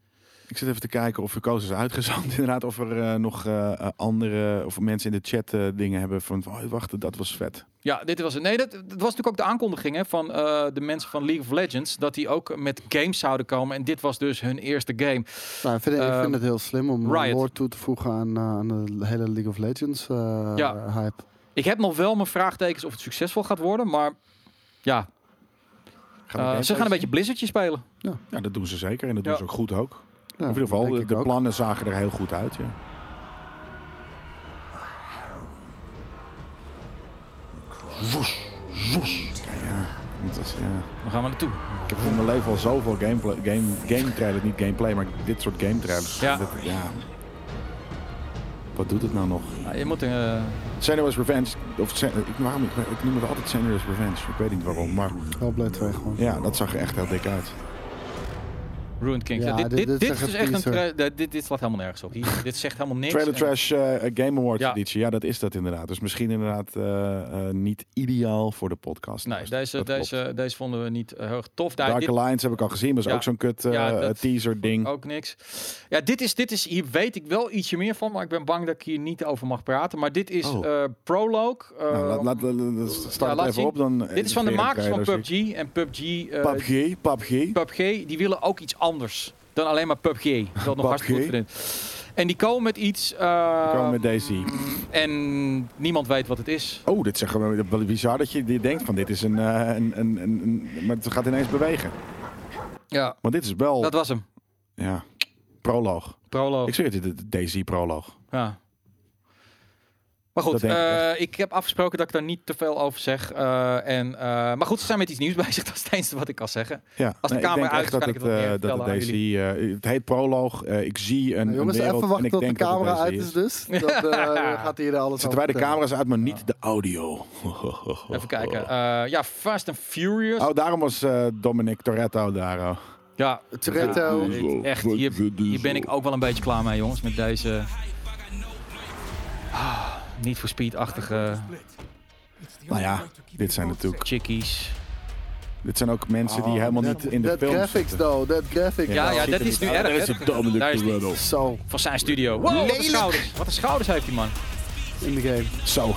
Speaker 3: Ik zit even te kijken of Verkoos is uitgezand. Inderdaad, of er eh, nog eh, eh, andere of mensen in de chat eh, dingen hebben van oh, wacht, dat was vet.
Speaker 2: Ja, dit was het. Nee, dat, dat was natuurlijk ook de aankondiging hè, van eh, de mensen van League of Legends. Dat die ook met games zouden komen. En dit was dus hun eerste game.
Speaker 1: Nou, ik, vind, ik
Speaker 2: Ehm,
Speaker 1: vind het heel slim om
Speaker 2: Riot.
Speaker 1: Lord toe te voegen aan, eh, aan de hele League of Legends eh,
Speaker 2: Ja.
Speaker 1: hype.
Speaker 2: Ik heb nog wel mijn vraagtekens of het succesvol gaat worden. Maar ja,
Speaker 3: Gaan we
Speaker 2: eh,
Speaker 3: gameplay
Speaker 2: ze gaan een beetje
Speaker 3: zien?
Speaker 2: Blizzardje spelen.
Speaker 3: Ja, dat doen ze zeker en dat
Speaker 2: Ja.
Speaker 3: doen ze ook goed ook.
Speaker 1: Ja,
Speaker 3: in ieder geval,
Speaker 1: denk
Speaker 3: de,
Speaker 1: ik
Speaker 3: de
Speaker 1: ook.
Speaker 3: plannen zagen er heel goed uit. Ja. Woes, woes. Ja, dat is, ja.
Speaker 2: Dan gaan we naartoe.
Speaker 3: Ik heb in mijn leven al zoveel gameplay, game, game trailers, niet gameplay, maar dit soort game trailers.
Speaker 2: Ja.
Speaker 3: Dat- ja. Wat doet het nou nog?
Speaker 2: Nou, je moet een. eh,
Speaker 3: Senua's Revenge. Of Sen- ik, waarom, ik, ik noem het altijd Senua's Revenge. Ik weet niet waarom. Maar
Speaker 1: Hellblade 2 gewoon.
Speaker 3: ja, dat zag er echt heel dik uit.
Speaker 2: Ruined Kings.
Speaker 1: Ja,
Speaker 2: Ja, dit,
Speaker 1: dit-
Speaker 2: dit,
Speaker 1: dit
Speaker 2: dit,
Speaker 1: is
Speaker 2: is dus
Speaker 1: echt
Speaker 2: echt een.
Speaker 1: een
Speaker 2: tra- dit- dit, dit slaat helemaal nergens op. Hier, dit zegt helemaal niks.
Speaker 3: Trailer
Speaker 2: En-
Speaker 3: Trash eh, Game Awards
Speaker 2: Ja.
Speaker 3: editie. Ja, dat is dat inderdaad. Dus misschien inderdaad eh, eh, niet ideaal voor de podcast.
Speaker 2: Nee, deze,
Speaker 3: Dat klopt.
Speaker 2: deze, deze vonden we niet eh, heel erg tof. Daar,
Speaker 3: Dark
Speaker 2: dit-
Speaker 3: Alliance heb ik al gezien. was
Speaker 2: Ja.
Speaker 3: ook zo'n kut eh,
Speaker 2: Ja, dat- Oh.
Speaker 3: teaser ding.
Speaker 2: Ook niks. Ja, dit is, dit is, hier weet ik wel ietsje meer van, maar ik ben bang dat ik hier niet over mag praten. Maar dit is
Speaker 3: Oh.
Speaker 2: eh, Prologue. eh,
Speaker 3: nou, laat, laat, laat- laat-
Speaker 2: ja,
Speaker 3: start
Speaker 2: laat
Speaker 3: het even
Speaker 2: zien.
Speaker 3: op. Dan eh,
Speaker 2: dit is van de
Speaker 3: weer een
Speaker 2: makers van
Speaker 3: trailer,
Speaker 2: PUBG. En PUBG, eh,
Speaker 3: zie ik. PUBG, PUBG.
Speaker 2: PUBG, die willen ook iets anders dan alleen maar PUBG. Dat nog hartstikke goed vindt. En die komen met iets. eh,
Speaker 3: Komen met Daisy.
Speaker 2: En niemand weet wat het is.
Speaker 3: Oh, dit zeggen we wel bizar dat je dit denkt van dit is een, eh, een, een, een, een- maar het gaat ineens bewegen.
Speaker 2: Ja,
Speaker 3: Want dit is wel
Speaker 2: dat was hem.
Speaker 3: ja, proloog.
Speaker 2: Prologue.
Speaker 3: Ik zeg het, dit is Daisy proloog.
Speaker 2: Ja. Maar goed,
Speaker 3: Dat denk ik
Speaker 2: eh, ik, heb afgesproken dat ik daar niet te veel over zeg. eh, en, eh, maar goed, ze zijn met iets nieuws bezig. Dat is het enige wat ik kan zeggen.
Speaker 3: Ja,
Speaker 2: Als de
Speaker 3: nee, ik
Speaker 2: camera
Speaker 3: denk
Speaker 2: uit
Speaker 3: echt
Speaker 2: is,
Speaker 3: dat
Speaker 2: kan ik
Speaker 3: het,
Speaker 2: het wat meer
Speaker 3: eh, dat
Speaker 2: vertellen
Speaker 3: het
Speaker 2: aan
Speaker 3: Daisy, eh, het heet proloog. eh, ik zie een,
Speaker 1: Nou, jongens,
Speaker 3: een
Speaker 1: even
Speaker 3: wereld en
Speaker 1: wachten
Speaker 3: ik
Speaker 1: tot de
Speaker 3: denk dat het
Speaker 1: camera
Speaker 3: Daisy
Speaker 1: uit is, dus. Dan eh, gaat hij er alles
Speaker 3: Zetten wij de
Speaker 1: vertellen.
Speaker 3: camera's uit, maar niet de audio.
Speaker 2: Even kijken. Eh, ja, Fast and Furious.
Speaker 3: Oh, daarom was eh, Dominic Toretto daar. oh.
Speaker 2: Ja,
Speaker 1: Toretto.
Speaker 2: ja, ik- echt, hier,
Speaker 3: dus
Speaker 2: hier ben ik ook wel een beetje klaar mee, jongens. Met deze... Ah, niet voor speed-achtige
Speaker 3: Nou ja, dit zijn natuurlijk.
Speaker 2: chickies.
Speaker 3: Dit zijn ook mensen die helemaal niet in de
Speaker 1: Dat
Speaker 3: film
Speaker 1: Oh, graphics, though. Dat graphics.
Speaker 2: Ja,
Speaker 3: dat
Speaker 2: ja,
Speaker 3: ziet
Speaker 2: dat
Speaker 3: er
Speaker 2: is nu
Speaker 3: niet uit.
Speaker 2: erg.
Speaker 3: Daar is
Speaker 2: hè.
Speaker 3: het Dominic
Speaker 2: Daar is die-
Speaker 3: Toretto.
Speaker 1: Zo,
Speaker 2: Van zijn studio. Wow, wat een schouders. Wat een schouders heeft die man. Oh
Speaker 1: in de game.
Speaker 3: Zo.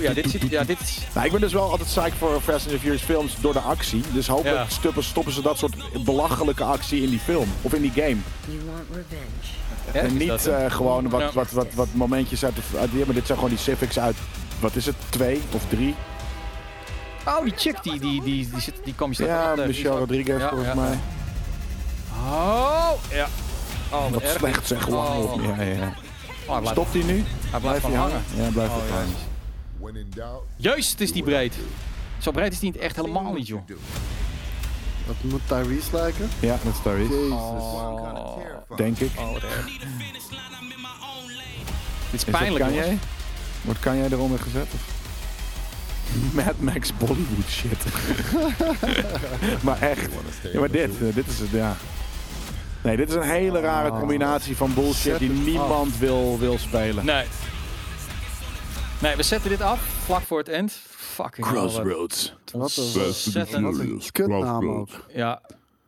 Speaker 2: Ja, dit zit... Ja, dit is...
Speaker 3: Nou, ik ben dus wel altijd psych voor Fast and the Furious films door de actie. Dus hopelijk
Speaker 2: Ja.
Speaker 3: stuppen- stoppen ze dat soort belachelijke actie in die film. Of in die game.
Speaker 2: erg
Speaker 3: En
Speaker 2: is
Speaker 3: niet
Speaker 2: dat, hè.
Speaker 3: eh, gewoon wat,
Speaker 2: Ja.
Speaker 3: wat, wat, wat momentjes uit de... Uit, die- maar dit zijn gewoon die civics uit... Wat is het? Twee of drie?
Speaker 2: Oh, die chick, die, die, die, die, zit, die kwam je straks
Speaker 3: Ja,
Speaker 2: achter. Die
Speaker 3: Michelle
Speaker 2: eh, is ook-
Speaker 3: Rodriguez
Speaker 2: Ja,
Speaker 3: volgens
Speaker 2: ja.
Speaker 3: mij.
Speaker 2: Oh, ja. Oh,
Speaker 3: Wat
Speaker 2: erg.
Speaker 3: slecht zeg.
Speaker 2: Oh.
Speaker 3: Wow. Ja, ja.
Speaker 2: Oh, hij blijft,
Speaker 3: Stopt hij nu?
Speaker 2: Hij blijft
Speaker 3: Blijft
Speaker 2: gewoon
Speaker 3: hij
Speaker 2: hangen. Oh,
Speaker 3: hangen? Ja, blijft hij hangen.
Speaker 5: When in doubt,
Speaker 2: Juist, het is die breed. Zo breed is die niet echt helemaal niet, joh.
Speaker 1: Dat moet Tyrese lijken.
Speaker 3: Ja, dat is Tyrese.
Speaker 1: Jezus.
Speaker 3: Denk ik.
Speaker 2: Oh, wat erg. Dit is
Speaker 3: Is dat
Speaker 2: pijnlijk,
Speaker 3: Kanye?
Speaker 2: jongens.
Speaker 3: Wordt Kanye eronder gezet? of? Mad Max Bollywood shit. maar echt. Ja, maar dit, eh, dit is het, ja. Nee, dit is een hele rare combinatie van bullshit
Speaker 1: Zet
Speaker 3: die
Speaker 1: het af.
Speaker 3: niemand wil, wil spelen.
Speaker 2: Nee. Nee, we zetten dit af, vlak voor het eind. Fucking hell, wat
Speaker 3: Crossroads.
Speaker 1: Wat een
Speaker 2: ontzettend.
Speaker 1: wat een kutnaam ook.
Speaker 2: Ja,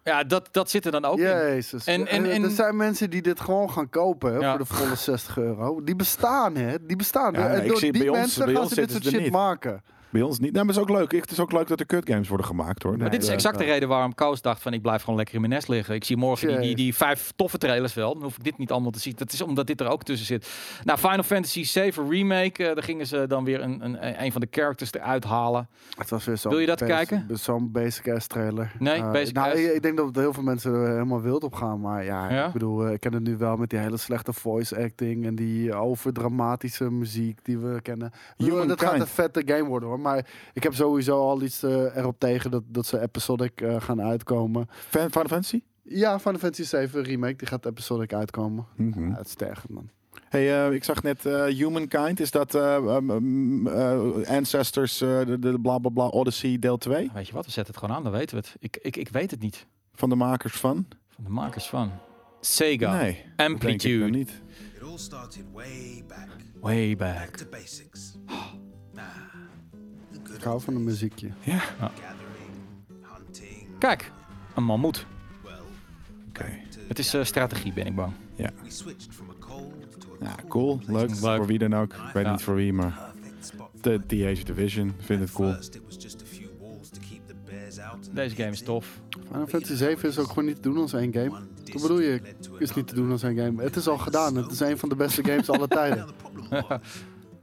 Speaker 2: ja dat, dat zit er dan ook in.
Speaker 1: Jezus.
Speaker 2: En-
Speaker 1: En,
Speaker 2: en- en-
Speaker 1: er zijn mensen die dit gewoon gaan kopen hè,
Speaker 2: Ja.
Speaker 1: voor de volle 60 euro. Die bestaan, hè? Die bestaan.
Speaker 3: Ja,
Speaker 1: hè.
Speaker 3: ik
Speaker 1: en door
Speaker 3: zie
Speaker 1: die
Speaker 3: bij ons-
Speaker 1: mensen
Speaker 3: bij
Speaker 1: gaan
Speaker 3: ons
Speaker 1: ze dit
Speaker 3: zitten
Speaker 1: soort
Speaker 3: ze
Speaker 1: shit
Speaker 3: er niet.
Speaker 1: maken.
Speaker 3: Bij ons niet. Nou, maar het is ook leuk. Het is ook leuk dat er kutgames worden gemaakt, hoor. eh,
Speaker 2: Maar dit is
Speaker 1: Nee,
Speaker 2: exact de
Speaker 1: nee.
Speaker 2: reden waarom Koos dacht van ik blijf gewoon lekker in mijn nest liggen. Ik zie morgen die, die, die vijf toffe trailers wel. Dan hoef ik dit niet allemaal te zien. Dat is omdat dit er ook tussen zit. Nou, Final Fantasy VII Remake. eh, daar gingen ze dan weer een, een, een van de characters eruit halen.
Speaker 1: Het was weer zo'n
Speaker 2: Wil je dat
Speaker 1: bas-
Speaker 2: kijken?
Speaker 1: Zo'n basic ass trailer.
Speaker 2: Nee,
Speaker 1: Eh,
Speaker 2: basic
Speaker 1: nou,
Speaker 2: ass.
Speaker 1: Ik, ik denk dat er heel veel mensen er helemaal wild op gaan. Maar ja,
Speaker 2: Ja?
Speaker 1: ik bedoel, eh, ik ken het nu wel met die hele slechte voice acting en die overdramatische muziek die we kennen. Ik bedoel,
Speaker 3: Humankind.
Speaker 1: Dat gaat een vette game worden hoor. Maar ik heb sowieso al iets eh, erop tegen dat, dat ze episodic eh, gaan uitkomen.
Speaker 3: Fan- Final Fantasy?
Speaker 1: Ja, Final Fantasy 7 remake, die gaat episodic uitkomen.
Speaker 3: Mhm.
Speaker 1: Ja, het is te erg, man.
Speaker 3: Hey, eh, ik zag net eh, Humankind. Is dat eh, um, um, eh, Ancestors, eh, de, de bla bla bla Odyssey deel 2?
Speaker 2: Weet je wat, we zetten het gewoon aan, dan weten we het. Ik, ik, ik weet het niet.
Speaker 3: Van de makers van?
Speaker 2: Van de makers van. Sega.
Speaker 3: Nee. dat denk ik nog
Speaker 2: Amplitude.
Speaker 3: niet.
Speaker 12: It all started way back.
Speaker 2: Way back.
Speaker 12: Back to basics. Ah, the good
Speaker 1: Ik hou
Speaker 12: old
Speaker 1: van een
Speaker 12: days.
Speaker 1: muziekje.
Speaker 3: Ja.
Speaker 12: Gathering, hunting.
Speaker 2: Kijk, een mammoet.
Speaker 12: Well,
Speaker 3: Oké.
Speaker 2: Het is eh, strategie, ben ik bang.
Speaker 12: we switched from a cold to a
Speaker 3: Ja,
Speaker 12: cool
Speaker 3: cool. Leuk.
Speaker 2: Leuk.
Speaker 3: Voor wie dan ook. Ik weet
Speaker 2: Ja.
Speaker 3: niet voor wie, maar...
Speaker 12: perfect spot for
Speaker 3: De
Speaker 12: hunting.
Speaker 3: TH Division. Vind het cool.
Speaker 12: First, it was just a few walls to keep the bears out and
Speaker 2: Deze
Speaker 12: the
Speaker 2: game is
Speaker 12: pigs in.
Speaker 2: tof.
Speaker 1: Final Fantasy 7 is ook gewoon niet te doen als één game. Wat bedoel je? Is niet te doen als één game. Het is al gedaan. Het is een van de beste games aller tijden.
Speaker 12: Now, the problem was,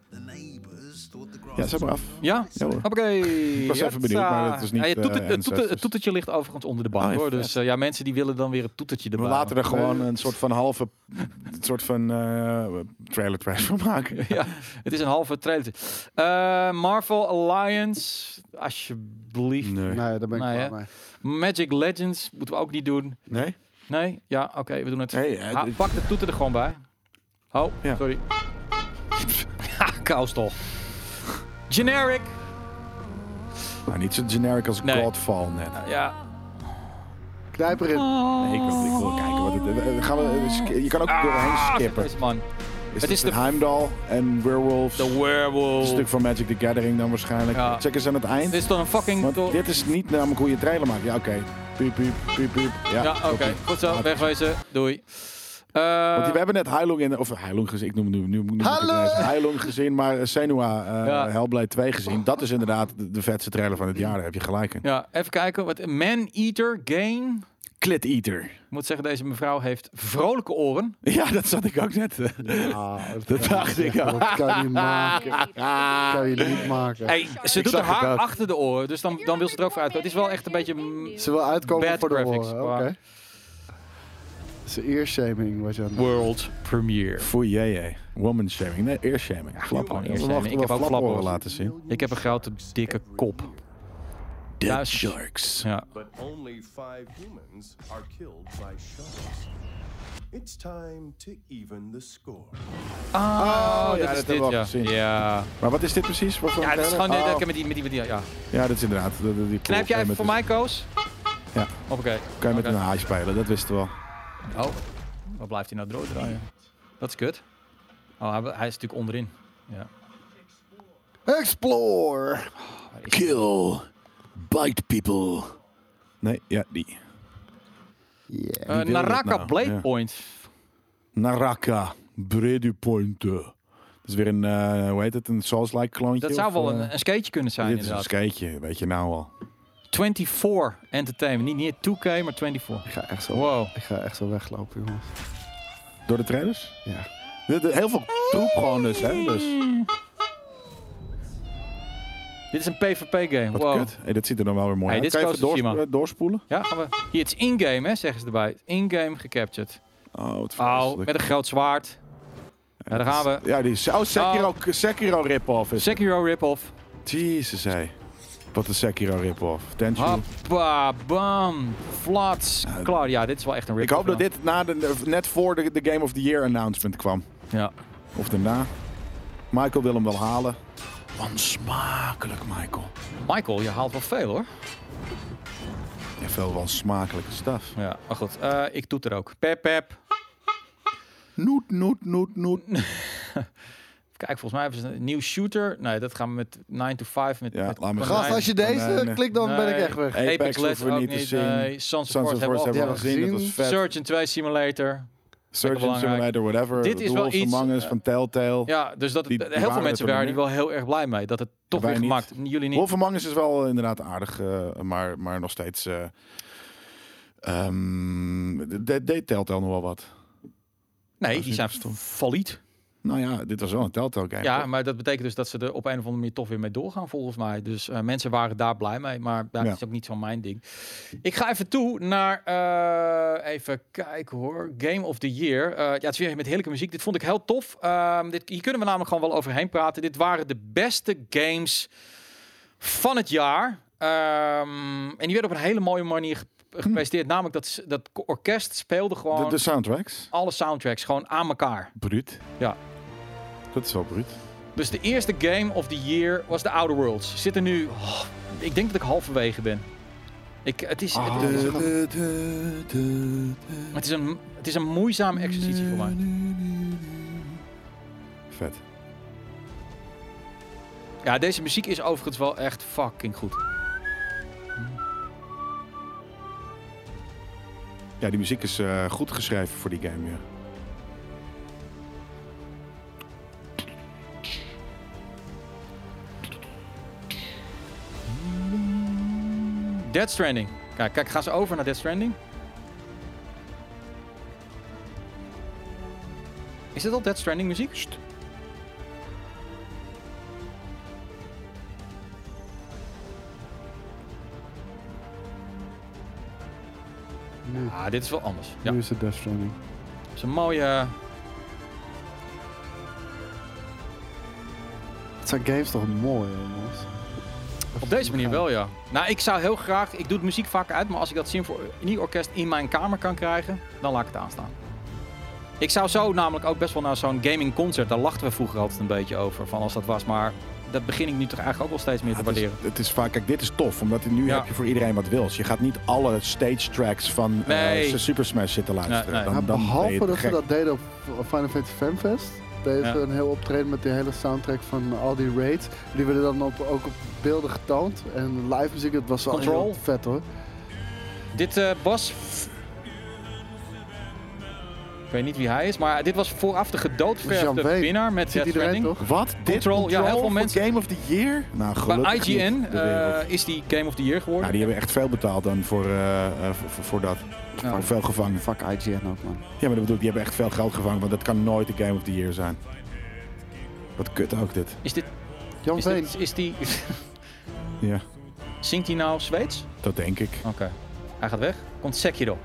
Speaker 12: the neighbors thought the grass
Speaker 3: Ja, zet maar af.
Speaker 2: Ja?
Speaker 3: Ja, hoor.
Speaker 2: Hoppakee. Ik
Speaker 3: was even benieuwd, maar het is niet,
Speaker 2: het, toeter- het,
Speaker 3: eh,
Speaker 2: toeter- het
Speaker 3: ancestors.
Speaker 2: toetertje ligt overigens onder de bank,
Speaker 3: Oh, ja,
Speaker 2: hoor.
Speaker 3: vet.
Speaker 2: Dus eh, ja, mensen die willen dan weer het toetertje
Speaker 3: We
Speaker 2: erbij.
Speaker 3: laten er gewoon
Speaker 1: Nee.
Speaker 3: een soort van halve... Een soort van eh, trailer trash van maken.
Speaker 2: ja, het is een halve trailer. Eh, Marvel Alliance, alsjeblieft.
Speaker 3: Nee.
Speaker 1: Nee, daar ben ik
Speaker 2: Nee,
Speaker 1: klaar
Speaker 2: hè?
Speaker 1: mee.
Speaker 2: Magic Legends moeten we ook niet doen.
Speaker 3: Nee?
Speaker 2: Nee? Ja, oké, we doen het.
Speaker 3: Nee, eh,
Speaker 2: Ha,
Speaker 3: dit-
Speaker 2: pak de toeter er gewoon bij. Oh, sorry. Ha, kous toch. Generic.
Speaker 3: Nou, niet zo generic als
Speaker 2: Nee.
Speaker 3: Godfall net.
Speaker 2: Ja.
Speaker 1: Knijp erin.
Speaker 3: Nee, ik wil, ik wil kijken wat het eh, gaan we, eh, sk- Je kan ook doorheen skippen.
Speaker 2: Man.
Speaker 3: Is
Speaker 2: Ah. Het
Speaker 3: het
Speaker 2: is
Speaker 3: is
Speaker 2: de-
Speaker 3: Heimdall en Werewolves.
Speaker 2: The
Speaker 3: Een
Speaker 2: werewolf.
Speaker 3: stuk van Magic the Gathering dan waarschijnlijk.
Speaker 2: Ja.
Speaker 3: Check eens aan het eind.
Speaker 2: Dit is toch een fucking...
Speaker 3: Want dit is niet namelijk hoe je trailer maakt. Ja, oké. Piep, piep, piep, piep. Ja,
Speaker 2: Ja, oké.
Speaker 3: oké.
Speaker 2: Goed zo. Wegwezen. Doei. Eh,
Speaker 3: Want we hebben net Heilung en of Heilung gezien. Ik noem het nu, nu, nu
Speaker 2: Hallo!
Speaker 3: Heilung gezien, maar eh, Senua eh
Speaker 2: Ja.
Speaker 3: Hellblade 2 gezien. Dat is inderdaad de, de vetste trailer van het jaar. Daar heb je gelijk in.
Speaker 2: Ja, even kijken. Wat Man Eater Gain.
Speaker 3: Clit Eater.
Speaker 2: Ik moet zeggen, deze mevrouw heeft vrolijke oren.
Speaker 3: Ja, dat zat ik ook net. dat dacht ik al.
Speaker 1: Dat Ah, kan je niet maken. Dat kan je niet maken.
Speaker 2: Ah, Hey, ze
Speaker 3: Ik
Speaker 2: doet
Speaker 3: zag
Speaker 2: haar haar
Speaker 3: het ook.
Speaker 2: achter de oren, dus dan, dan wil ze er ook voor uitkomen. Het is wel echt een beetje... mm,
Speaker 1: Ze wil uitkomen
Speaker 2: Bad
Speaker 1: voor de
Speaker 2: graphics,
Speaker 1: oren.
Speaker 2: qua-
Speaker 1: Oké. Dat is de earshaming wat je aan het doen
Speaker 2: World premiere.
Speaker 3: Voor jij, woman shaming. Nee, ear shaming. Flappen.
Speaker 2: eerst zijn.
Speaker 3: We wachten
Speaker 2: Ik heb
Speaker 3: wel
Speaker 2: ook
Speaker 3: flaporen
Speaker 2: flappen
Speaker 3: laten zien. Oh,
Speaker 2: Ik heb een grote, dikke kop. Oh,
Speaker 3: Dead
Speaker 2: Luister.
Speaker 3: sharks.
Speaker 2: Ja.
Speaker 5: But only five humans are killed by sharks. It's time to even the score.
Speaker 2: Oh,
Speaker 3: ja,
Speaker 2: dat
Speaker 3: dat
Speaker 2: is
Speaker 3: hebben we
Speaker 2: dit,
Speaker 3: al
Speaker 2: ja.
Speaker 3: gezien.
Speaker 2: Ja,
Speaker 3: Maar wat is dit precies? Wat voor
Speaker 2: ja dat is
Speaker 3: trailer?
Speaker 2: gewoon... dit-
Speaker 3: Oh.
Speaker 2: dat- Met die, met die, met die, ja.
Speaker 3: Ja, dat is inderdaad. de- de- die
Speaker 2: Knijp jij
Speaker 3: kan je
Speaker 2: even
Speaker 3: met
Speaker 2: voor
Speaker 3: een-
Speaker 2: mij, Koos?
Speaker 3: Ja,
Speaker 2: Hoppakee.
Speaker 3: kan je met
Speaker 2: Oké.
Speaker 3: een haai spelen, dat wisten we al.
Speaker 2: Oh, wat blijft hij nou doordraaien? Dat is kut. Oh, hij, hij is natuurlijk onderin.
Speaker 3: Eh,
Speaker 2: Ja.
Speaker 1: Explore!
Speaker 3: Kill. Bite people. Nee, ja, die.
Speaker 2: Eh,
Speaker 3: wil
Speaker 2: Naraka
Speaker 3: dat nou?
Speaker 2: Blade
Speaker 3: Ja.
Speaker 2: Point.
Speaker 3: Naraka. Brady Pointe. Dat is weer een, eh, hoe heet het, een Souls-like kloontje?
Speaker 2: Dat zou
Speaker 3: of,
Speaker 2: wel
Speaker 3: eh,
Speaker 2: een, een skateje kunnen zijn,
Speaker 3: Dit is een
Speaker 2: inderdaad.
Speaker 3: skateje, weet je nou al.
Speaker 2: 24 Entertainment. Niet, niet 2K, maar 24.
Speaker 1: Ik ga echt zo,
Speaker 2: Wow.
Speaker 1: ik ga echt zo weglopen, jongens.
Speaker 3: Door de trailers?
Speaker 1: Ja.
Speaker 3: De- de- Heel veel troep gewoon dus, hè. Dus,
Speaker 2: Dit is een PvP-game.
Speaker 3: wat
Speaker 2: Wow.
Speaker 3: kut. Hey, dat ziet er dan wel weer mooi
Speaker 2: Hey,
Speaker 3: uit.
Speaker 2: dit is
Speaker 3: Kan je even
Speaker 2: Ghost of
Speaker 3: doorsp-
Speaker 2: Tsushima.
Speaker 3: eh, doorspoelen?
Speaker 2: Ja, gaan we... Hier, het is in-game, hè, zeggen ze erbij. In-game gecaptured.
Speaker 3: Oh, wat
Speaker 2: Oh,
Speaker 3: vreselijk.
Speaker 2: met een groot zwaard. Ja, daar gaan we.
Speaker 3: Ja, die is... Oh, Sekiro, Sekiro rip-off is het.
Speaker 2: Sekiro rip-off.
Speaker 3: Jezus, hé. Wat een Sekiro rip-off. Tenshu.
Speaker 2: Hoppa, bam, flats. Klaar, ja, dit is wel echt een
Speaker 3: Ik
Speaker 2: rip-off. nou.
Speaker 3: hoop dat dit na de, net voor de, de Game of the Year announcement kwam.
Speaker 2: Ja.
Speaker 3: Of daarna. Michael wil hem wel halen. Wansmakelijk, Michael.
Speaker 2: Michael, je haalt wel veel, hoor.
Speaker 3: Ja, veel wansmakelijke stuff.
Speaker 2: Ja, maar goed, eh, ik doe het er ook. Pep, pep.
Speaker 3: Noet, noet, noet, noet.
Speaker 2: Kijk, volgens mij hebben ze een nieuw shooter. Nee, dat gaan we met 9 to 5. Met,
Speaker 3: Ja,
Speaker 2: met
Speaker 3: laat maar
Speaker 1: Gast,
Speaker 3: gaan.
Speaker 1: als je deze
Speaker 3: Nee, nee.
Speaker 1: klikt, dan ben ik echt weg.
Speaker 2: Apex,
Speaker 3: Apex
Speaker 2: Legends
Speaker 3: hoeven we
Speaker 2: ook
Speaker 3: niet te
Speaker 2: niet.
Speaker 3: zien.
Speaker 2: Nee, Sons of
Speaker 3: Sons
Speaker 2: Forth
Speaker 3: of
Speaker 2: hebben we
Speaker 3: Force
Speaker 2: al.
Speaker 3: hebben we
Speaker 1: Ja,
Speaker 3: al gezien. Dat was
Speaker 1: gezien.
Speaker 3: vet.
Speaker 2: Surgeon 2 Simulator.
Speaker 3: Surgeon
Speaker 2: belangrijk.
Speaker 3: Simulator, whatever.
Speaker 2: Dit is wel
Speaker 3: Wolves
Speaker 2: iets,
Speaker 3: Among Us
Speaker 2: eh,
Speaker 3: van Telltale.
Speaker 2: Ja, dus dat het,
Speaker 3: Die- die
Speaker 2: heel veel
Speaker 3: waren
Speaker 2: mensen
Speaker 3: er
Speaker 2: waren
Speaker 3: toen
Speaker 2: hier wel heel erg blij mee. Dat het toch
Speaker 3: wij
Speaker 2: weer
Speaker 3: niet.
Speaker 2: gemaakt. Jullie niet.
Speaker 3: Wolf Among Us is wel inderdaad aardig, eh, maar, maar nog steeds... eh ehm, de- de- deed Telltale nog wel wat.
Speaker 2: nee, die
Speaker 3: niet
Speaker 2: zijn
Speaker 3: verstom.
Speaker 2: failliet.
Speaker 3: Nou ja, dit was wel een Telltale game.
Speaker 2: Ja, maar dat betekent dus dat ze er op een of andere manier toch weer mee doorgaan, volgens mij. Dus eh, mensen waren daar blij mee, maar dat
Speaker 3: Ja.
Speaker 2: is ook niet van mijn ding. Ik ga even toe naar, eh, even kijken hoor, Game of the Year. Eh, ja, het is weer met heerlijke muziek. Dit vond ik heel tof. Ehm, dit, hier kunnen we namelijk gewoon wel overheen praten. Dit waren de beste games van het jaar. Ehm, en die werden op een hele mooie manier gep- gepresenteerd. Namelijk dat, s- dat orkest speelde gewoon
Speaker 3: De, de soundtracks.
Speaker 2: alle soundtracks gewoon aan elkaar.
Speaker 3: Bruut.
Speaker 2: Ja.
Speaker 3: Dat is wel bruut.
Speaker 2: Dus de eerste game of the year was The Outer Worlds. Zit er nu... oh, ik denk dat ik halverwege ben. Ik, het, is, het,
Speaker 1: Ah.
Speaker 2: is, het, is een, het is een moeizame exercitie voor mij.
Speaker 3: Vet.
Speaker 2: Ja, deze muziek is overigens wel echt fucking goed.
Speaker 3: Ja, die muziek is eh, goed geschreven voor die game, ja.
Speaker 2: Dead Stranding. Kijk, kijk, gaan ze over naar Dead Stranding? Is dit al Dead Stranding muziek?
Speaker 1: Nu,
Speaker 2: Ah, dit is wel anders. Ja,
Speaker 1: nu is het Death Stranding.
Speaker 2: het is een mooie...
Speaker 1: Het zijn games toch mooi, hè, jongens.
Speaker 2: Op deze manier wel, ja. Nou, ik zou heel graag... Ik doe het muziek vaak uit, maar als ik dat symfonieorkest in mijn kamer kan krijgen, dan laat ik het aanstaan. Ik zou zo namelijk ook best wel naar zo'n gaming concert. Daar lachten we vroeger altijd een beetje over. Van als dat was. Maar dat begin ik nu toch eigenlijk ook wel steeds meer te waarderen.
Speaker 3: Het is, het is vaak, kijk, dit is tof, omdat nu
Speaker 2: Ja.
Speaker 3: heb je voor iedereen wat wils. Je gaat niet alle stage tracks van eh,
Speaker 2: Nee.
Speaker 3: Super Smash zitten luisteren.
Speaker 2: Nee, nee.
Speaker 3: Dan, dan ben
Speaker 1: Behalve
Speaker 3: je te
Speaker 1: dat ze
Speaker 3: gek.
Speaker 1: dat deden op Final Fantasy Fanfest. Deden
Speaker 2: Ja.
Speaker 1: ze een heel optreden met die hele soundtrack van al die raids. Die werden dan op, ook op beelden getoond. En live muziek, dat was wel
Speaker 2: Control.
Speaker 1: heel vet hoor.
Speaker 2: Dit eh, was. Ik weet niet wie hij is, maar dit was vooraf de
Speaker 1: Jean
Speaker 2: gedoodverfde
Speaker 1: Weet.
Speaker 2: winnaar met
Speaker 1: Ziet
Speaker 2: Death
Speaker 1: iedereen
Speaker 2: Stranding.
Speaker 1: toch?
Speaker 3: Wat? Dit
Speaker 2: Control, ja, heel veel
Speaker 3: voor
Speaker 2: mensen.
Speaker 3: Game of the Year? Nou,
Speaker 2: Bij
Speaker 3: gelukkig
Speaker 2: IGN
Speaker 3: niet, de wereld.
Speaker 2: eh, is die Game of the Year geworden.
Speaker 3: nou, die hebben echt veel betaald dan voor, eh, eh, voor, voor- voor dat.
Speaker 2: Ja.
Speaker 3: Voor veel gevangen.
Speaker 1: Fuck IGN ook man.
Speaker 3: Ja, maar dat bedoel ik, die hebben echt veel geld gevangen, want dat kan nooit de Game of the Year zijn. Wat kut ook dit.
Speaker 2: Is dit.
Speaker 1: Jan
Speaker 2: is,
Speaker 1: Veen.
Speaker 2: dit is die.
Speaker 3: Ja,
Speaker 2: Zingt hij nou Zweeds?
Speaker 3: dat denk ik.
Speaker 2: Oké. Hij gaat weg. Komt Sekiro.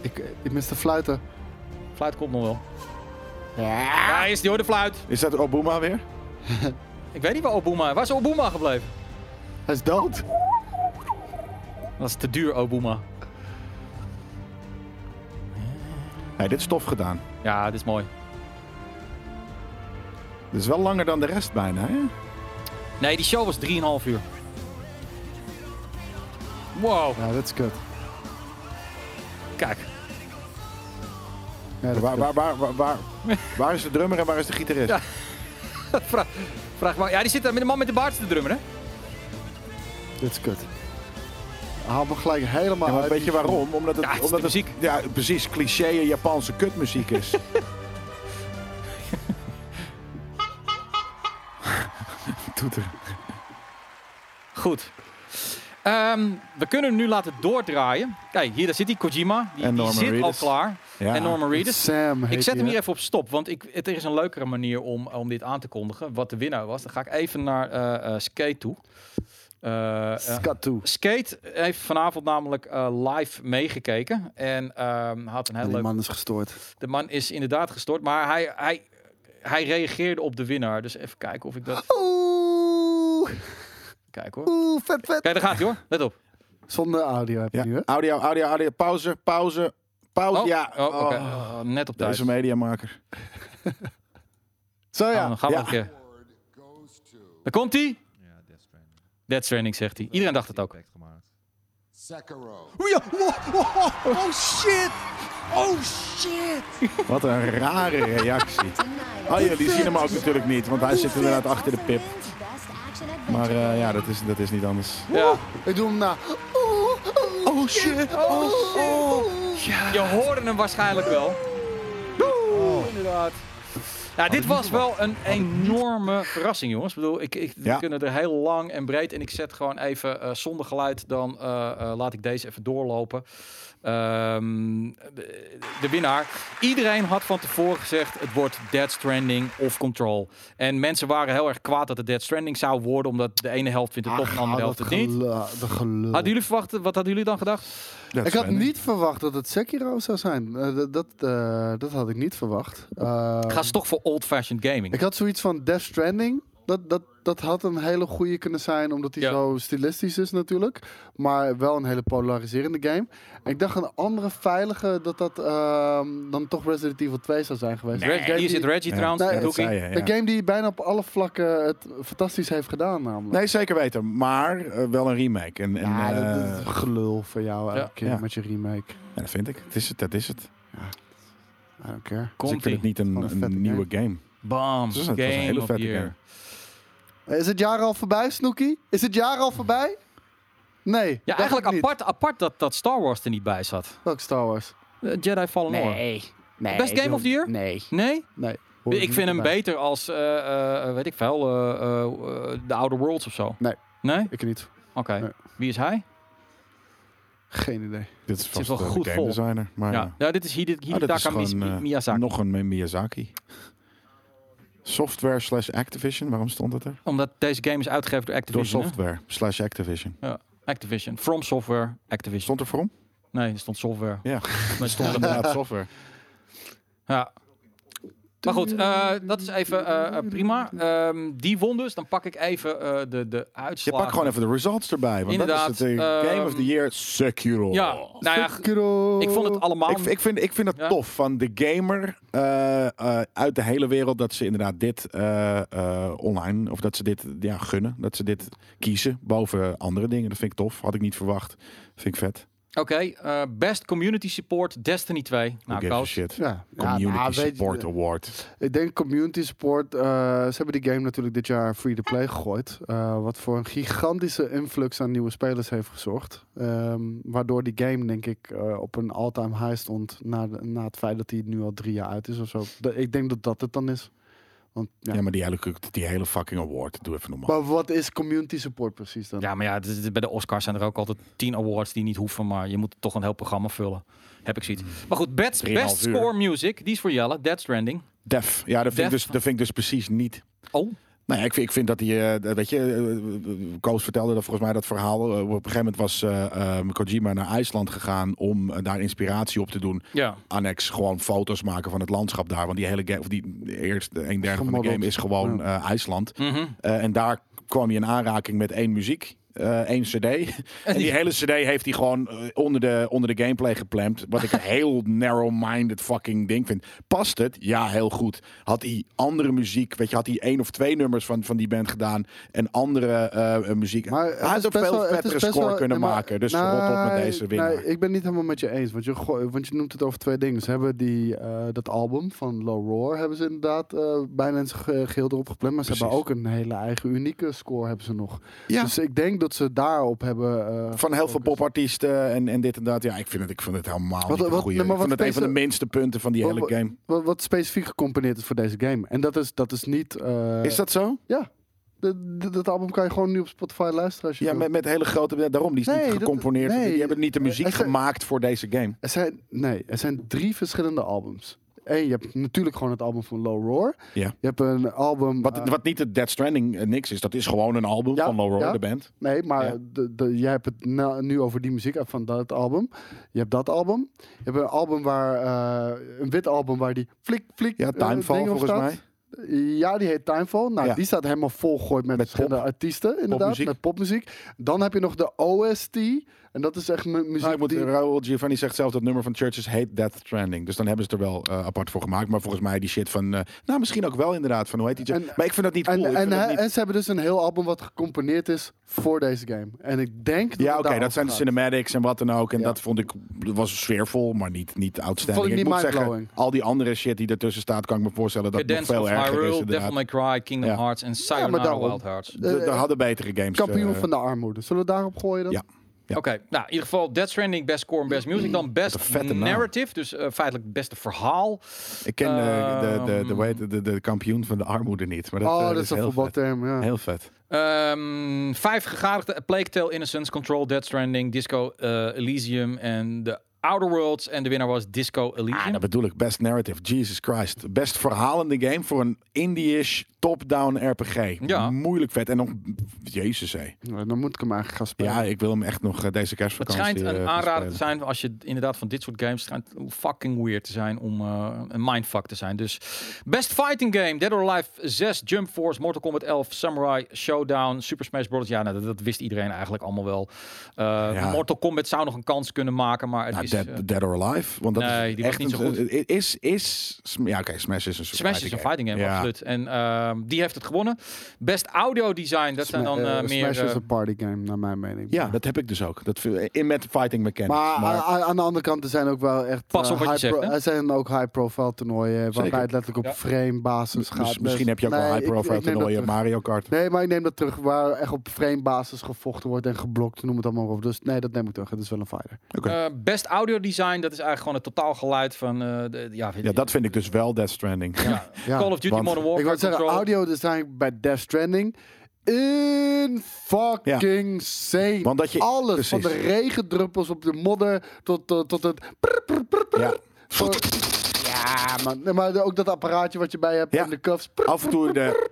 Speaker 1: Ik, ik mis de fluiten.
Speaker 2: Fluit komt nog wel. Ja, hij is die hoor de fluit.
Speaker 3: Is dat Obuma weer?
Speaker 2: Ik weet niet waar Obuma. Waar is Obuma gebleven?
Speaker 1: Hij is dood.
Speaker 2: Dat is te duur, Obuma.
Speaker 3: Nee, dit is tof gedaan.
Speaker 2: Ja, dit is mooi.
Speaker 3: Dit is wel langer dan de rest bijna, hè?
Speaker 2: Nee, die show was 3,5 uur. Wow,
Speaker 1: Ja, dat is kut.
Speaker 2: kijk.
Speaker 1: Ja, dat is
Speaker 3: Waar,
Speaker 1: kut.
Speaker 3: waar, waar, waar, waar, waar is de drummer en waar is de gitarist?
Speaker 2: Ja. Vraag, vraag maar. Ja, die zit daar met de man met de baard te drummen, hè?
Speaker 1: Dit is kut. Haal me gelijk helemaal
Speaker 3: Ja, maar
Speaker 1: uit.
Speaker 3: weet je
Speaker 1: die-
Speaker 3: waarom? Omdat het,
Speaker 2: Ja, het is
Speaker 3: omdat
Speaker 2: de muziek.
Speaker 3: ja, precies, cliché Japanse kutmuziek is. Toeter.
Speaker 2: Goed. Ehm, we kunnen hem nu laten doordraaien. Kijk, hier daar zit hij, Kojima. Die,
Speaker 3: En
Speaker 2: die
Speaker 3: Norman
Speaker 2: zit al
Speaker 3: Reedus.
Speaker 2: klaar.
Speaker 3: Ja.
Speaker 2: En Norman Reedus.
Speaker 1: Sam
Speaker 2: Ik
Speaker 1: heet
Speaker 2: zet
Speaker 1: die,
Speaker 2: hem
Speaker 1: hè?
Speaker 2: hier even op stop, want ik, het, er is een leukere manier om, om dit aan te kondigen. Wat de winnaar was. Dan ga ik even naar eh, eh, Skate toe. Eh, eh,
Speaker 1: Skat toe.
Speaker 2: Skate heeft vanavond namelijk eh, live meegekeken. En ehm, had een heel
Speaker 1: Die
Speaker 2: leuk
Speaker 1: man is gestoord.
Speaker 2: De man is inderdaad gestort, maar hij, hij, hij reageerde op de winnaar. Dus even kijken of ik dat.
Speaker 1: Oeh,
Speaker 2: Kijk hoor.
Speaker 1: oeh, vet, vet.
Speaker 2: Kijk, daar gaat hij hoor. Let op.
Speaker 1: Zonder audio heb je
Speaker 3: Ja,
Speaker 1: nu, hè?
Speaker 3: audio, audio, audio. Pauze, pauze, pauze.
Speaker 2: Oh,
Speaker 3: ja,
Speaker 2: oh, oké.
Speaker 3: Oh,
Speaker 2: Oh, net op tijd.
Speaker 3: deze mediamaker.
Speaker 1: Zo
Speaker 2: Oh,
Speaker 1: ja.
Speaker 2: dan gaan we
Speaker 3: ja.
Speaker 2: nog een keer. Daar komt hij. Dead Stranding zegt hij. Iedereen dacht het ook.
Speaker 3: Wat een rare reactie. Oh ja, die zien hem ook natuurlijk niet, want hij zit inderdaad achter de pip. Maar eh, ja, dat is, dat is niet anders.
Speaker 2: Ja.
Speaker 1: Ik doe hem na.
Speaker 3: Oh shit! Oh.
Speaker 2: Je hoorde hem waarschijnlijk wel. Oeh, Inderdaad. Ja, dit was wel een enorme verrassing, jongens. Ik bedoel, ik, ik, we
Speaker 3: Ja.
Speaker 2: kunnen er heel lang en breed. En ik zet gewoon even eh, zonder geluid. Dan eh, eh, laat ik deze even doorlopen. Ehm, de, de winnaar. Iedereen had van tevoren gezegd: het wordt Dead Stranding of Control. En mensen waren heel erg kwaad dat het Dead Stranding zou worden, omdat de ene helft vindt het toch, de andere helft het niet.
Speaker 1: De gelul.
Speaker 2: Hadden jullie verwacht, wat hadden jullie dan gedacht?
Speaker 1: ik had niet verwacht dat het Sekiro zou zijn. Eh, dat, dat, eh, dat had ik niet verwacht. Eh,
Speaker 2: Ga ze toch voor old-fashioned gaming?
Speaker 1: ik had zoiets van Death Stranding. Dat, dat, dat had een hele goede kunnen zijn, omdat die
Speaker 2: Ja.
Speaker 1: zo stilistisch is natuurlijk. Maar wel een hele polariserende game. En ik dacht een andere veilige dat dat ehm, dan toch Resident Evil 2 zou zijn geweest. Een game
Speaker 2: Hier
Speaker 1: die-
Speaker 2: zit Reggie
Speaker 3: Ja.
Speaker 2: trouwens,
Speaker 1: Nee,
Speaker 2: en
Speaker 1: dat
Speaker 2: Doekie.
Speaker 3: zei je, Dus ja.
Speaker 1: Een game die bijna op alle vlakken het fantastisch heeft gedaan namelijk.
Speaker 3: Nee, zeker weten. Maar eh, wel een remake. En, en,
Speaker 1: Ja, dat-
Speaker 3: eh,
Speaker 1: dat is gelul voor jou elke
Speaker 2: Ja.
Speaker 1: keer
Speaker 3: Ja.
Speaker 1: met je remake.
Speaker 3: ja, dat vind ik. Dat is het. Dat is het. Dus
Speaker 1: I don't care.
Speaker 3: ik
Speaker 2: Komt
Speaker 3: vind
Speaker 2: ie.
Speaker 3: het niet een,
Speaker 1: Gewoon een
Speaker 3: een
Speaker 1: vette
Speaker 3: nieuwe game.
Speaker 2: Bam.
Speaker 3: Dus
Speaker 2: game
Speaker 3: het was een hele
Speaker 2: of
Speaker 3: vette
Speaker 2: year.
Speaker 3: game.
Speaker 1: Is het jaar al voorbij, Snooky? Is het jaar al voorbij? Nee.
Speaker 2: Ja,
Speaker 1: dacht
Speaker 2: eigenlijk
Speaker 1: ik niet.
Speaker 2: apart, apart dat, dat Star Wars er niet bij zat.
Speaker 1: Welk Star Wars?
Speaker 2: Eh, Jedi Fallen Order.
Speaker 6: Nee. nee.
Speaker 2: Best game
Speaker 6: joh.
Speaker 2: of the year?
Speaker 6: Nee.
Speaker 2: Nee?
Speaker 1: Nee. hoor
Speaker 2: Ik
Speaker 1: niet
Speaker 2: vind hem
Speaker 1: erbij.
Speaker 2: beter als, eh, eh, weet ik veel, eh, eh, eh, The Outer Worlds of zo.
Speaker 1: Nee.
Speaker 2: Nee?
Speaker 1: Ik niet.
Speaker 2: Oké.
Speaker 1: Nee.
Speaker 2: Wie is hij?
Speaker 1: Geen idee.
Speaker 3: Dit is vast
Speaker 2: wel
Speaker 3: wel
Speaker 2: goed
Speaker 3: goed game
Speaker 2: vol.
Speaker 3: designer. Maar
Speaker 2: Ja.
Speaker 3: ja.
Speaker 2: ja, dit is Hide-
Speaker 3: Ah, dit is
Speaker 2: Hidetaka Mis-
Speaker 3: gewoon,
Speaker 2: Mi-
Speaker 3: eh,
Speaker 2: Miyazaki.
Speaker 3: nog een Mi- Miyazaki. Software slash Activision. Waarom stond het er?
Speaker 2: Omdat deze game is uitgegeven door
Speaker 3: Door
Speaker 2: Activision. hè?
Speaker 3: software slash Activision.
Speaker 2: Ja. Activision. From Software, Activision.
Speaker 3: Stond er voor hem?
Speaker 2: Nee, er stond software.
Speaker 3: Ja.
Speaker 2: Maar het stond er-
Speaker 3: Inderdaad, software.
Speaker 2: ja. Maar goed, eh, dat is even eh, eh, prima. Ehm, die won dus. Dan pak ik even eh, de, de
Speaker 3: Je
Speaker 2: uitslag.
Speaker 3: pakt gewoon even de results erbij. Want
Speaker 2: Inderdaad,
Speaker 3: dat is het eh, Game of
Speaker 2: ehm,
Speaker 3: the Year Sekiro.
Speaker 2: Ja, nou ja, ik vond het allemaal...
Speaker 3: Ik, ik, vind, ik vind het
Speaker 2: Ja.
Speaker 3: tof van de gamer eh, eh, uit de hele wereld dat ze inderdaad dit eh, eh, online, of dat ze dit ja, gunnen, dat ze dit kiezen boven andere dingen. Dat vind ik tof, had ik niet verwacht. Vind ik vet.
Speaker 2: Oké, eh, best community support Destiny 2.
Speaker 3: Who
Speaker 2: Nou,
Speaker 3: gives a
Speaker 2: Koos.
Speaker 3: shit?
Speaker 1: Ja.
Speaker 3: Community
Speaker 1: Ja, nou, weet je-
Speaker 3: Support Award.
Speaker 1: Ik denk community support. eh, ze hebben die game natuurlijk dit jaar free to play gegooid. eh, wat voor een gigantische influx aan nieuwe spelers heeft gezorgd. Ehm, waardoor die game, denk ik, eh, op een all-time high stond. Na, de- na het feit dat hij nu al drie jaar uit is of zo. Dat- ik denk dat dat het dan is. Want, ja.
Speaker 3: Ja, maar die hele, die hele fucking award, doe even normaal.
Speaker 1: Maar wat is community support precies dan?
Speaker 2: Ja, maar ja, het is- bij de Oscars zijn er ook altijd 10 awards die niet hoeven, maar je moet toch een heel programma vullen. Heb ik zoiets. Maar goed, best,
Speaker 3: Hmm. Drieënhalf
Speaker 2: best
Speaker 3: uur.
Speaker 2: score music, die is voor Jelle, Dead Stranding.
Speaker 3: Def. Ja, dat vind, ik
Speaker 2: Def.
Speaker 3: dus, dat vind ik dus precies niet.
Speaker 2: Oh.
Speaker 3: Nou ja, ik vind, ik vind dat die, eh, dat- weet je, eh, Koos vertelde dat volgens mij dat verhaal. eh, op een gegeven moment was eh, eh, Kojima naar IJsland gegaan om eh, daar inspiratie op te doen.
Speaker 2: Ja.
Speaker 3: Annex gewoon foto's maken van het landschap daar. Want die hele game, of die eerste een derde van de
Speaker 1: Gemodeld.
Speaker 3: game is gewoon
Speaker 1: Ja.
Speaker 3: eh, IJsland.
Speaker 2: Mhm.
Speaker 3: Eh, en daar kwam je in aanraking met één muziek. eh, één cd. En die hele cd heeft hij gewoon eh, onder, de, onder de gameplay geplemd. Wat ik een heel narrow-minded fucking ding vind. Past het? Ja, heel goed. Had hij andere muziek? Weet je, had hij één of twee nummers van, van die band gedaan? En andere eh, muziek? hij had ook
Speaker 1: best
Speaker 3: veel
Speaker 1: wel- het is
Speaker 3: vettere
Speaker 1: best
Speaker 3: score
Speaker 1: wel-
Speaker 3: kunnen
Speaker 1: nee, maar-
Speaker 3: maken. Dus
Speaker 1: nee,
Speaker 3: rot op met deze winnaar.
Speaker 1: nee, ik ben niet helemaal met je eens. Want je, gooi- want je noemt het over twee dingen. Ze hebben die, eh, dat album van Low Roar hebben ze inderdaad eh, bijna in zijn ge- geheel erop gepland. Maar ze hebben ook een hele eigen unieke score hebben ze nog.
Speaker 3: Ja.
Speaker 1: Dus ik denk dat ze daarop hebben... eh,
Speaker 3: Van heel veel popartiesten en, en dit en dat. Ja, ik vind het, ik vind het helemaal
Speaker 1: Wat-
Speaker 3: niet een
Speaker 1: wat-
Speaker 3: goeie.
Speaker 1: nee, maar
Speaker 3: ik vind
Speaker 1: wat
Speaker 3: het een van de
Speaker 1: deze-
Speaker 3: minste punten van die
Speaker 1: wa-
Speaker 3: hele
Speaker 1: wa-
Speaker 3: game.
Speaker 1: wa- Wat, specifiek gecomponeerd is voor deze game. En dat is, dat is niet... eh,
Speaker 3: Is dat zo?
Speaker 1: Ja. De- de- dat album kan je gewoon nu op Spotify luisteren als je
Speaker 3: Ja,
Speaker 1: wilt.
Speaker 3: met, met hele grote... Daarom, die is
Speaker 1: Nee,
Speaker 3: niet
Speaker 1: dat-
Speaker 3: gecomponeerd.
Speaker 1: nee.
Speaker 3: die hebben niet de muziek
Speaker 1: Er zijn-
Speaker 3: gemaakt voor deze game.
Speaker 1: Er zijn, nee, er zijn drie verschillende albums. Eén, je hebt natuurlijk gewoon het album van Low Roar.
Speaker 3: Ja.
Speaker 1: Je hebt een album...
Speaker 3: Wat,
Speaker 1: eh,
Speaker 3: wat niet het Dead Stranding eh, niks is. Dat is gewoon een album van Low Roar,
Speaker 1: ja.
Speaker 3: de band.
Speaker 1: Nee, maar
Speaker 3: Ja.
Speaker 1: de, de, jij hebt het na- nu over die muziek van dat album. Je hebt dat album. Je hebt een album waar... eh, een wit album waar die flik, flik...
Speaker 3: Ja,
Speaker 1: eh,
Speaker 3: Timefall
Speaker 1: dingen op
Speaker 3: volgens
Speaker 1: staat.
Speaker 3: mij.
Speaker 1: Ja, die heet Timefall. Nou,
Speaker 3: Ja.
Speaker 1: die staat helemaal volgooid met, verschillende artiesten, inderdaad.
Speaker 3: Popmuziek.
Speaker 1: Met popmuziek. Dan heb je nog de OST. En dat is echt mu- muziek
Speaker 3: Nou, ik moet,
Speaker 1: die...
Speaker 3: Raoul Giovanni zegt zelf dat nummer van Churches heet Death Stranding. Dus dan hebben ze het er wel eh, apart voor gemaakt. Maar volgens mij die shit van... eh, nou, misschien ook wel inderdaad. Van hoe heet die? maar ik vind dat niet
Speaker 1: En,
Speaker 3: cool. Ik
Speaker 1: en,
Speaker 3: vind dat
Speaker 1: hij-
Speaker 3: niet-
Speaker 1: en ze hebben dus een heel album wat gecomponeerd is voor deze game. En ik denk dat
Speaker 3: Ja,
Speaker 1: het
Speaker 3: oké, dat
Speaker 1: daarover
Speaker 3: zijn de
Speaker 1: gaat.
Speaker 3: cinematics en wat dan ook. En
Speaker 1: Ja.
Speaker 3: dat vond ik, dat was sfeervol, maar niet, niet outstanding.
Speaker 1: Vond ik niet
Speaker 3: moet zeggen,
Speaker 1: mindblowing.
Speaker 3: al die andere shit die ertussen staat, kan ik me voorstellen dat het nog
Speaker 2: Cadence
Speaker 3: veel
Speaker 2: of
Speaker 3: erger is.
Speaker 2: Hyrule,
Speaker 3: inderdaad.
Speaker 2: Devil May Cry, Kingdom
Speaker 3: Ja.
Speaker 2: Hearts en Sayonara
Speaker 1: daarom.
Speaker 2: Wild Hearts.
Speaker 1: Eh,
Speaker 3: Er- Er hadden betere games.
Speaker 1: Kampioen
Speaker 3: eh,
Speaker 1: van de armoede. Zullen we daarop gooien dan?
Speaker 3: Ja. Ja.
Speaker 2: Oké, nou in ieder geval Death Stranding, Best Score en Best Music. Dan Best
Speaker 3: vette naam.
Speaker 2: Narrative, dus eh, feitelijk het beste verhaal.
Speaker 3: Ik ken eh, de, de, de,
Speaker 2: Ehm.
Speaker 3: hoe heet het, de, de kampioen van de armoede niet. Maar dat,
Speaker 1: oh,
Speaker 3: eh,
Speaker 1: dat is een
Speaker 3: heel vet.
Speaker 1: voetbalterm, ja.
Speaker 3: Heel vet.
Speaker 2: Ehm, vijf gegadigden, A Plague Tale, Innocence, Control, Dead Stranding, Disco eh, Elysium en The Outer Worlds. En de winnaar was Disco Elysium.
Speaker 3: Ah, Dat bedoel ik, best narrative. Jesus Christ. Best verhalende game voor een indie-ish top-down RPG.
Speaker 2: Ja.
Speaker 3: Moeilijk vet. En nog, jezus hé.
Speaker 1: Nou, Dan moet ik hem eigenlijk gaan spelen.
Speaker 3: Ja, ik wil hem echt nog eh, deze
Speaker 2: het
Speaker 3: kerstvakantie
Speaker 2: schijnt
Speaker 3: eh,
Speaker 2: een
Speaker 3: gaan
Speaker 2: aanrader
Speaker 3: spelen.
Speaker 2: te zijn als je inderdaad van dit soort games schijnt fucking weird te zijn om eh, een mindfuck te zijn. Dus Best Fighting Game, Dead or Alive 6, Jump Force, Mortal Kombat 11, Samurai Showdown, Super Smash Bros. Ja, nou, dat, dat wist iedereen eigenlijk allemaal wel. Eh, Mortal Kombat zou nog een kans kunnen maken, maar het
Speaker 3: Nou,
Speaker 2: is...
Speaker 3: dead,
Speaker 2: eh,
Speaker 3: dead or Alive. Want dat
Speaker 2: Nee,
Speaker 3: is
Speaker 2: die was
Speaker 3: echt
Speaker 2: niet zo
Speaker 3: een-
Speaker 2: goed.
Speaker 3: Is, is, sm- ja, oké, Smash is een soort
Speaker 2: Smash is een fighting game,
Speaker 3: Ja.
Speaker 2: absoluut. En ehm, die heeft het gewonnen. Best audio design, dat zijn dan eh,
Speaker 1: Eh,
Speaker 2: meer...
Speaker 1: Smash is
Speaker 2: eh,
Speaker 1: een party game, naar mijn mening.
Speaker 3: Ja, dat heb ik dus ook. Dat, vind- in met fighting mechanics.
Speaker 1: Maar, eh,
Speaker 3: Maar,
Speaker 1: a- a- aan de andere kant, er zijn ook wel echt...
Speaker 2: Pas
Speaker 1: eh,
Speaker 2: op wat je
Speaker 1: high
Speaker 2: zegt,
Speaker 1: pro-
Speaker 2: hè?
Speaker 1: Er zijn ook high-profile toernooien waarbij
Speaker 3: Zeker.
Speaker 1: het letterlijk op
Speaker 2: Ja.
Speaker 1: frame-basis
Speaker 3: dus
Speaker 1: gaat.
Speaker 3: misschien heb je ook
Speaker 1: Nee,
Speaker 3: wel
Speaker 1: ik- ik
Speaker 3: high-profile
Speaker 1: neem dat
Speaker 3: toernooien.
Speaker 1: terug.
Speaker 3: Mario Kart.
Speaker 1: Nee, maar ik neem dat terug waar echt op frame-basis gevochten wordt en geblokt, noem het allemaal op. Dus nee, dat neem ik terug. Het is wel een fighter.
Speaker 2: eh, best audio design, dat is eigenlijk gewoon het totaalgeluid van... eh, de, ja,
Speaker 3: Ja, dat vind ik dus wel Death Stranding.
Speaker 2: ja.
Speaker 1: Ja.
Speaker 2: Call of Duty
Speaker 3: Want-
Speaker 2: Modern Warfare
Speaker 1: Ik wou zeggen,
Speaker 2: Control.
Speaker 1: audio design bij Death Stranding. In fucking zee.
Speaker 3: Want dat je-
Speaker 1: Alles
Speaker 3: precies.
Speaker 1: van de regendruppels op de modder tot, tot, tot het. prr, prr, prr, prr.
Speaker 3: Ja.
Speaker 1: Voor- Ja, man. Nee, maar ook dat apparaatje wat je bij je hebt in de cuffs.
Speaker 3: Af en toe de...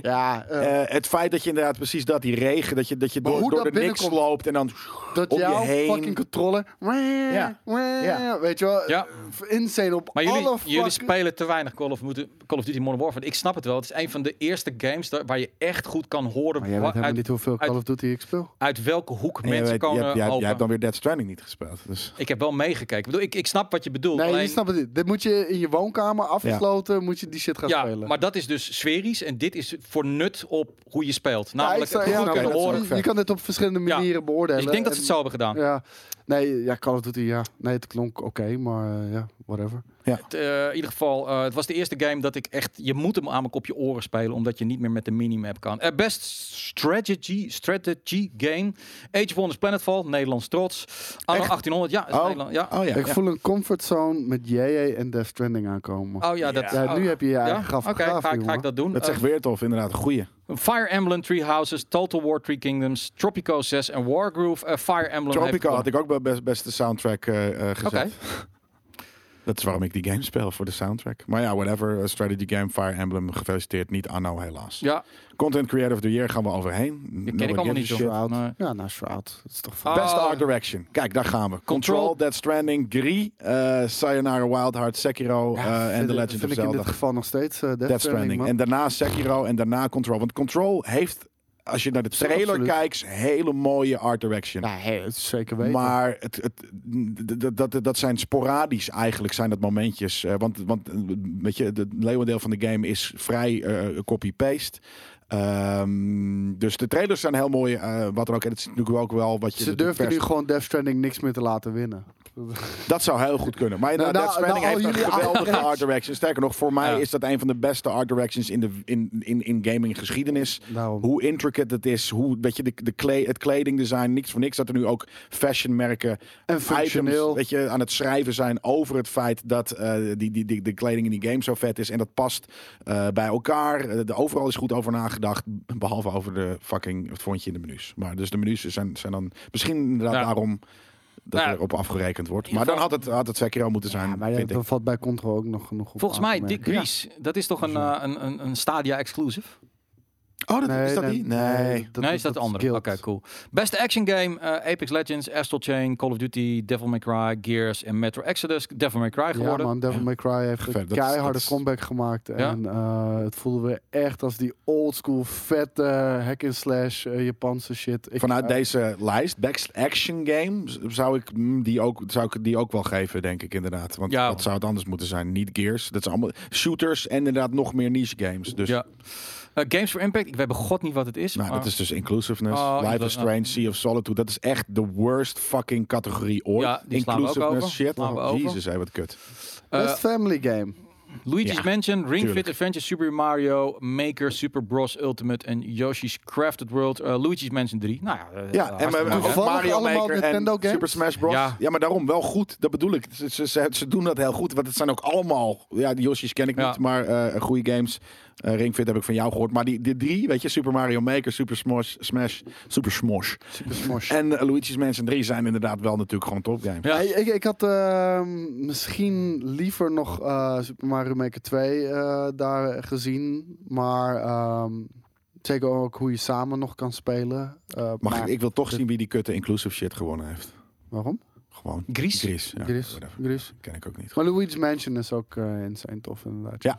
Speaker 1: Ja,
Speaker 3: Eh, het feit dat je inderdaad precies dat, die regen, dat je, dat je
Speaker 1: Maar
Speaker 3: door,
Speaker 1: hoe
Speaker 3: door
Speaker 1: dat
Speaker 3: de niks
Speaker 1: binnenkomt-
Speaker 3: loopt en dan
Speaker 1: dat
Speaker 3: om je
Speaker 1: jouw
Speaker 3: heen.
Speaker 1: fucking controller.
Speaker 3: Ja. Ja.
Speaker 1: Weet je wel? eh,
Speaker 2: Ja.
Speaker 1: Insane op
Speaker 2: Maar jullie,
Speaker 1: alle
Speaker 2: jullie
Speaker 1: fucking-
Speaker 2: spelen te weinig Call of, moeten- Call of Duty Modern Warfare. Ik snap het wel. Het is een van de eerste games daar- waar je echt goed kan horen...
Speaker 1: Maar jij
Speaker 2: wa-
Speaker 1: weet helemaal
Speaker 2: uit,
Speaker 1: niet hoeveel Call of Duty ik speel.
Speaker 2: uit welke hoek
Speaker 3: En je,
Speaker 2: mensen
Speaker 3: weet, je,
Speaker 2: komen
Speaker 3: hebt, jij, jij
Speaker 2: lopen.
Speaker 3: hebt dan weer Dead Stranding niet gespeeld. Dus.
Speaker 2: Ik heb wel meegekeken. Ik, bedoel, ik, ik snap wat je bedoelt.
Speaker 1: Nee,
Speaker 2: alleen-
Speaker 1: je snapt het niet. Dit moet je in je woonkamer afgesloten, moet je die shit gaan
Speaker 2: ja,
Speaker 1: spelen.
Speaker 2: maar dat is dus sferisch en dit is voor nut op hoe je speelt. Namelijk
Speaker 1: Ja, ik
Speaker 2: het
Speaker 1: zou-
Speaker 2: goed
Speaker 1: ja,
Speaker 2: kunnen
Speaker 1: oké,
Speaker 2: horen.
Speaker 1: dat is- je kan dit op verschillende manieren beoordelen.
Speaker 2: Ik denk dat ze het zo
Speaker 1: En-
Speaker 2: hebben gedaan.
Speaker 1: Ja, nee, ja, Call of Duty, ja. Nee, het klonk oké, maar eh, ja, whatever.
Speaker 2: Het, eh, in ieder geval, eh, het was de eerste game dat ik echt... Je moet hem aan mijn kopje oren spelen, omdat je niet meer met de minimap kan. Eh, best strategy, strategy game. Age of Wonders Planetfall, Nederlands trots. Anno 1800, ja. is Nederland, ja.
Speaker 3: Oh ja,
Speaker 1: ik
Speaker 3: ja.
Speaker 1: voel een comfortzone met JJ en Death Stranding aankomen.
Speaker 2: Oh ja, dat...
Speaker 1: Ja, nu heb je je eigen graf
Speaker 2: Oké,
Speaker 1: gegraven,
Speaker 2: ga, ik- ga
Speaker 1: jongen.
Speaker 2: ik dat doen.
Speaker 3: Dat
Speaker 2: Eh,
Speaker 3: zegt weer tof, inderdaad. Een goeie.
Speaker 2: Fire Emblem Three Houses, Total War Three Kingdoms, Tropico 6 en Wargroove. Eh, Fire Emblem heeft
Speaker 3: Tropico
Speaker 2: gewonnen.
Speaker 3: had ik ook bij best, beste soundtrack eh eh, gezet.
Speaker 2: Oké.
Speaker 3: Dat is waarom ik die game speel, voor de soundtrack. Maar ja, whatever. eh, strategy game, Fire Emblem, gefeliciteerd. Niet Anno, helaas.
Speaker 2: Ja,
Speaker 3: Content Creator of the Year gaan we overheen.
Speaker 2: die ken
Speaker 3: Nobody
Speaker 2: ik allemaal niet
Speaker 3: gives
Speaker 2: zo.
Speaker 3: a shit.
Speaker 1: Shroud.
Speaker 2: Nee.
Speaker 1: Ja, nou, Shroud. Dat is toch
Speaker 2: Ah,
Speaker 3: Beste Art Direction. Kijk, daar gaan we. Control,
Speaker 2: Control.
Speaker 3: Dead Stranding, Gris, eh, Sayonara Wild Heart, Sekiro eh, en The Legend
Speaker 1: vind
Speaker 3: of
Speaker 1: ik in
Speaker 3: Zelda.
Speaker 1: dit geval nog steeds eh, Death, Stranding,
Speaker 3: Death Stranding.
Speaker 1: man.
Speaker 3: En daarna Sekiro en daarna Control. Want Control heeft, als je naar de trailer
Speaker 1: absoluut.
Speaker 3: kijkt, hele mooie art direction.
Speaker 1: Ja, hè, dat is zeker weten.
Speaker 3: Maar het, het, dat, dat, dat zijn sporadisch eigenlijk, zijn dat momentjes. Eh, want, want eh, weet je, het leeuwendeel van de game is vrij eh, copy-paste. Ehm, dus de trailers zijn heel mooi, eh, wat er ook. En het is natuurlijk ook wel wat je.
Speaker 1: Ze
Speaker 3: de- de
Speaker 1: durfden
Speaker 3: pers-
Speaker 1: nu gewoon Death Stranding niks meer te laten winnen.
Speaker 3: Dat zou heel goed kunnen. Maar inderdaad,
Speaker 1: Nou,
Speaker 3: Death
Speaker 1: nou, nou,
Speaker 3: Stranding
Speaker 1: al
Speaker 3: heeft een
Speaker 1: jullie
Speaker 3: geweldige
Speaker 1: art
Speaker 3: art direction. Sterker nog, voor mij
Speaker 2: Ja.
Speaker 3: is dat een van de beste art directions in, de, in, in, in gaming geschiedenis.
Speaker 1: Daarom.
Speaker 3: Hoe intricate het is, hoe, weet je, de, de kle- het kledingdesign, niks voor niks. Dat er nu ook fashionmerken
Speaker 1: En functioneel.
Speaker 3: items, weet je, aan het schrijven zijn over het feit dat eh, die, die, die, de kleding in die game zo vet is. En dat past eh, bij elkaar. Eh, de, overal is goed over nagedacht, behalve over de fucking, het vondje in de menus. Maar dus de menus zijn, zijn dan misschien inderdaad
Speaker 2: Ja.
Speaker 3: daarom dat
Speaker 2: Nou ja,
Speaker 3: erop afgerekend wordt.
Speaker 2: in
Speaker 3: Maar dan
Speaker 2: ieder
Speaker 3: had het, had het Sekiro moeten zijn,
Speaker 1: Ja, maar ja,
Speaker 3: vind ik.
Speaker 1: dat valt bij Control ook nog genoeg op
Speaker 2: Volgens mij,
Speaker 1: aan te
Speaker 2: Dick
Speaker 1: merken.
Speaker 2: Grease, dat is toch een, eh, een, een, een Stadia exclusive?
Speaker 3: Oh, dat, is dat die? Nee.
Speaker 2: nee, is dat, de andere? Oké,
Speaker 1: Guild.
Speaker 2: cool. Beste action game, eh, Apex Legends, Astral Chain, Call of Duty, Devil May Cry, Gears en Metro Exodus. Devil May Cry
Speaker 1: Ja,
Speaker 2: geworden.
Speaker 1: man, Devil May Cry heeft
Speaker 3: Vet, dat
Speaker 1: een
Speaker 3: is- dat
Speaker 1: keiharde
Speaker 3: is-
Speaker 1: comeback gemaakt. En eh, het voelde weer echt als die oldschool vette hack-and-slash eh, Japanse shit. Ik,
Speaker 3: Vanuit
Speaker 1: eh,
Speaker 3: deze lijst, Best Action Game, z- zou ik, mm, die ook, zou ik die ook wel geven, denk ik inderdaad. Want
Speaker 2: Ja.
Speaker 3: wat zou het anders moeten zijn? Niet Gears. Dat zijn allemaal shooters en inderdaad nog meer niche games. Dus
Speaker 2: ja. Eh, Games for Impact, ik weet bij god niet wat het is.
Speaker 3: nou,
Speaker 2: maar-
Speaker 3: dat is dus inclusiveness.
Speaker 2: Oh,
Speaker 3: Life
Speaker 2: inderdaad.
Speaker 3: is Strange, Sea of Solitude. Dat is echt de worst fucking categorie ooit.
Speaker 2: Ja, die slaan we ook
Speaker 3: inclusiveness
Speaker 2: over.
Speaker 3: shit.
Speaker 2: Slaan we
Speaker 3: Oh,
Speaker 2: over.
Speaker 3: Jezus, hé, wat kut. Eh,
Speaker 1: Best Family Game.
Speaker 2: Luigi's
Speaker 3: Ja,
Speaker 2: Mansion, Ring
Speaker 3: tuurlijk.
Speaker 2: Fit Adventure, Super Mario Maker, Super Bros Ultimate en Yoshi's Crafted World. Eh, Luigi's Mansion 3. Nou ja, eh,
Speaker 3: Ja, en we
Speaker 2: hartstikke
Speaker 3: hebben
Speaker 2: leuk, hè?
Speaker 3: ook
Speaker 1: Toevallig
Speaker 3: Mario
Speaker 1: allemaal
Speaker 3: Maker en
Speaker 1: Nintendo games?
Speaker 3: Super Smash Bros. Ja.
Speaker 2: Ja.
Speaker 3: maar daarom wel goed. Dat bedoel ik. Ze, ze, ze, ze doen dat heel goed. Want het zijn ook allemaal... Ja, die Yoshi's ken ik
Speaker 2: Ja.
Speaker 3: niet, maar eh goede games. Eh, Ring Fit heb ik van jou gehoord. Maar die, die drie, weet je, Super Mario Maker, Super Smash, Smash Super Smosh
Speaker 1: Super Smosh.
Speaker 3: en eh, Luigi's Mansion 3 zijn inderdaad wel natuurlijk gewoon topgames.
Speaker 2: Ja.
Speaker 1: Hey, Ik, ik had ehm, misschien liever nog eh, Super Mario Maker 2 eh, daar gezien. Maar ehm, zeker ook hoe je samen nog kan spelen. Eh,
Speaker 3: Mag
Speaker 1: maar-
Speaker 3: ik, ik wil toch zien wie die kutte inclusive shit gewonnen heeft.
Speaker 1: Waarom?
Speaker 3: Gewoon.
Speaker 2: Gries?
Speaker 3: Gris. Ja,
Speaker 1: Gris,
Speaker 3: Oh, whatever.
Speaker 1: Gris.
Speaker 3: Ken ik ook niet.
Speaker 1: Maar Luigi's Mansion is ook eh insane tof inderdaad.
Speaker 3: Ja.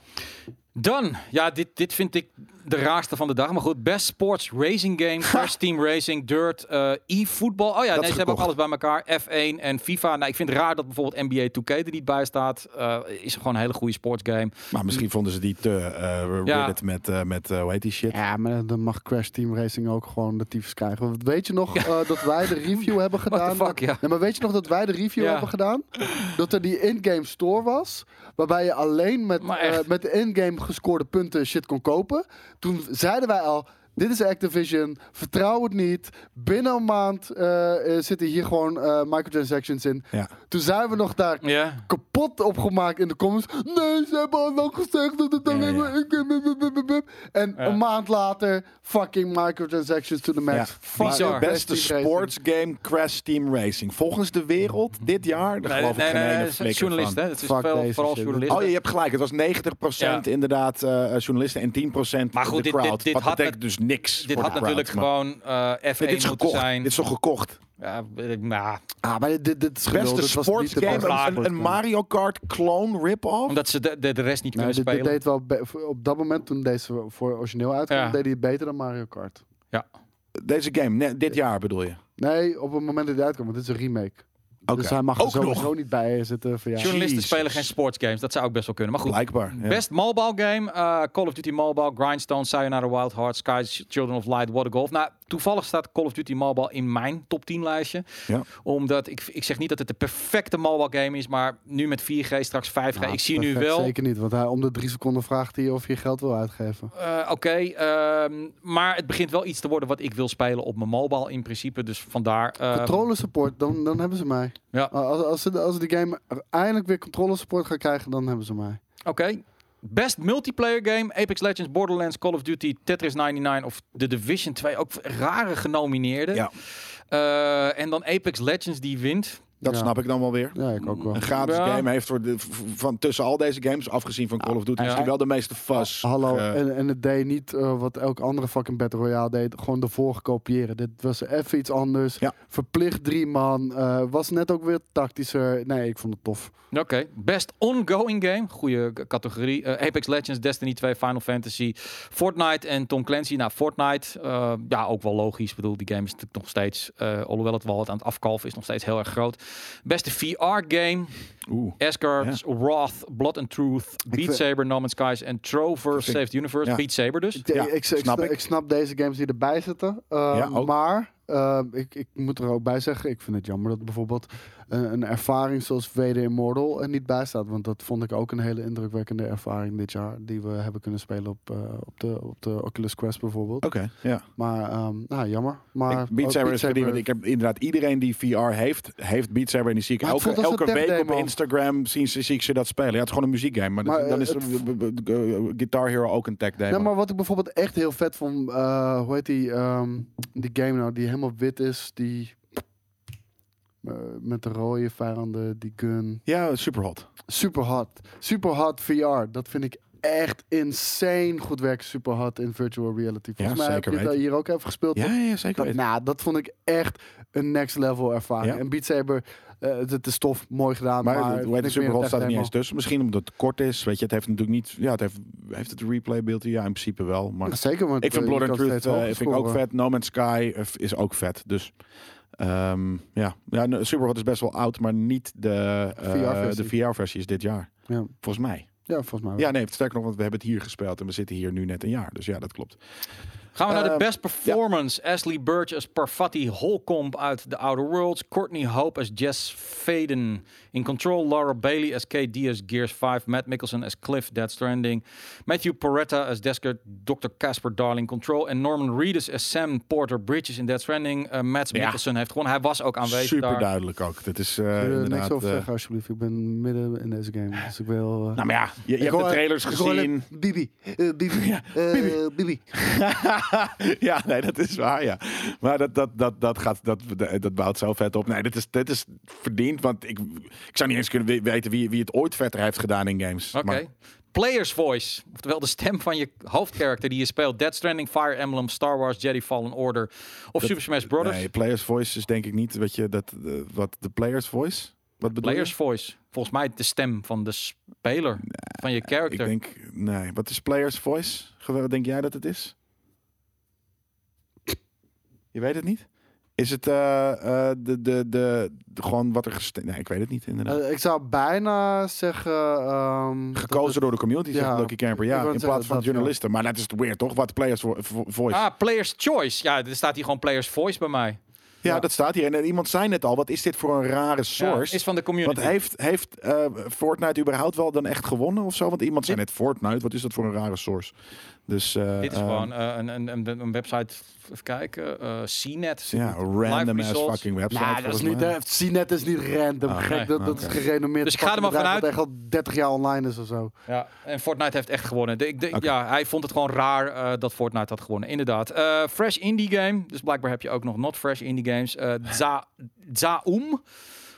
Speaker 2: Dan, ja, dit, dit vind ik de raarste van de dag. Maar goed, Best Sports Racing Game, Crash Team Racing, Dirt, eh e-voetbal. Oh ja,
Speaker 3: is
Speaker 2: nee, ze hebben ook alles
Speaker 3: gekocht.
Speaker 2: bij elkaar. F1 en FIFA. Nou, ik vind het raar dat bijvoorbeeld NBA 2K er niet bij staat. Eh, is gewoon een hele goede sportsgame.
Speaker 3: Maar misschien vonden ze die te eh
Speaker 2: Ja.
Speaker 3: Reddit met, eh, met eh, hoe heet die shit?
Speaker 1: Ja, maar dan mag Crash Team Racing ook gewoon de tyfus krijgen. Want weet je nog eh, dat wij de review hebben
Speaker 2: the
Speaker 1: gedaan?
Speaker 2: fuck, ja.
Speaker 1: nee, maar weet je nog dat wij de review
Speaker 2: Ja.
Speaker 1: hebben gedaan? Dat er die in-game store was, waarbij je alleen met,
Speaker 2: Maar
Speaker 1: eh,
Speaker 2: echt.
Speaker 1: met de in-game gescoorde punten shit kon kopen. Toen zeiden wij al, Dit is Activision. Vertrouw het niet. Binnen een maand eh, eh, zitten hier gewoon eh, microtransactions in.
Speaker 3: Ja.
Speaker 1: Toen zijn we nog daar
Speaker 2: Ja.
Speaker 1: kapot op gemaakt in de comments. Nee, ze hebben al wel gezegd dat het alleen maar... ik- bup, bup, bup, bup, bup. En een maand later, fucking microtransactions to the max. Fucking
Speaker 3: Bizar.
Speaker 1: Crash
Speaker 3: Beste
Speaker 1: Team Racing.
Speaker 3: sports game Crash Team Racing. Volgens de wereld dit jaar. Daar
Speaker 2: Mm-hmm. Nee,
Speaker 3: geloof
Speaker 2: nee,
Speaker 3: ik geen
Speaker 2: nee,
Speaker 3: ene
Speaker 2: het is
Speaker 3: flikker
Speaker 2: journalisten,
Speaker 3: van.
Speaker 2: hè. Het is Fuck vooral- deze vooral shit. journalisten.
Speaker 3: Oh, je hebt gelijk. Het was 90% inderdaad eh, journalisten en 10%
Speaker 2: Maar goed,
Speaker 3: de
Speaker 2: dit-
Speaker 3: crowd.
Speaker 2: dit- dit
Speaker 3: Wat
Speaker 2: had
Speaker 3: betekent dus niks
Speaker 2: Dit
Speaker 3: voor
Speaker 2: had
Speaker 3: de crowd,
Speaker 2: natuurlijk
Speaker 3: maar-
Speaker 2: gewoon eh F1
Speaker 3: Nee, dit is
Speaker 2: moeten
Speaker 3: gekocht.
Speaker 2: zijn.
Speaker 3: Dit is toch gekocht?
Speaker 2: Ja, eh, nou,
Speaker 1: Ah, maar dit, dit, dit is gelul.
Speaker 3: Beste
Speaker 1: Dit was niet de
Speaker 3: sportsgame.
Speaker 1: beste
Speaker 3: Een, een, een
Speaker 1: sportsgame.
Speaker 3: Mario Kart clone rip-off.
Speaker 2: omdat ze de, de, de rest niet
Speaker 1: Nee,
Speaker 2: kunnen
Speaker 1: dit, dit
Speaker 2: spelen.
Speaker 1: deed wel be- op dat moment toen deze voor origineel uitkwam,
Speaker 2: Ja.
Speaker 1: deed hij het beter dan Mario Kart.
Speaker 2: ja.
Speaker 3: Deze game, nee, dit jaar bedoel je.
Speaker 1: Nee, op het moment dat hij uitkwam, want dit is een remake.
Speaker 3: Oké.
Speaker 1: Dus hij mag er
Speaker 3: Ook
Speaker 1: sowieso
Speaker 3: nog.
Speaker 1: niet bij zitten. Van, ja.
Speaker 2: Journalisten
Speaker 3: Jezus.
Speaker 2: spelen geen sportsgames. Dat zou ook best wel kunnen. Maar goed,
Speaker 3: Blijkbaar. ja.
Speaker 2: Best mobile game. eh, Call of Duty Mobile, Grindstone, Sayonara Wild Heart, Skies, Children of Light, Water Golf. Nou, toevallig staat Call of Duty Mobile in mijn top 10 lijstje.
Speaker 3: Ja.
Speaker 2: Omdat, ik, ik zeg niet dat het de perfecte mobile game is, maar nu met 4G, straks 5G.
Speaker 1: Nou,
Speaker 2: ik zie nu
Speaker 1: perfect
Speaker 2: wel...
Speaker 1: Zeker niet, want hij, om de drie seconden vraagt hij of je geld wil uitgeven.
Speaker 2: eh, Oké, ehm, maar het begint wel iets te worden wat ik wil spelen op mijn mobile in principe. Dus vandaar... eh,
Speaker 1: Controller support, dan, dan hebben ze mij.
Speaker 2: Ja.
Speaker 1: Als, als, ze, als ze die game eindelijk weer controller support gaan krijgen, dan hebben ze mij.
Speaker 2: Oké. Best multiplayer game: Apex Legends, Borderlands, Call of Duty, Tetris 99 of The Division 2. Ook rare genomineerden.
Speaker 3: Ja.
Speaker 2: Eh, en dan Apex Legends die wint.
Speaker 3: Dat
Speaker 1: Ja.
Speaker 3: snap ik dan wel weer.
Speaker 1: Ja, ik ook wel.
Speaker 3: Een gratis
Speaker 2: Ja.
Speaker 3: game heeft voor de, v- van tussen al deze games, afgezien van Call of Duty,
Speaker 2: Ja.
Speaker 3: misschien wel de meeste fuzz.
Speaker 1: Hallo,
Speaker 3: eh,
Speaker 1: en, en het deed niet eh, wat elk andere fucking Battle Royale deed. Gewoon ervoor kopiëren. Dit was even iets anders.
Speaker 3: Ja.
Speaker 1: Verplicht drie man. eh, was net ook weer tactischer. Nee, ik vond het tof.
Speaker 2: Oké. Best ongoing game. Goede c- categorie. Eh, Apex Legends, Destiny 2, Final Fantasy, Fortnite en Tom Clancy. Nou, Fortnite, eh, ja, ook wel logisch. Ik bedoel, die game is natuurlijk nog steeds, eh alhoewel het wel wat aan het afkalven is, nog steeds heel erg groot. Beste VR-game.
Speaker 3: Oeh.
Speaker 2: Escar's, Wrath, Blood and Truth, Beat
Speaker 1: vind-
Speaker 2: Saber, No Man's Skies en Trover,
Speaker 3: vind-
Speaker 2: Saved Universe.
Speaker 3: ja.
Speaker 2: Beat Saber dus.
Speaker 1: Ik-
Speaker 3: Ja,
Speaker 1: ik, ik, ik
Speaker 3: snap
Speaker 1: snap
Speaker 3: ik.
Speaker 1: ik snap deze games die erbij zitten. eh,
Speaker 3: Ja, ook.
Speaker 1: maar eh, ik, ik moet er ook bij zeggen, ik vind het jammer dat bijvoorbeeld eh, een, een ervaring zoals VD Immortal er niet bij staat. Want dat vond ik ook een hele indrukwekkende ervaring dit jaar. Die we hebben kunnen spelen op, eh, op, de, op de Oculus Quest bijvoorbeeld.
Speaker 3: Oké, ja.
Speaker 1: Maar ehm, nou, jammer. Maar
Speaker 3: Ik- Beat Saber is verdiend, want ik heb inderdaad iedereen die VR heeft, heeft Beat Saber. En die zie ik
Speaker 1: Maar het
Speaker 3: elke,
Speaker 1: voelt als
Speaker 3: elke
Speaker 1: een
Speaker 3: week
Speaker 1: tapdemo.
Speaker 3: op Instagram zien ze- zie ik ze dat spelen. Ja, het is gewoon een muziekgame, maar, dat-
Speaker 1: Maar, eh,
Speaker 3: dan is
Speaker 1: het
Speaker 3: de- b- b- b- Guitar Hero ook een tech demo.
Speaker 1: Nee, maar wat ik bijvoorbeeld echt heel vet vond, eh, hoe heet die, ehm, die game nou, die helemaal wit is, die eh, met de rode vijanden, die gun.
Speaker 3: Ja, superhot.
Speaker 1: Super hot. Super hot VR. Dat vind ik echt insane goed werk. Super hot in virtual reality. Volgens
Speaker 3: Ja,
Speaker 1: mij
Speaker 3: zeker
Speaker 1: heb je dat
Speaker 3: weten.
Speaker 1: hier ook even gespeeld.
Speaker 3: Ja,
Speaker 1: toch?
Speaker 3: ja, zeker
Speaker 1: dat,
Speaker 3: weten.
Speaker 1: nou, dat vond ik echt een next level ervaring.
Speaker 3: Ja.
Speaker 1: En Beat Saber, eh, het het is tof, mooi gedaan. nou, Maar,
Speaker 3: Maar, het- hoe heet
Speaker 1: vind
Speaker 3: de
Speaker 1: ik meer een
Speaker 3: superhot staat er niet
Speaker 1: tech
Speaker 3: eens tussen. Misschien omdat het kort is. Weet je, het heeft natuurlijk niet... Ja, het heeft, heeft het replayability? Ja, in principe wel. Maar
Speaker 1: demo. Zeker, want
Speaker 3: Ik vind
Speaker 1: eh,
Speaker 3: Blood
Speaker 1: je
Speaker 3: and
Speaker 1: kan
Speaker 3: Truth
Speaker 1: steeds
Speaker 3: eh,
Speaker 1: hoger
Speaker 3: vind ik ook
Speaker 1: scoren.
Speaker 3: vet. No Man's Sky eh, is ook vet. Dus ehm, ja, ja no, Superhot is best wel oud, maar niet de
Speaker 1: VR-versie.
Speaker 3: VR-versie is dit jaar.
Speaker 1: Ja.
Speaker 3: Volgens mij.
Speaker 1: ja, volgens mij wel.
Speaker 3: Ja, nee, sterker nog, want we hebben het hier gespeeld en we zitten hier nu net een jaar. Dus ja, dat klopt.
Speaker 2: Gaan we naar de
Speaker 3: Ehm,
Speaker 2: best performance. Ashley Burch als Parvati Holcomb uit The Outer Worlds. Courtney Hope als Jess Faden. In Control, Laura Bailey als Kate Diaz, Gears 5. Matt Mickelson als Cliff, Dead Stranding. Matthew Peretta als Desker, Dr. Casper Darling, Control. En Norman Reedus als Sam Porter Bridges in Dead Stranding. Eh, Matt Mickelson heeft gewoon... Hij was ook aanwezig
Speaker 3: Super
Speaker 2: daar.
Speaker 3: duidelijk ook. Dat is eh,
Speaker 1: Ik wil er niks
Speaker 3: inderdaad...
Speaker 1: over
Speaker 3: eh,
Speaker 1: zeggen, alsjeblieft. Ik ben midden in deze game. Dus ik wil... eh,
Speaker 3: nou maar ja, je, je
Speaker 1: ik
Speaker 3: hebt de
Speaker 1: hoor-
Speaker 3: trailers
Speaker 1: ik hoor alleen
Speaker 3: gezien.
Speaker 1: Bibi, eh, Bibi, eh, Bibi.
Speaker 3: ja, nee, dat is waar, ja. Maar dat, dat, dat, dat, gaat, dat, dat bouwt zo vet op. Nee, dit is, dit is verdiend, want ik, ik zou niet eens kunnen we- weten wie, wie het ooit vetter heeft gedaan in games.
Speaker 2: Oké.
Speaker 3: Maar-
Speaker 2: Player's Voice, oftewel de stem van je hoofdkarakter die je speelt. Dead Stranding, Fire Emblem, Star Wars, Jedi Fallen Order of Super Smash Brothers.
Speaker 3: Nee, Players Voice is denk ik niet, weet je, dat, eh, wat de Players Voice? Wat bedoel
Speaker 2: Player's
Speaker 3: je?
Speaker 2: Voice, volgens mij de stem van de speler, van je
Speaker 3: Ik
Speaker 2: character.
Speaker 3: denk, nee, wat is Players Voice? Ge- Wat denk jij dat het is? Je weet het niet? Is het eh, eh, de, de, de, de- gewoon wat er gestemd... Nee, ik weet het niet inderdaad.
Speaker 1: Eh, ik zou bijna zeggen. ehm,
Speaker 3: Gekozen door de community, zegt
Speaker 1: ja,
Speaker 3: Lucky Camper. Ja,
Speaker 1: ik
Speaker 3: in
Speaker 1: wou
Speaker 3: plaats
Speaker 1: zeggen
Speaker 3: van
Speaker 1: dat, ja.
Speaker 3: journalisten. Maar dat is het weird, toch? Wat Players Vo- Vo- Voice.
Speaker 2: eh, Ah, Player's Choice. Ja, er staat hier gewoon Player's Voice bij mij.
Speaker 3: ja, dat staat hier. En, eh, iemand zei net al, wat is dit voor een rare
Speaker 2: Ja,
Speaker 3: source?
Speaker 2: is van de
Speaker 3: Want
Speaker 2: community.
Speaker 3: heeft, heeft eh, Fortnite überhaupt wel dan echt gewonnen of zo? Want iemand zei net Fortnite, wat is dat voor een rare source? Dus, eh,
Speaker 2: Dit is
Speaker 3: eh,
Speaker 2: gewoon eh, een, een, een, een website, even kijken, eh CNET.
Speaker 3: Ja, random ass
Speaker 2: results.
Speaker 3: fucking website.
Speaker 1: Nou, dat is
Speaker 3: volgens
Speaker 1: niet,
Speaker 3: mij.
Speaker 1: hè. CNET is niet random.
Speaker 3: Ah,
Speaker 1: Gek,
Speaker 3: nee.
Speaker 1: dat, dat
Speaker 3: Oké.
Speaker 1: is gerenommeerd.
Speaker 2: Dus ik ga er maar
Speaker 1: bedrijf
Speaker 2: vanuit-
Speaker 1: Dat echt al 30 jaar online is of zo.
Speaker 2: Ja, en Fortnite heeft echt gewonnen. De- ik denk, ja, hij vond het gewoon raar eh, dat Fortnite had gewonnen. Inderdaad. Eh, fresh indie game. Dus blijkbaar heb je ook nog not fresh indie games. Eh, Za Zaum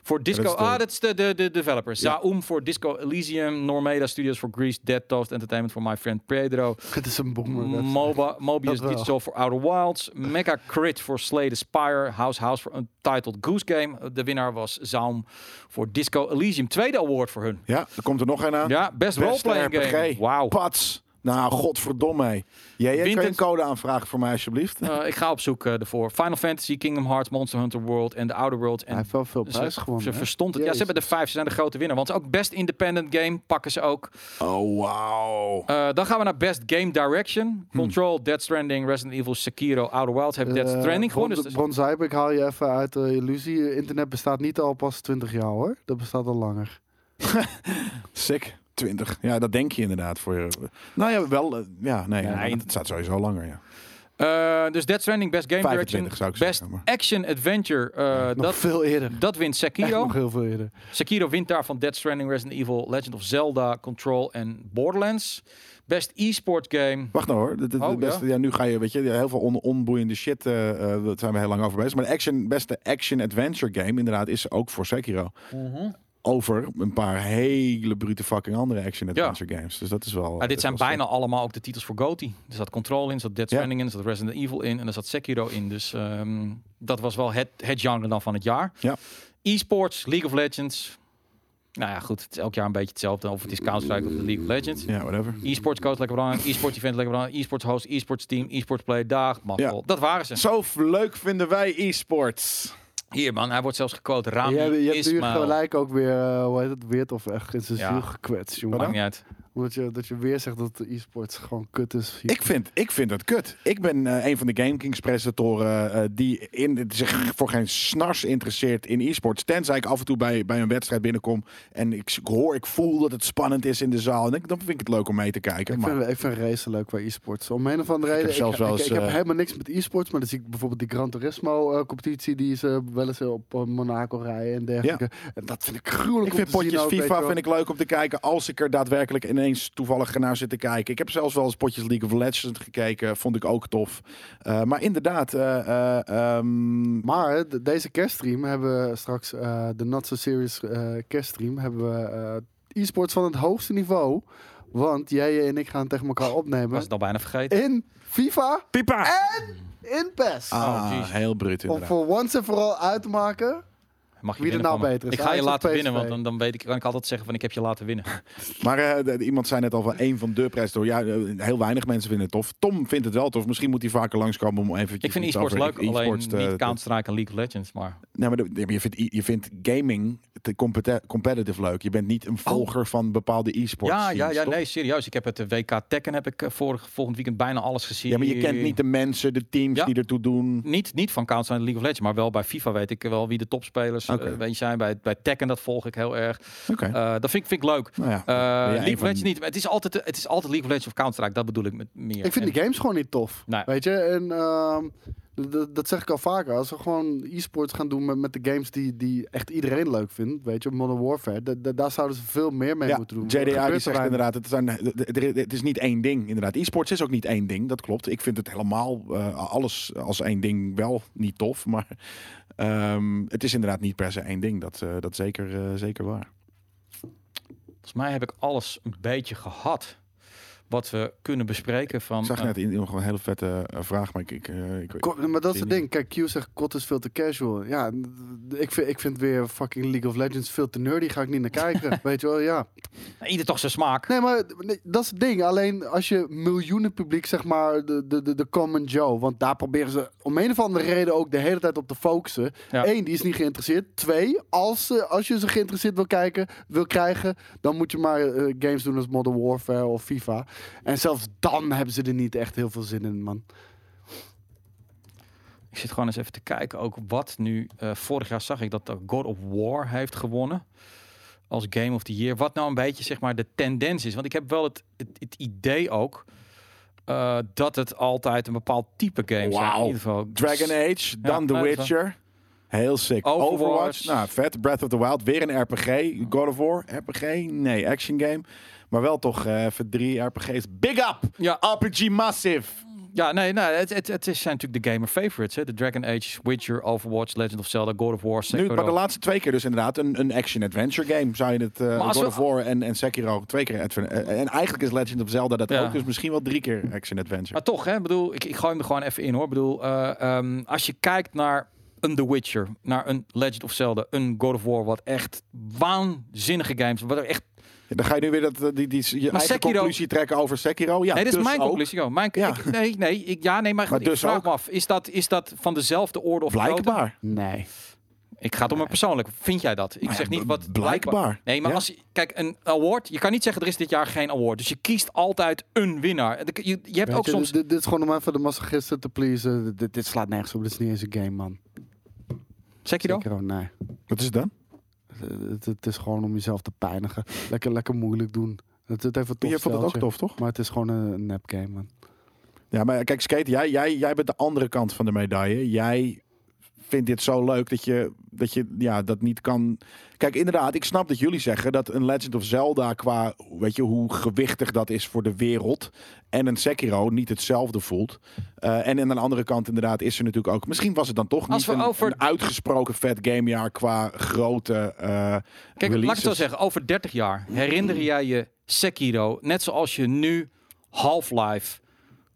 Speaker 2: voor Disco.
Speaker 3: Dat is de-
Speaker 2: ah, dat is de, de, de developer. Zaum voor Disco Elysium. Normeda Studios voor Greece. Dead Toast Entertainment voor My Friend Pedro.
Speaker 1: Het is een boomer.
Speaker 2: Mm.
Speaker 1: dat is-
Speaker 2: Moba, Mobius
Speaker 1: Dat wel.
Speaker 2: Digital voor Outer Wilds. Mega Crit voor Slay the Spire. House House voor Untitled Goose Game. De winnaar was Zaum voor Disco Elysium. Tweede award voor hun.
Speaker 3: Ja, er komt er nog een aan.
Speaker 2: Ja, best roleplaying
Speaker 3: RPG.
Speaker 2: game. Wauw.
Speaker 3: Pats. Nou, godverdomme. hé. Jij jij
Speaker 2: Wint
Speaker 3: kan je een
Speaker 2: het-
Speaker 3: code aanvragen voor mij alsjeblieft.
Speaker 2: Eh, ik ga op zoek eh, ervoor. Final Fantasy, Kingdom Hearts, Monster Hunter World en The Outer World. En
Speaker 1: Hij heeft wel veel prijs
Speaker 2: ze,
Speaker 1: gewonnen.
Speaker 2: Ze
Speaker 1: hè?
Speaker 2: verstond het. Ja, ze
Speaker 1: Jezus.
Speaker 2: hebben de vijf. Ze zijn de grote winnaar. Want ook Best Independent Game pakken ze ook.
Speaker 3: Oh, wauw.
Speaker 2: Eh, dan gaan we naar Best Game Direction. Control, Dead Stranding, Resident Evil, Sekiro, Outer Wilds hebben Dead
Speaker 1: Hmm. Eh,
Speaker 2: Stranding
Speaker 1: Bron-
Speaker 2: gewonnen. Dus dat is-
Speaker 1: Bron Zuibeek haal je even uit de illusie. Internet bestaat niet al pas 20 jaar hoor. Dat bestaat al langer.
Speaker 3: Sick. 20. Ja, dat denk je inderdaad voor je. Nou ja, wel. eh, Ja, nee.
Speaker 2: Nee.
Speaker 3: want Het staat sowieso langer. Ja.
Speaker 2: Eh, dus Dead Stranding, Best Game
Speaker 3: 25 zou
Speaker 2: Direction.
Speaker 3: ik
Speaker 2: Best
Speaker 3: zeggen, maar.
Speaker 2: Action Adventure. eh,
Speaker 1: Nog
Speaker 2: dat,
Speaker 1: veel eerder.
Speaker 2: dat wint
Speaker 1: Echt
Speaker 2: Sekiro.
Speaker 1: nog heel veel eerder.
Speaker 2: Sekiro wint daarvan Dead Stranding, Resident Evil, Legend of Zelda, Control en Borderlands. Best e-sport game.
Speaker 3: Wacht nou hoor. Dit- dit-
Speaker 2: Oh,
Speaker 3: dit beste,
Speaker 2: ja.
Speaker 3: ja. nu ga je, weet je, heel veel on- onboeiende shit. eh eh, daar zijn we heel lang over bezig. Maar de action, beste action-adventure game, inderdaad, is ook voor Sekiro. Over een paar hele brute fucking andere action-adventure games. Dus dat is wel.
Speaker 2: Maar Ah, dit
Speaker 3: dat
Speaker 2: zijn
Speaker 3: is wel
Speaker 2: bijna allemaal ook de titels voor GOTY. Er zat Control in, er zat Dead
Speaker 3: Ja.
Speaker 2: Stranding in, er zat Resident Evil in en er zat Sekiro in. Dus ehm, dat was wel het, het genre dan van het jaar.
Speaker 3: Ja.
Speaker 2: E-sports, League of Legends. Nou ja, goed, het is elk jaar een beetje hetzelfde. Of het is Counter-Strike of het League of Legends.
Speaker 3: sick. Ja, whatever.
Speaker 2: E-sports coach lekker belangrijk, e-sports event lekker belangrijk, e-sports host, e-sports team, e-sports play, dag, mag
Speaker 3: Ja.
Speaker 2: wel. Dat waren ze.
Speaker 3: Zo leuk vinden wij e-sports.
Speaker 2: Hier man, hij wordt zelfs gequote. Rami
Speaker 1: je hebt, je hebt nu
Speaker 2: Ismail.
Speaker 1: gelijk ook weer, eh, hoe heet het, weert of echt in zijn
Speaker 2: Ja.
Speaker 1: ziel gekwetst,
Speaker 2: Maakt niet
Speaker 1: jongen.
Speaker 2: uit.
Speaker 1: Omdat je, dat je weer zegt dat de e-sports gewoon kut is.
Speaker 3: Ik vind, ik vind het kut. Ik ben eh, een van de GameKings presentatoren eh, die in, zich voor geen snars interesseert in e-sports. Tenzij ik af en toe bij, bij een wedstrijd binnenkom en ik, s- ik hoor, ik voel dat het spannend is in de zaal. En ik- dan vind ik het leuk om mee te kijken.
Speaker 1: Ik
Speaker 3: Maar
Speaker 1: vind, ik vind racen leuk bij e-sports. Om een of andere reden. Ik,
Speaker 3: zelfs
Speaker 1: ik-
Speaker 3: wel eens,
Speaker 1: ik heb
Speaker 3: eh,
Speaker 1: helemaal niks met e-sports. Maar dan zie ik bijvoorbeeld die Gran Turismo eh, competitie. Die ze wel eens op eh, Monaco rijden en dergelijke. En dat vind ik gruwelijk.
Speaker 3: ik
Speaker 1: om
Speaker 3: vind
Speaker 1: te zien
Speaker 3: potjes
Speaker 1: ook, weet je
Speaker 3: FIFA
Speaker 1: wel.
Speaker 3: vind ik leuk om te kijken als ik er daadwerkelijk ineens toevallig naar zit te kijken. Ik heb zelfs wel eens potjes League of Legends gekeken. Vond ik ook tof. Eh, maar inderdaad, eh, eh, ehm,
Speaker 1: Maar eh, de- deze kerststream hebben we straks, eh, de Not So Serious eh, kerststream, hebben we eh, e-sports van het hoogste niveau. Want jij en ik gaan tegen elkaar opnemen.
Speaker 2: Was het al bijna vergeten.
Speaker 1: In FIFA
Speaker 3: Pipa!
Speaker 1: en in PES.
Speaker 3: Ah,
Speaker 2: jeez.
Speaker 3: heel bruut
Speaker 1: Om
Speaker 3: inderdaad.
Speaker 1: voor once en vooral uit te maken.
Speaker 2: Mag je
Speaker 1: Wie er nou
Speaker 2: binnenkomen?
Speaker 1: beter is,
Speaker 2: Ik ga je
Speaker 1: Ajax of
Speaker 2: laten
Speaker 1: PSV?
Speaker 2: winnen, want dan, dan weet ik, kan ik altijd zeggen van ik heb je laten winnen.
Speaker 3: Maar eh, de- de- iemand zei net al van één van de prijzen. door. Ja, eh, heel weinig mensen vinden het tof. Tom vindt het wel tof. Misschien moet hij vaker langskomen om even.
Speaker 2: Ik vind e-sports leuk, alleen
Speaker 3: eh,
Speaker 2: niet Counter-Strike en League of Legends, maar...
Speaker 3: Nee, maar de- de- je vindt, i- je vindt gaming te compete- competitive leuk. Je bent niet een volger van bepaalde e-sports.
Speaker 2: Oh. Ja, ja,
Speaker 3: scenes,
Speaker 2: ja,
Speaker 3: toch?
Speaker 2: nee, serieus. Ik heb het eh, WK Tekken heb ik eh, vorig, volgend weekend bijna alles gezien.
Speaker 3: Ja, maar je kent niet de mensen, de teams
Speaker 2: Ja.
Speaker 3: die ertoe doen.
Speaker 2: Niet, niet van Counter en League of Legends, maar wel bij FIFA weet ik wel wie de topspelers eh,
Speaker 3: Oké.
Speaker 2: weet je, zijn. Bij, bij Tekken, dat volg ik heel erg.
Speaker 3: Oké.
Speaker 2: Eh, dat vind ik, vind ik leuk.
Speaker 3: Nou ja,
Speaker 2: Eh,
Speaker 3: ben jij een
Speaker 2: League of
Speaker 3: van-
Speaker 2: Legends niet. maar Het is, altijd, eh, het is altijd League of Legends of Counter-Strike, dat bedoel ik met meer.
Speaker 1: Ik vind
Speaker 2: En- nou,
Speaker 1: de games gewoon niet tof.
Speaker 2: Nee.
Speaker 1: Weet je, en ehm, d- d- dat zeg ik al vaker. Als we gewoon e-sports gaan doen met, met de games die, die echt iedereen leuk vindt. Weet je, Modern Warfare. d- d- daar zouden ze veel meer mee
Speaker 3: Ja,
Speaker 1: moeten doen. Dat
Speaker 3: JDA
Speaker 1: gebeurt
Speaker 3: die
Speaker 1: er
Speaker 3: zegt
Speaker 1: weinig.
Speaker 3: inderdaad, het, zijn, het- het- het is niet één ding. Inderdaad, e-sports is ook niet één ding, dat klopt. Ik vind het helemaal, eh, alles als één ding wel niet tof. Maar ehm, het is inderdaad niet per se één ding, dat, eh, dat zeker, eh, zeker waar.
Speaker 2: Volgens mij heb ik alles een beetje gehad wat we kunnen bespreken van...
Speaker 3: Ik zag
Speaker 2: eh,
Speaker 3: net in, nog een hele vette eh, vraag, maar ik... ik, eh, ik
Speaker 1: Ko- maar dat is het
Speaker 3: Zie
Speaker 1: ding. Kijk, Q zegt kot is veel te casual. Ja, n- ik vind, ik vind weer fucking League of Legends veel te nerdy. Ga ik niet naar kijken. weet je wel, ja.
Speaker 2: Ieder toch zijn smaak.
Speaker 1: Nee, maar nee, dat is het ding. Alleen als je miljoenen publiek, zeg maar, de, de, de, de common Joe. Want daar proberen ze om een of andere reden ook de hele tijd op te focussen.
Speaker 2: Ja.
Speaker 1: Eén, die is niet geïnteresseerd. Twee, als, ze, als je ze geïnteresseerd wil, kijken, wil krijgen, dan moet je maar eh, games doen als Modern Warfare of FIFA. En zelfs dan hebben ze er niet echt heel veel zin in, man.
Speaker 2: Ik zit gewoon eens even te kijken ook wat nu... eh, vorig jaar zag ik dat eh, God of War heeft gewonnen. Als Game of the Year. Wat nou een beetje zeg maar de tendens is. Want ik heb wel het, het, het idee ook... eh, dat het altijd een bepaald type game is. In
Speaker 3: Wauw.
Speaker 2: ieder geval.
Speaker 3: Dragon Age, dan
Speaker 2: Ja,
Speaker 3: The
Speaker 2: nee, dat is wel-
Speaker 3: Witcher. Heel sick.
Speaker 2: Overwatch.
Speaker 3: Overwatch. Nou, vet. Breath of the Wild. Weer een RPG. God of War. RPG. Nee, action game. Maar wel toch eh even drie RPG's. Big up!
Speaker 2: Ja.
Speaker 3: RPG Massive.
Speaker 2: Ja, nee, nee het, het, het is- zijn natuurlijk de gamer favorites. Hè? De Dragon Age, Witcher, Overwatch, Legend of Zelda, God of War,
Speaker 3: Nu,
Speaker 2: Sekiro.
Speaker 3: maar de laatste twee keer dus inderdaad een, een action-adventure game. Zou je het eh,
Speaker 2: Maar als
Speaker 3: God
Speaker 2: we-
Speaker 3: of War en, en Sekiro twee keer... adven- eh, en eigenlijk is Legend of Zelda dat
Speaker 2: Ja.
Speaker 3: ook. Dus misschien wel drie keer action-adventure.
Speaker 2: Maar toch, hè, bedoel, ik, ik gooi hem er gewoon even in hoor. Ik bedoel, eh, ehm, als je kijkt naar een The Witcher, naar een Legend of Zelda, een God of War, wat echt waanzinnige games. Wat er echt,
Speaker 3: Ja, dan ga je nu weer dat, eh, die, die, je eigen
Speaker 2: Sekiro-
Speaker 3: conclusie trekken over Sekiro. Ja,
Speaker 2: nee, dit is
Speaker 3: dus
Speaker 2: mijn
Speaker 3: ook.
Speaker 2: conclusie. joh. Mijn,
Speaker 3: Ja.
Speaker 2: ik- nee, nee, ik, ja, nee, maar,
Speaker 3: Maar
Speaker 2: ik
Speaker 3: dus
Speaker 2: vraag
Speaker 3: ook.
Speaker 2: me af, is dat, is dat van dezelfde orde of grootte?
Speaker 3: Blijkbaar.
Speaker 1: Nee.
Speaker 2: Ik ga het om een persoonlijk. Vind jij dat? Ik zeg niet wat.
Speaker 3: blijkbaar.
Speaker 2: Nee, maar
Speaker 3: Ja.
Speaker 2: als kijk een award, je kan niet zeggen er is dit jaar geen award. Dus je kiest altijd een winnaar. En Je, je hebt
Speaker 1: Weet
Speaker 2: ook
Speaker 1: je,
Speaker 2: soms.
Speaker 1: dit, dit is gewoon om even de massagisten te pleasen. Dit, dit slaat nergens op. Dit is niet eens een game, man.
Speaker 2: Zeg je dat?
Speaker 1: Sekiro, nee.
Speaker 3: Wat is het dan?
Speaker 1: Het, het- het is gewoon om jezelf te pijnigen. Lekker, lekker moeilijk doen. Het, het heeft een tof
Speaker 3: Jij vond het
Speaker 1: steltje.
Speaker 3: ook tof, toch?
Speaker 1: Maar het is gewoon een nep game, man.
Speaker 3: Ja, maar kijk, Skate, jij, jij, jij bent de andere kant van de medaille. Jij vindt dit zo leuk dat je, dat je ja, dat niet kan... Kijk, inderdaad, ik snap dat jullie zeggen dat een Legend of Zelda qua... weet je, hoe gewichtig dat is voor de wereld... en een Sekiro niet hetzelfde voelt. Eh, en aan de andere kant inderdaad is er natuurlijk ook... misschien was het dan toch
Speaker 2: Als
Speaker 3: niet
Speaker 2: we
Speaker 3: een,
Speaker 2: over-
Speaker 3: een uitgesproken vet gamejaar... qua grote eh
Speaker 2: Kijk, laat ik het zo
Speaker 3: releases. Mm.
Speaker 2: zeggen. Over 30 jaar herinner jij je Sekiro, net zoals je nu Half-Life,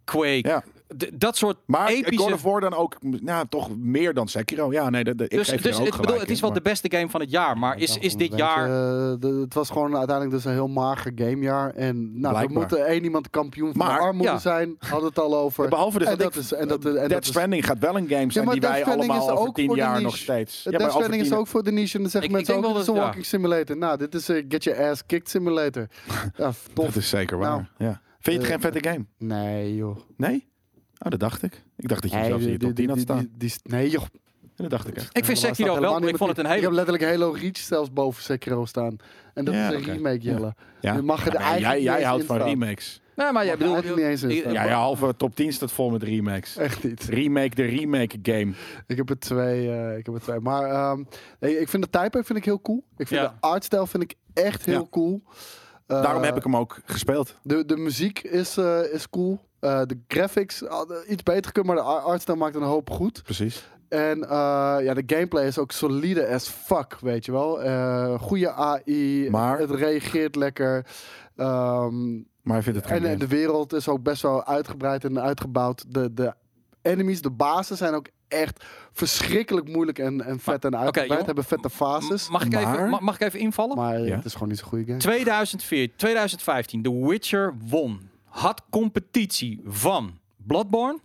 Speaker 2: Quake,
Speaker 3: Ja.
Speaker 2: d- dat soort
Speaker 3: Maar
Speaker 2: epische.
Speaker 3: God of War dan ook, nou, toch meer dan Sekiro. Ja, nee, dat, dat- ik
Speaker 2: dus
Speaker 3: geef
Speaker 2: dus
Speaker 3: je ook
Speaker 2: het,
Speaker 3: gelijk
Speaker 2: bedoel, het
Speaker 3: in,
Speaker 2: is wel
Speaker 3: maar-
Speaker 2: de beste game van het jaar, maar Dus is, is dit
Speaker 1: Weet je,
Speaker 2: jaar
Speaker 1: eh, de- het was gewoon uiteindelijk dus een heel mager gamejaar. En nou, er
Speaker 3: Blijkbaar.
Speaker 1: moet er één iemand kampioen van
Speaker 3: Maar,
Speaker 1: de armoede
Speaker 3: ja.
Speaker 1: zijn. Hadden het al over.
Speaker 3: Ja, behalve dus
Speaker 1: en
Speaker 3: dat,
Speaker 1: dat
Speaker 3: ik,
Speaker 1: is en dat, en dat
Speaker 3: Death
Speaker 1: is-
Speaker 3: Stranding gaat wel een game zijn
Speaker 1: maar
Speaker 3: die
Speaker 1: Death
Speaker 3: wij
Speaker 1: Stranding
Speaker 3: allemaal
Speaker 1: is
Speaker 3: over
Speaker 1: ook
Speaker 3: tien
Speaker 1: voor de
Speaker 3: jaar
Speaker 1: niche.
Speaker 3: nog steeds.
Speaker 1: Death
Speaker 3: maar over
Speaker 1: Stranding is
Speaker 3: tien-
Speaker 1: ook voor de niche. En dan zeggen
Speaker 2: Ik-
Speaker 1: mensen
Speaker 2: ik denk wel
Speaker 1: ook, dit is een
Speaker 2: dat- ja.
Speaker 1: walking simulator. Nou, dit is een get your ass kicked simulator. ja, f- tof.
Speaker 3: Dat is zeker waar.
Speaker 1: Nou,
Speaker 3: ja. Vind je het
Speaker 1: eh,
Speaker 3: geen vette game?
Speaker 1: Nee, joh.
Speaker 3: Nee? Oh, dat dacht ik. Ik dacht dat je
Speaker 1: Nee,
Speaker 3: zelfs hier
Speaker 1: die-
Speaker 3: top 10 had
Speaker 1: die-
Speaker 3: staan.
Speaker 1: die- die- die- Nee, joh.
Speaker 3: En dat dacht ik echt.
Speaker 2: Ik vind
Speaker 1: Helemaal
Speaker 2: Sekiro
Speaker 1: staat
Speaker 2: wel,
Speaker 1: helemaal
Speaker 2: ik
Speaker 1: niet
Speaker 2: vond het
Speaker 1: met-
Speaker 2: een hele...
Speaker 1: Ik heb letterlijk Halo Reach zelfs boven Sekiro staan. En dat
Speaker 3: Ja,
Speaker 1: is een
Speaker 3: oké.
Speaker 1: remake,
Speaker 3: Ja.
Speaker 1: Jelle.
Speaker 3: Ja.
Speaker 1: Je mag het
Speaker 3: Ja, maar
Speaker 1: eigenlijk
Speaker 3: jij
Speaker 1: niet
Speaker 3: jij
Speaker 1: eens
Speaker 3: houdt van
Speaker 1: instaan.
Speaker 3: remakes.
Speaker 2: Nee, maar jij
Speaker 1: Mag
Speaker 2: bedoelt...
Speaker 1: eigenlijk niet eens in
Speaker 2: ik-
Speaker 1: staan.
Speaker 3: Ja, je halve top 10 staat vol met remakes.
Speaker 1: Echt niet.
Speaker 3: Remake de remake game.
Speaker 1: Ik heb er twee. eh, ik heb er twee. Maar ehm, nee, ik vind de type vind ik heel cool. Ik vind
Speaker 2: Ja.
Speaker 1: de artstijl vind ik echt heel
Speaker 3: Ja.
Speaker 1: cool. Eh,
Speaker 3: Daarom heb ik hem ook gespeeld.
Speaker 1: De, de muziek is, eh, is cool. Eh, de graphics hadden iets beter kunnen, maar de ar- artstijl maakt een hoop goed.
Speaker 3: Precies.
Speaker 1: En eh, ja, de gameplay is ook solide as fuck, weet je wel. Eh goede AI,
Speaker 3: Maar-
Speaker 1: het reageert lekker. Ehm,
Speaker 3: Maar hij vindt het geen
Speaker 1: en, en
Speaker 3: game.
Speaker 1: de wereld is ook best wel uitgebreid en uitgebouwd. De, de enemies, de bazen zijn ook echt verschrikkelijk moeilijk en, en vet en uitgebreid.
Speaker 2: jongen,
Speaker 1: hebben vette fases.
Speaker 2: Mag ik, even,
Speaker 3: eh, Maar-
Speaker 2: ma- mag ik even invallen?
Speaker 1: maar eh,
Speaker 3: Ja.
Speaker 1: het is gewoon niet zo'n goede game.
Speaker 2: 2004, 2015, The Witcher won. Had competitie van Bloodborne,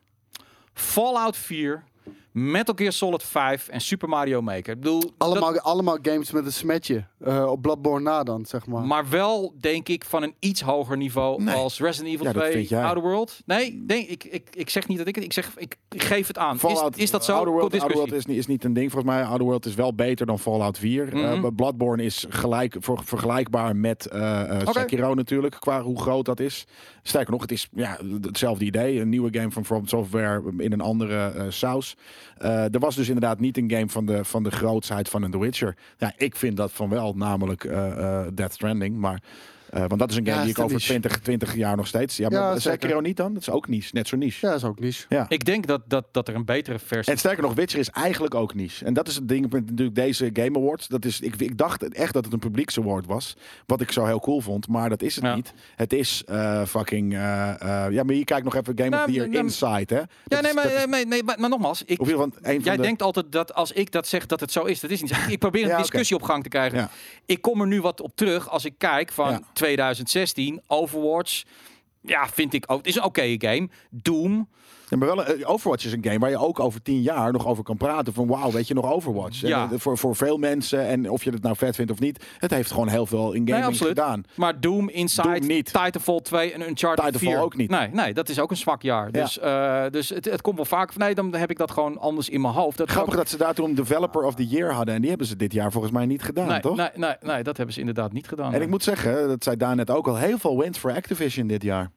Speaker 2: Fallout 4, Metal Gear Solid 5 en Super Mario Maker. Ik bedoel, dat-
Speaker 1: allemaal, allemaal games met een smetje. Eh, op Bloodborne na dan, zeg maar.
Speaker 2: maar wel, denk ik, van een iets hoger niveau
Speaker 3: Nee.
Speaker 2: als Resident Evil
Speaker 3: Ja, dat
Speaker 2: 2,
Speaker 3: vind jij.
Speaker 2: Outer World. Nee, nee ik, ik, ik zeg niet dat ik het... Ik zeg, ik ik geef het aan. Is,
Speaker 3: Fallout-
Speaker 2: is dat zo?
Speaker 3: Outer World,
Speaker 2: Tot
Speaker 3: Outer
Speaker 2: discussie.
Speaker 3: World is, niet- is niet een ding. Volgens mij Outer World is wel beter dan Fallout 4. Eh,
Speaker 2: Mhm.
Speaker 3: maar Bloodborne is gelijk, voor, vergelijkbaar met eh eh,
Speaker 2: Oké.
Speaker 3: Sekiro natuurlijk, qua hoe groot dat is. Sterker nog, het is ja, hetzelfde idee. Een nieuwe game van From Software in een andere eh, saus. Eh, er was dus inderdaad niet een game van de, van de grootsheid van een The Witcher. Ja, ik vind dat van wel, namelijk eh eh, Death Stranding. Maar, eh, want dat is een game
Speaker 1: Ja, is
Speaker 3: die ik
Speaker 1: de
Speaker 3: over
Speaker 1: niche.
Speaker 3: 20, 20 jaar nog steeds... Ja, maar
Speaker 1: Ja, zeker.
Speaker 3: Sekiro niet dan? Dat is ook niche, net zo niche.
Speaker 1: Ja, is ook niche.
Speaker 3: Ja.
Speaker 2: Ik denk dat, dat, dat er een betere versie...
Speaker 3: En sterker nog, Witcher is eigenlijk ook niche. En dat is het ding met natuurlijk deze Game Awards. Dat is, ik, ik dacht echt dat het een publieksaward was. Wat ik zo heel cool vond. Maar dat is het
Speaker 2: Ja.
Speaker 3: niet. Het is eh, fucking... eh, eh, ja, maar hier kijk nog even Game
Speaker 2: Nou,
Speaker 3: of the Year
Speaker 2: nou,
Speaker 3: Inside, hè?
Speaker 2: Ja, nee, maar, eh,
Speaker 3: Is, dat is-
Speaker 2: nee, nee, maar, maar nogmaals, ik,
Speaker 3: of in ieder geval een van
Speaker 2: Jij
Speaker 3: de-
Speaker 2: denkt altijd dat als ik dat zeg dat het zo is. Dat is niet zo. Ik probeer een
Speaker 3: Ja, oké.
Speaker 2: discussie op gang te krijgen.
Speaker 3: Ja.
Speaker 2: Ik kom er nu wat op terug als ik kijk van
Speaker 3: Ja.
Speaker 2: 2016, Overwatch. Ja, vind ik ook. Het is een oké game. Doom.
Speaker 3: Ja, maar wel, een- eh, Overwatch is een game waar je ook over tien jaar nog over kan praten. Van wauw, weet je nog Overwatch? En,
Speaker 2: Ja.
Speaker 3: eh, voor, voor veel mensen. En of je het nou vet vindt of niet. Het heeft gewoon heel veel in
Speaker 2: Nee,
Speaker 3: gaming
Speaker 2: absoluut.
Speaker 3: gedaan.
Speaker 2: Maar Doom, Inside,
Speaker 3: Doom niet.
Speaker 2: Titanfall 2 en Uncharted
Speaker 3: Titanfall
Speaker 2: 4.
Speaker 3: ook niet.
Speaker 2: Nee, nee, dat is ook een zwak jaar. Dus, eh, dus het, het komt wel vaak van nee, dan heb ik dat gewoon anders in mijn hoofd. Dat is
Speaker 3: Grappig
Speaker 2: ook-
Speaker 3: dat ze daar toen Developer of the Year hadden. En die hebben ze dit jaar volgens mij niet gedaan,
Speaker 2: nee,
Speaker 3: toch?
Speaker 2: Nee, nee, nee, dat hebben ze inderdaad niet gedaan.
Speaker 3: En ik moet zeggen, dat zei daar net ook al, heel veel wins voor Activision dit jaar.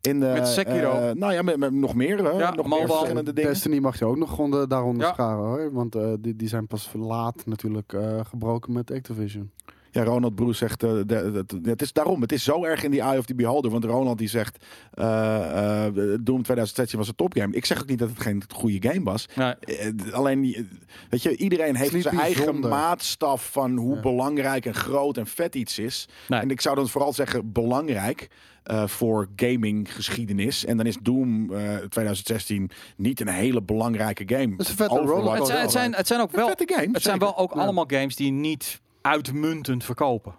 Speaker 3: In de,
Speaker 2: Met Sekiro.
Speaker 3: eh, nou ja, met, met nog meer. hè,
Speaker 2: Ja,
Speaker 3: nog
Speaker 2: Mobile.
Speaker 3: meer verschillende dingen.
Speaker 1: Destiny mag je ook nog onder, daaronder
Speaker 2: Ja.
Speaker 1: scharen hoor. Want eh, die, die zijn pas laat natuurlijk eh, gebroken met Activision.
Speaker 3: Ja, Ronald Broes zegt, eh, de- de- de- het is daarom, het is zo erg in die eye of the beholder. Want Ronald die zegt, eh, eh, Doom 2016 was een topgame. Ik zeg ook niet dat het geen goede game was. Eh, d- alleen, die- eh, weet je, iedereen heeft
Speaker 1: niet
Speaker 3: zijn eigen
Speaker 1: bijzonder.
Speaker 3: maatstaf van hoe belangrijk en groot en vet iets is. En ik zou dan vooral zeggen belangrijk eh, voor gaminggeschiedenis. En dan is Doom eh, 2016 niet een hele belangrijke game.
Speaker 1: Het is een vette
Speaker 3: Overwatch
Speaker 1: rollercoaster.
Speaker 2: Het zijn, het, zijn, het zijn ook wel,
Speaker 3: vette game,
Speaker 2: het zijn
Speaker 3: zeker.
Speaker 2: wel ook allemaal games die niet uitmuntend verkopen.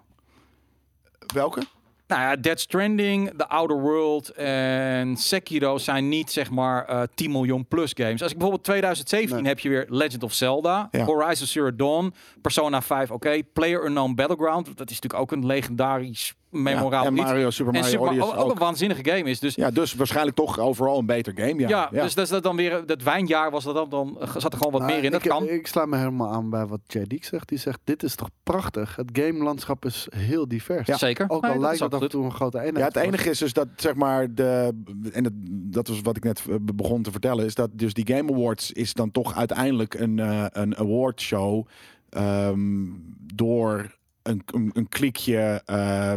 Speaker 3: Welke?
Speaker 2: Nou ja, Dead Stranding, The Outer World en Sekiro zijn niet zeg maar eh, 10 miljoen plus games. Als ik bijvoorbeeld 2017 heb je weer Legend of Zelda,
Speaker 3: Ja.
Speaker 2: Horizon Zero Dawn, Persona 5, oké, Player Unknown Battleground, dat is natuurlijk ook een legendarisch memorabel
Speaker 3: Ja, en
Speaker 2: iets.
Speaker 3: Mario, Super Mario
Speaker 2: en
Speaker 3: Odyssey
Speaker 2: ook, ook
Speaker 3: ook.
Speaker 2: een waanzinnige game is. Dus
Speaker 3: Ja, dus waarschijnlijk toch overal een beter game. Ja,
Speaker 2: ja, dus dat is dat dan weer dat wijnjaar was dat dan, dan eh, zat er gewoon wat
Speaker 1: Nou,
Speaker 2: meer in. Dat
Speaker 1: ik,
Speaker 2: kan.
Speaker 1: ik sla me helemaal aan bij wat Jay Diek zegt. Die zegt, dit is toch prachtig? Het gamelandschap is heel divers.
Speaker 2: Ja. Zeker.
Speaker 1: Ook al
Speaker 2: Nee, dat
Speaker 1: lijkt
Speaker 2: is
Speaker 1: het af en
Speaker 2: absoluut.
Speaker 1: toe een grote eenheid.
Speaker 3: Ja, het
Speaker 1: te worden.
Speaker 3: enige is dus dat zeg maar de en dat, dat was wat ik net eh, be- begon te vertellen is dat dus die Game Awards is dan toch uiteindelijk een eh een award show ehm, door een, een, een klikje eh,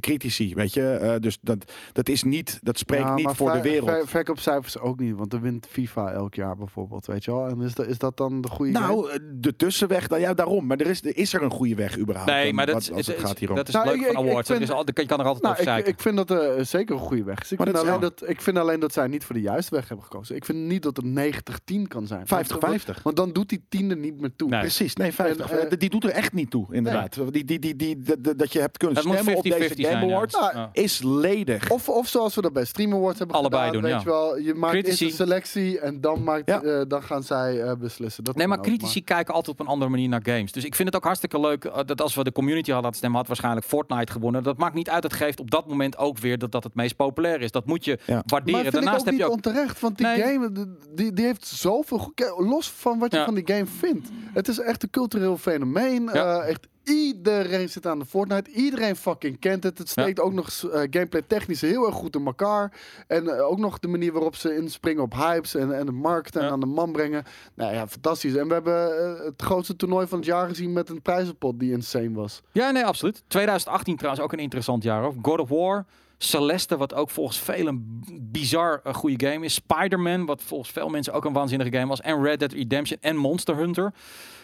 Speaker 3: critici, weet je? Eh, dus dat, dat is niet, dat spreekt
Speaker 1: Ja,
Speaker 3: niet
Speaker 1: maar
Speaker 3: voor de
Speaker 1: ver-
Speaker 3: wereld.
Speaker 1: ver- verkoopcijfers ook niet, want er wint FIFA elk jaar bijvoorbeeld, weet je wel. En is, dat is dat dan de goede game?
Speaker 3: nou, eh, de tussenweg, nou ja, daarom. Maar er is, er- is er een goede weg überhaupt?
Speaker 2: Nee,
Speaker 3: dan
Speaker 2: maar dat,
Speaker 3: wat-
Speaker 2: is-
Speaker 3: als het
Speaker 2: is-
Speaker 3: gaat hierom.
Speaker 2: dat is
Speaker 1: Nou,
Speaker 2: leuk
Speaker 1: ik-
Speaker 2: van
Speaker 1: ik- ik
Speaker 2: awards. Er
Speaker 1: vind-
Speaker 2: is al- Je kan er altijd
Speaker 1: Nou,
Speaker 2: over
Speaker 1: ik,
Speaker 2: zeiken.
Speaker 1: ik vind dat eh, zeker een goede weg is. Ik
Speaker 3: Maar
Speaker 1: vind,
Speaker 3: dat is
Speaker 1: alleen dat, ik vind alleen dat zij niet voor de juiste weg hebben gekozen. Ik vind niet dat het 90-10 kan zijn.
Speaker 3: 50-50.
Speaker 1: Want dan doet die tiende niet meer toe.
Speaker 3: Precies, nee, 50.
Speaker 1: En, eh,
Speaker 3: die doet er echt niet toe, inderdaad. Die, die, die, die, dat- dat- dat je hebt kunnen
Speaker 2: Het moet
Speaker 3: stemmen op deze
Speaker 2: 50-50
Speaker 3: Game
Speaker 2: zijn, ja.
Speaker 3: Awards
Speaker 2: Ja.
Speaker 3: is ledig.
Speaker 1: Of, of zoals we dat bij Stream Awards hebben
Speaker 2: Allebei
Speaker 1: gedaan.
Speaker 2: doen,
Speaker 1: weet
Speaker 2: ja.
Speaker 1: je wel. Je maakt eerst
Speaker 2: Critici.
Speaker 1: een selectie en dan, maakt,
Speaker 3: Ja.
Speaker 1: eh, dan gaan zij eh, beslissen. Dat
Speaker 2: Nee,
Speaker 1: kan
Speaker 2: maar
Speaker 1: ook,
Speaker 2: critici kijken altijd op een andere manier naar games. Dus ik vind het ook hartstikke leuk eh, dat als we de community hadden laten stemmen, had waarschijnlijk Fortnite gewonnen. Dat maakt niet uit. Het geeft op dat moment ook weer dat dat het meest populair is. Dat moet je
Speaker 3: Ja.
Speaker 2: waarderen.
Speaker 1: Maar vind
Speaker 2: Daarnaast
Speaker 1: ik ook
Speaker 2: heb je
Speaker 1: niet
Speaker 2: ook.
Speaker 1: onterecht, want die
Speaker 2: Nee.
Speaker 1: game d- die, die heeft zoveel... go- Kijk, Los van wat je
Speaker 2: Ja.
Speaker 1: van die game vindt. Het is echt een cultureel fenomeen.
Speaker 2: Ja.
Speaker 1: eh, echt iedereen zit aan de Fortnite. Iedereen fucking kent het. Het steekt ook nog eens, eh, gameplay technisch heel erg goed in elkaar. En eh, ook nog de manier waarop ze inspringen op hypes en, en de markt en aan de man brengen. Nou ja, fantastisch. En we hebben eh, het grootste toernooi van het jaar gezien met een prijzenpot die insane was.
Speaker 2: Ja, nee, absoluut. 2018 trouwens ook een interessant jaar. Hoor. God of War. Celeste, wat ook volgens velen een b- bizar eh, goede game is. Spider-Man, wat volgens veel mensen ook een waanzinnige game was. En Red Dead Redemption en Monster Hunter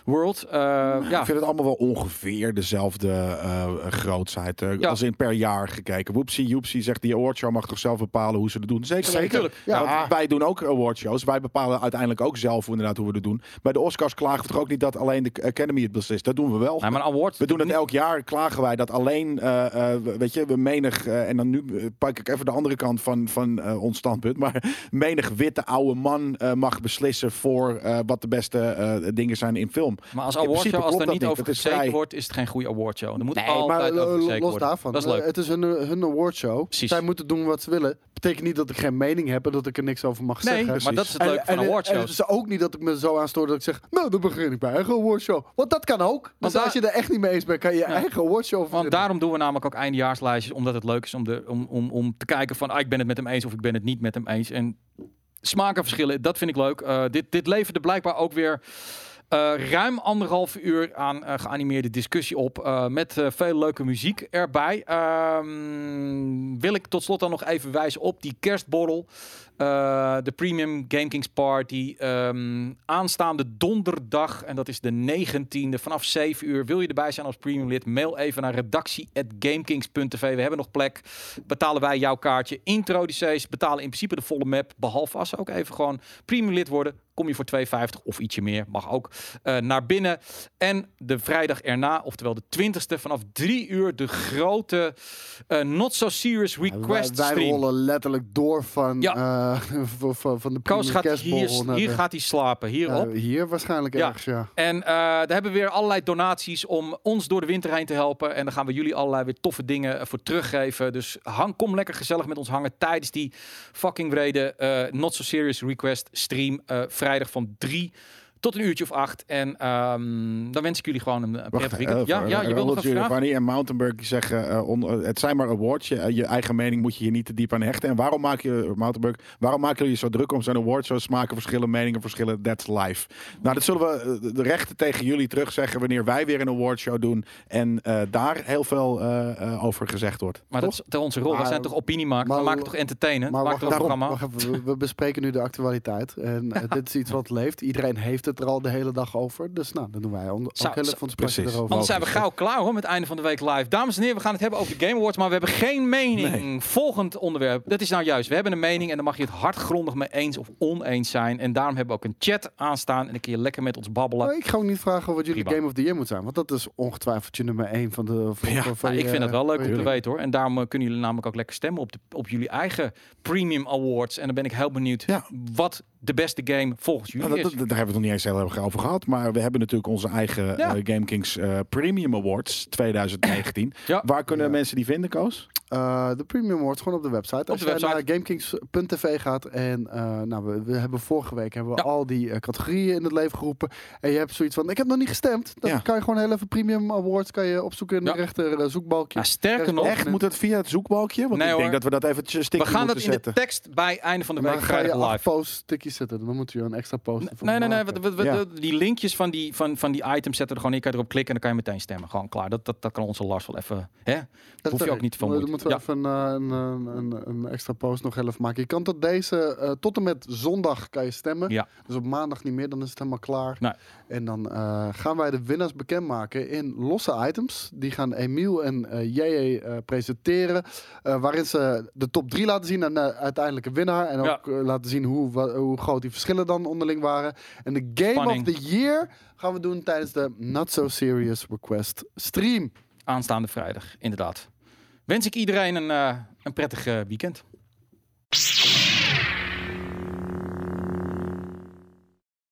Speaker 2: World. Eh, ja.
Speaker 3: Ik vind het allemaal wel ongeveer dezelfde eh grootsheid. eh,
Speaker 2: Ja.
Speaker 3: Als in per jaar gekeken. Woepsie, Joepsie zegt die awardshow mag toch zelf bepalen hoe ze het doen. Zeker
Speaker 2: Zeker,
Speaker 3: weten.
Speaker 2: tuurlijk.
Speaker 3: Ja,
Speaker 2: Ja.
Speaker 3: want Wij doen ook awardshows. Wij bepalen uiteindelijk ook zelf hoe- inderdaad hoe we het doen. Bij de Oscars klagen we toch ook niet dat alleen de Academy het beslist. Dat doen we wel.
Speaker 2: Nee, maar een award.
Speaker 3: We doen dat elk jaar, klagen wij dat alleen, eh, eh, weet je, we menig, eh, en dan nu eh, pak ik even de andere kant van, van eh, ons standpunt, maar menig witte oude man eh, mag beslissen voor eh, wat de beste eh, dingen zijn in film.
Speaker 2: Maar als
Speaker 3: In
Speaker 2: awardshow,
Speaker 3: principe
Speaker 2: als
Speaker 3: klopt
Speaker 2: er
Speaker 3: dat
Speaker 2: niet over
Speaker 3: Het is
Speaker 2: gezeken
Speaker 3: vrij-
Speaker 2: wordt, is het geen goede awardshow. Er moet
Speaker 1: Nee, maar
Speaker 2: altijd over
Speaker 1: eh,
Speaker 2: gezeken
Speaker 1: los
Speaker 2: worden.
Speaker 1: daarvan.
Speaker 2: Dat is leuk.
Speaker 1: eh, Het is hun, hun awardshow.
Speaker 2: Precies.
Speaker 1: Zij moeten doen wat ze willen. Betekent niet dat ik geen mening heb en dat ik er niks over mag
Speaker 2: Nee,
Speaker 1: zeggen.
Speaker 2: maar dat is het leuke van
Speaker 1: en,
Speaker 2: awardshows.
Speaker 1: En het is ook niet dat ik me zo aanstoor dat ik zeg, nou, dan begin ik bij eigen awardshow. Want dat kan ook. Dus
Speaker 2: daar-
Speaker 1: als je er echt niet mee eens bent, kan je je eigen awardshow
Speaker 2: Want
Speaker 1: verzinnen.
Speaker 2: daarom doen we namelijk ook eindejaarslijstjes, omdat het leuk is om, de, om, om, om te kijken van ah, ik ben het met hem eens of ik ben het niet met hem eens. En smaken verschillen, dat vind ik leuk. Eh, dit, dit leverde blijkbaar ook weer eh, ruim anderhalf uur aan eh, geanimeerde discussie op, eh, met eh, veel leuke muziek erbij. Ehm, wil ik tot slot dan nog even wijzen op die kerstborrel. Eh, de Premium Game Kings Party. ehm, aanstaande donderdag, en dat is de 19e, vanaf 7 uur. Wil je erbij zijn als premium lid? Mail even naar redactie.gamekings.tv. We hebben nog plek. Betalen wij jouw kaartje. Introducees betalen in principe de volle map. Behalve als ze ook even gewoon premium lid worden. Kom je voor 2,50 of ietsje meer, mag ook, eh, naar binnen. En de vrijdag erna, oftewel de 20e, vanaf 3 uur, de grote eh, Not So Serious Request
Speaker 1: wij, wij
Speaker 2: stream.
Speaker 1: rollen letterlijk door van,
Speaker 2: Ja.
Speaker 1: eh, van- van, van de
Speaker 2: Koos
Speaker 1: premium
Speaker 2: gaat hier,
Speaker 1: kerstborrel naar
Speaker 2: hier
Speaker 1: de-
Speaker 2: gaat hij slapen,
Speaker 1: Ja,
Speaker 2: hierop.
Speaker 1: hier waarschijnlijk
Speaker 2: Ja.
Speaker 1: ergens, ja.
Speaker 2: En eh, daar hebben we weer allerlei donaties om ons door de winter heen te helpen. En dan gaan we jullie allerlei weer toffe dingen eh, voor teruggeven. Dus hang, kom lekker gezellig met ons hangen tijdens die fucking wrede eh, Not So Serious Request stream. eh, vrijdag van 3 Tot een uurtje of acht. En ehm, dan wens ik jullie gewoon een eh, prettig weekend. Ja, ja, je wilt nog wat vragen?
Speaker 3: Giovanni en Mountainburg die zeggen, eh, on- eh, het zijn maar awards. Je, eh, je eigen mening moet je hier niet te diep aan hechten. En waarom maak je, Mountainburg, waarom maken jullie je zo druk om zijn awards? Zo smaken verschillen, meningen verschillen, that's life. Nou, dat zullen we eh, de- de rechten tegen jullie terugzeggen wanneer wij weer een awardshow doen. En eh, daar heel veel eh, eh, over gezegd wordt.
Speaker 2: Maar dat is toch onze rol. We
Speaker 1: Maar-
Speaker 2: zijn toch opiniemakers? We
Speaker 1: maar-
Speaker 2: maken toch entertainen? We
Speaker 1: Maar
Speaker 2: maken
Speaker 1: wacht,
Speaker 2: toch een
Speaker 1: daarom,
Speaker 2: programma?
Speaker 1: wacht even, we, we bespreken nu de actualiteit. En eh, dit is iets wat leeft. Iedereen heeft het er al de hele dag over. Dus nou, dan doen wij on-
Speaker 2: Zou-
Speaker 1: ook heel
Speaker 2: zou-
Speaker 1: even ons praatje
Speaker 3: precies.
Speaker 1: erover.
Speaker 2: Anders zijn we gauw klaar hoor, met het einde van de week live. Dames en heren, we gaan het hebben over de Game Awards, maar we hebben geen mening. Volgend onderwerp, dat is nou juist. We hebben een mening en dan mag je het hardgrondig mee eens of oneens zijn. En daarom hebben we ook een chat aanstaan en dan kun je lekker met ons babbelen.
Speaker 1: Maar ik ga ook niet vragen wat jullie
Speaker 2: Prima.
Speaker 1: Game of the Year moet zijn. Want dat is ongetwijfeld je nummer 1 van de... Van, van,
Speaker 2: Nou, ik
Speaker 1: je-
Speaker 2: vind dat wel leuk
Speaker 1: van
Speaker 2: om
Speaker 1: je-
Speaker 2: te weten hoor. En daarom eh, kunnen jullie namelijk ook lekker stemmen op, de, op jullie eigen Premium Awards. En dan ben ik heel benieuwd wat de beste game volgens jullie
Speaker 3: Nou, dat,
Speaker 2: is.
Speaker 3: dat- daar hebben we het nog niet eens heel erg over gehad. Maar we hebben natuurlijk onze eigen
Speaker 2: Ja.
Speaker 3: eh, GameKings eh, Premium Awards 2019. Waar kunnen mensen die vinden, Koos?
Speaker 1: Eh, de Premium Awards gewoon op de website. Als
Speaker 2: de
Speaker 1: je
Speaker 2: website.
Speaker 1: naar GameKings.tv gaat en eh, nou, we, we hebben vorige week hebben we al die eh, categorieën in het leven geroepen. En je hebt zoiets van, ik heb nog niet gestemd. Dan
Speaker 3: Ja.
Speaker 1: kan je gewoon heel even Premium Awards kan je opzoeken in de rechter eh, zoekbalkje.
Speaker 2: Ja, Nou, sterker
Speaker 1: Rechts
Speaker 2: nog-
Speaker 1: bovenin.
Speaker 3: Echt, moet het via het zoekbalkje? Want
Speaker 2: Nee,
Speaker 3: ik denk
Speaker 2: hoor.
Speaker 3: dat we dat eventjes
Speaker 2: We
Speaker 3: stikken
Speaker 2: gaan dat
Speaker 3: moeten
Speaker 2: in
Speaker 3: zetten.
Speaker 2: de tekst bij einde van de
Speaker 1: Maar
Speaker 2: week
Speaker 1: ga je
Speaker 2: vrijdag live.
Speaker 1: acht post stickies zetten. Dan moet je een extra post ervoor
Speaker 2: Nee, nee, nee.
Speaker 1: maken.
Speaker 2: we- we- we-
Speaker 1: Ja.
Speaker 2: de- Die linkjes van die, van, van die items zetten er gewoon in. Kan je erop klikken en dan kan je meteen stemmen. Gewoon klaar. Dat, dat, dat kan onze Lars wel even. Hè? Dat hoef je ook niet van
Speaker 1: Dan
Speaker 2: moeite.
Speaker 1: moeten we
Speaker 2: Ja.
Speaker 1: even eh, een, een, een, een extra post nog heel even maken. Je kan tot deze, eh, tot en met zondag kan je stemmen.
Speaker 2: Ja. Nou,
Speaker 1: Dus op maandag niet meer, dan is het helemaal klaar.
Speaker 2: Nee.
Speaker 1: En dan eh, gaan wij de winnaars bekendmaken in losse items. Die gaan Emiel en eh JJ eh, presenteren. eh, waarin ze de top drie laten zien en de uiteindelijke winnaar. En ook
Speaker 2: Ja.
Speaker 1: eh, laten zien hoe, wa- hoe groot die verschillen dan onderling waren. En de Game
Speaker 2: Spanning.
Speaker 1: of the Year gaan we doen tijdens de Not So Serious Request stream.
Speaker 2: Aanstaande vrijdag, inderdaad. Wens ik iedereen een, eh, een prettig eh, weekend.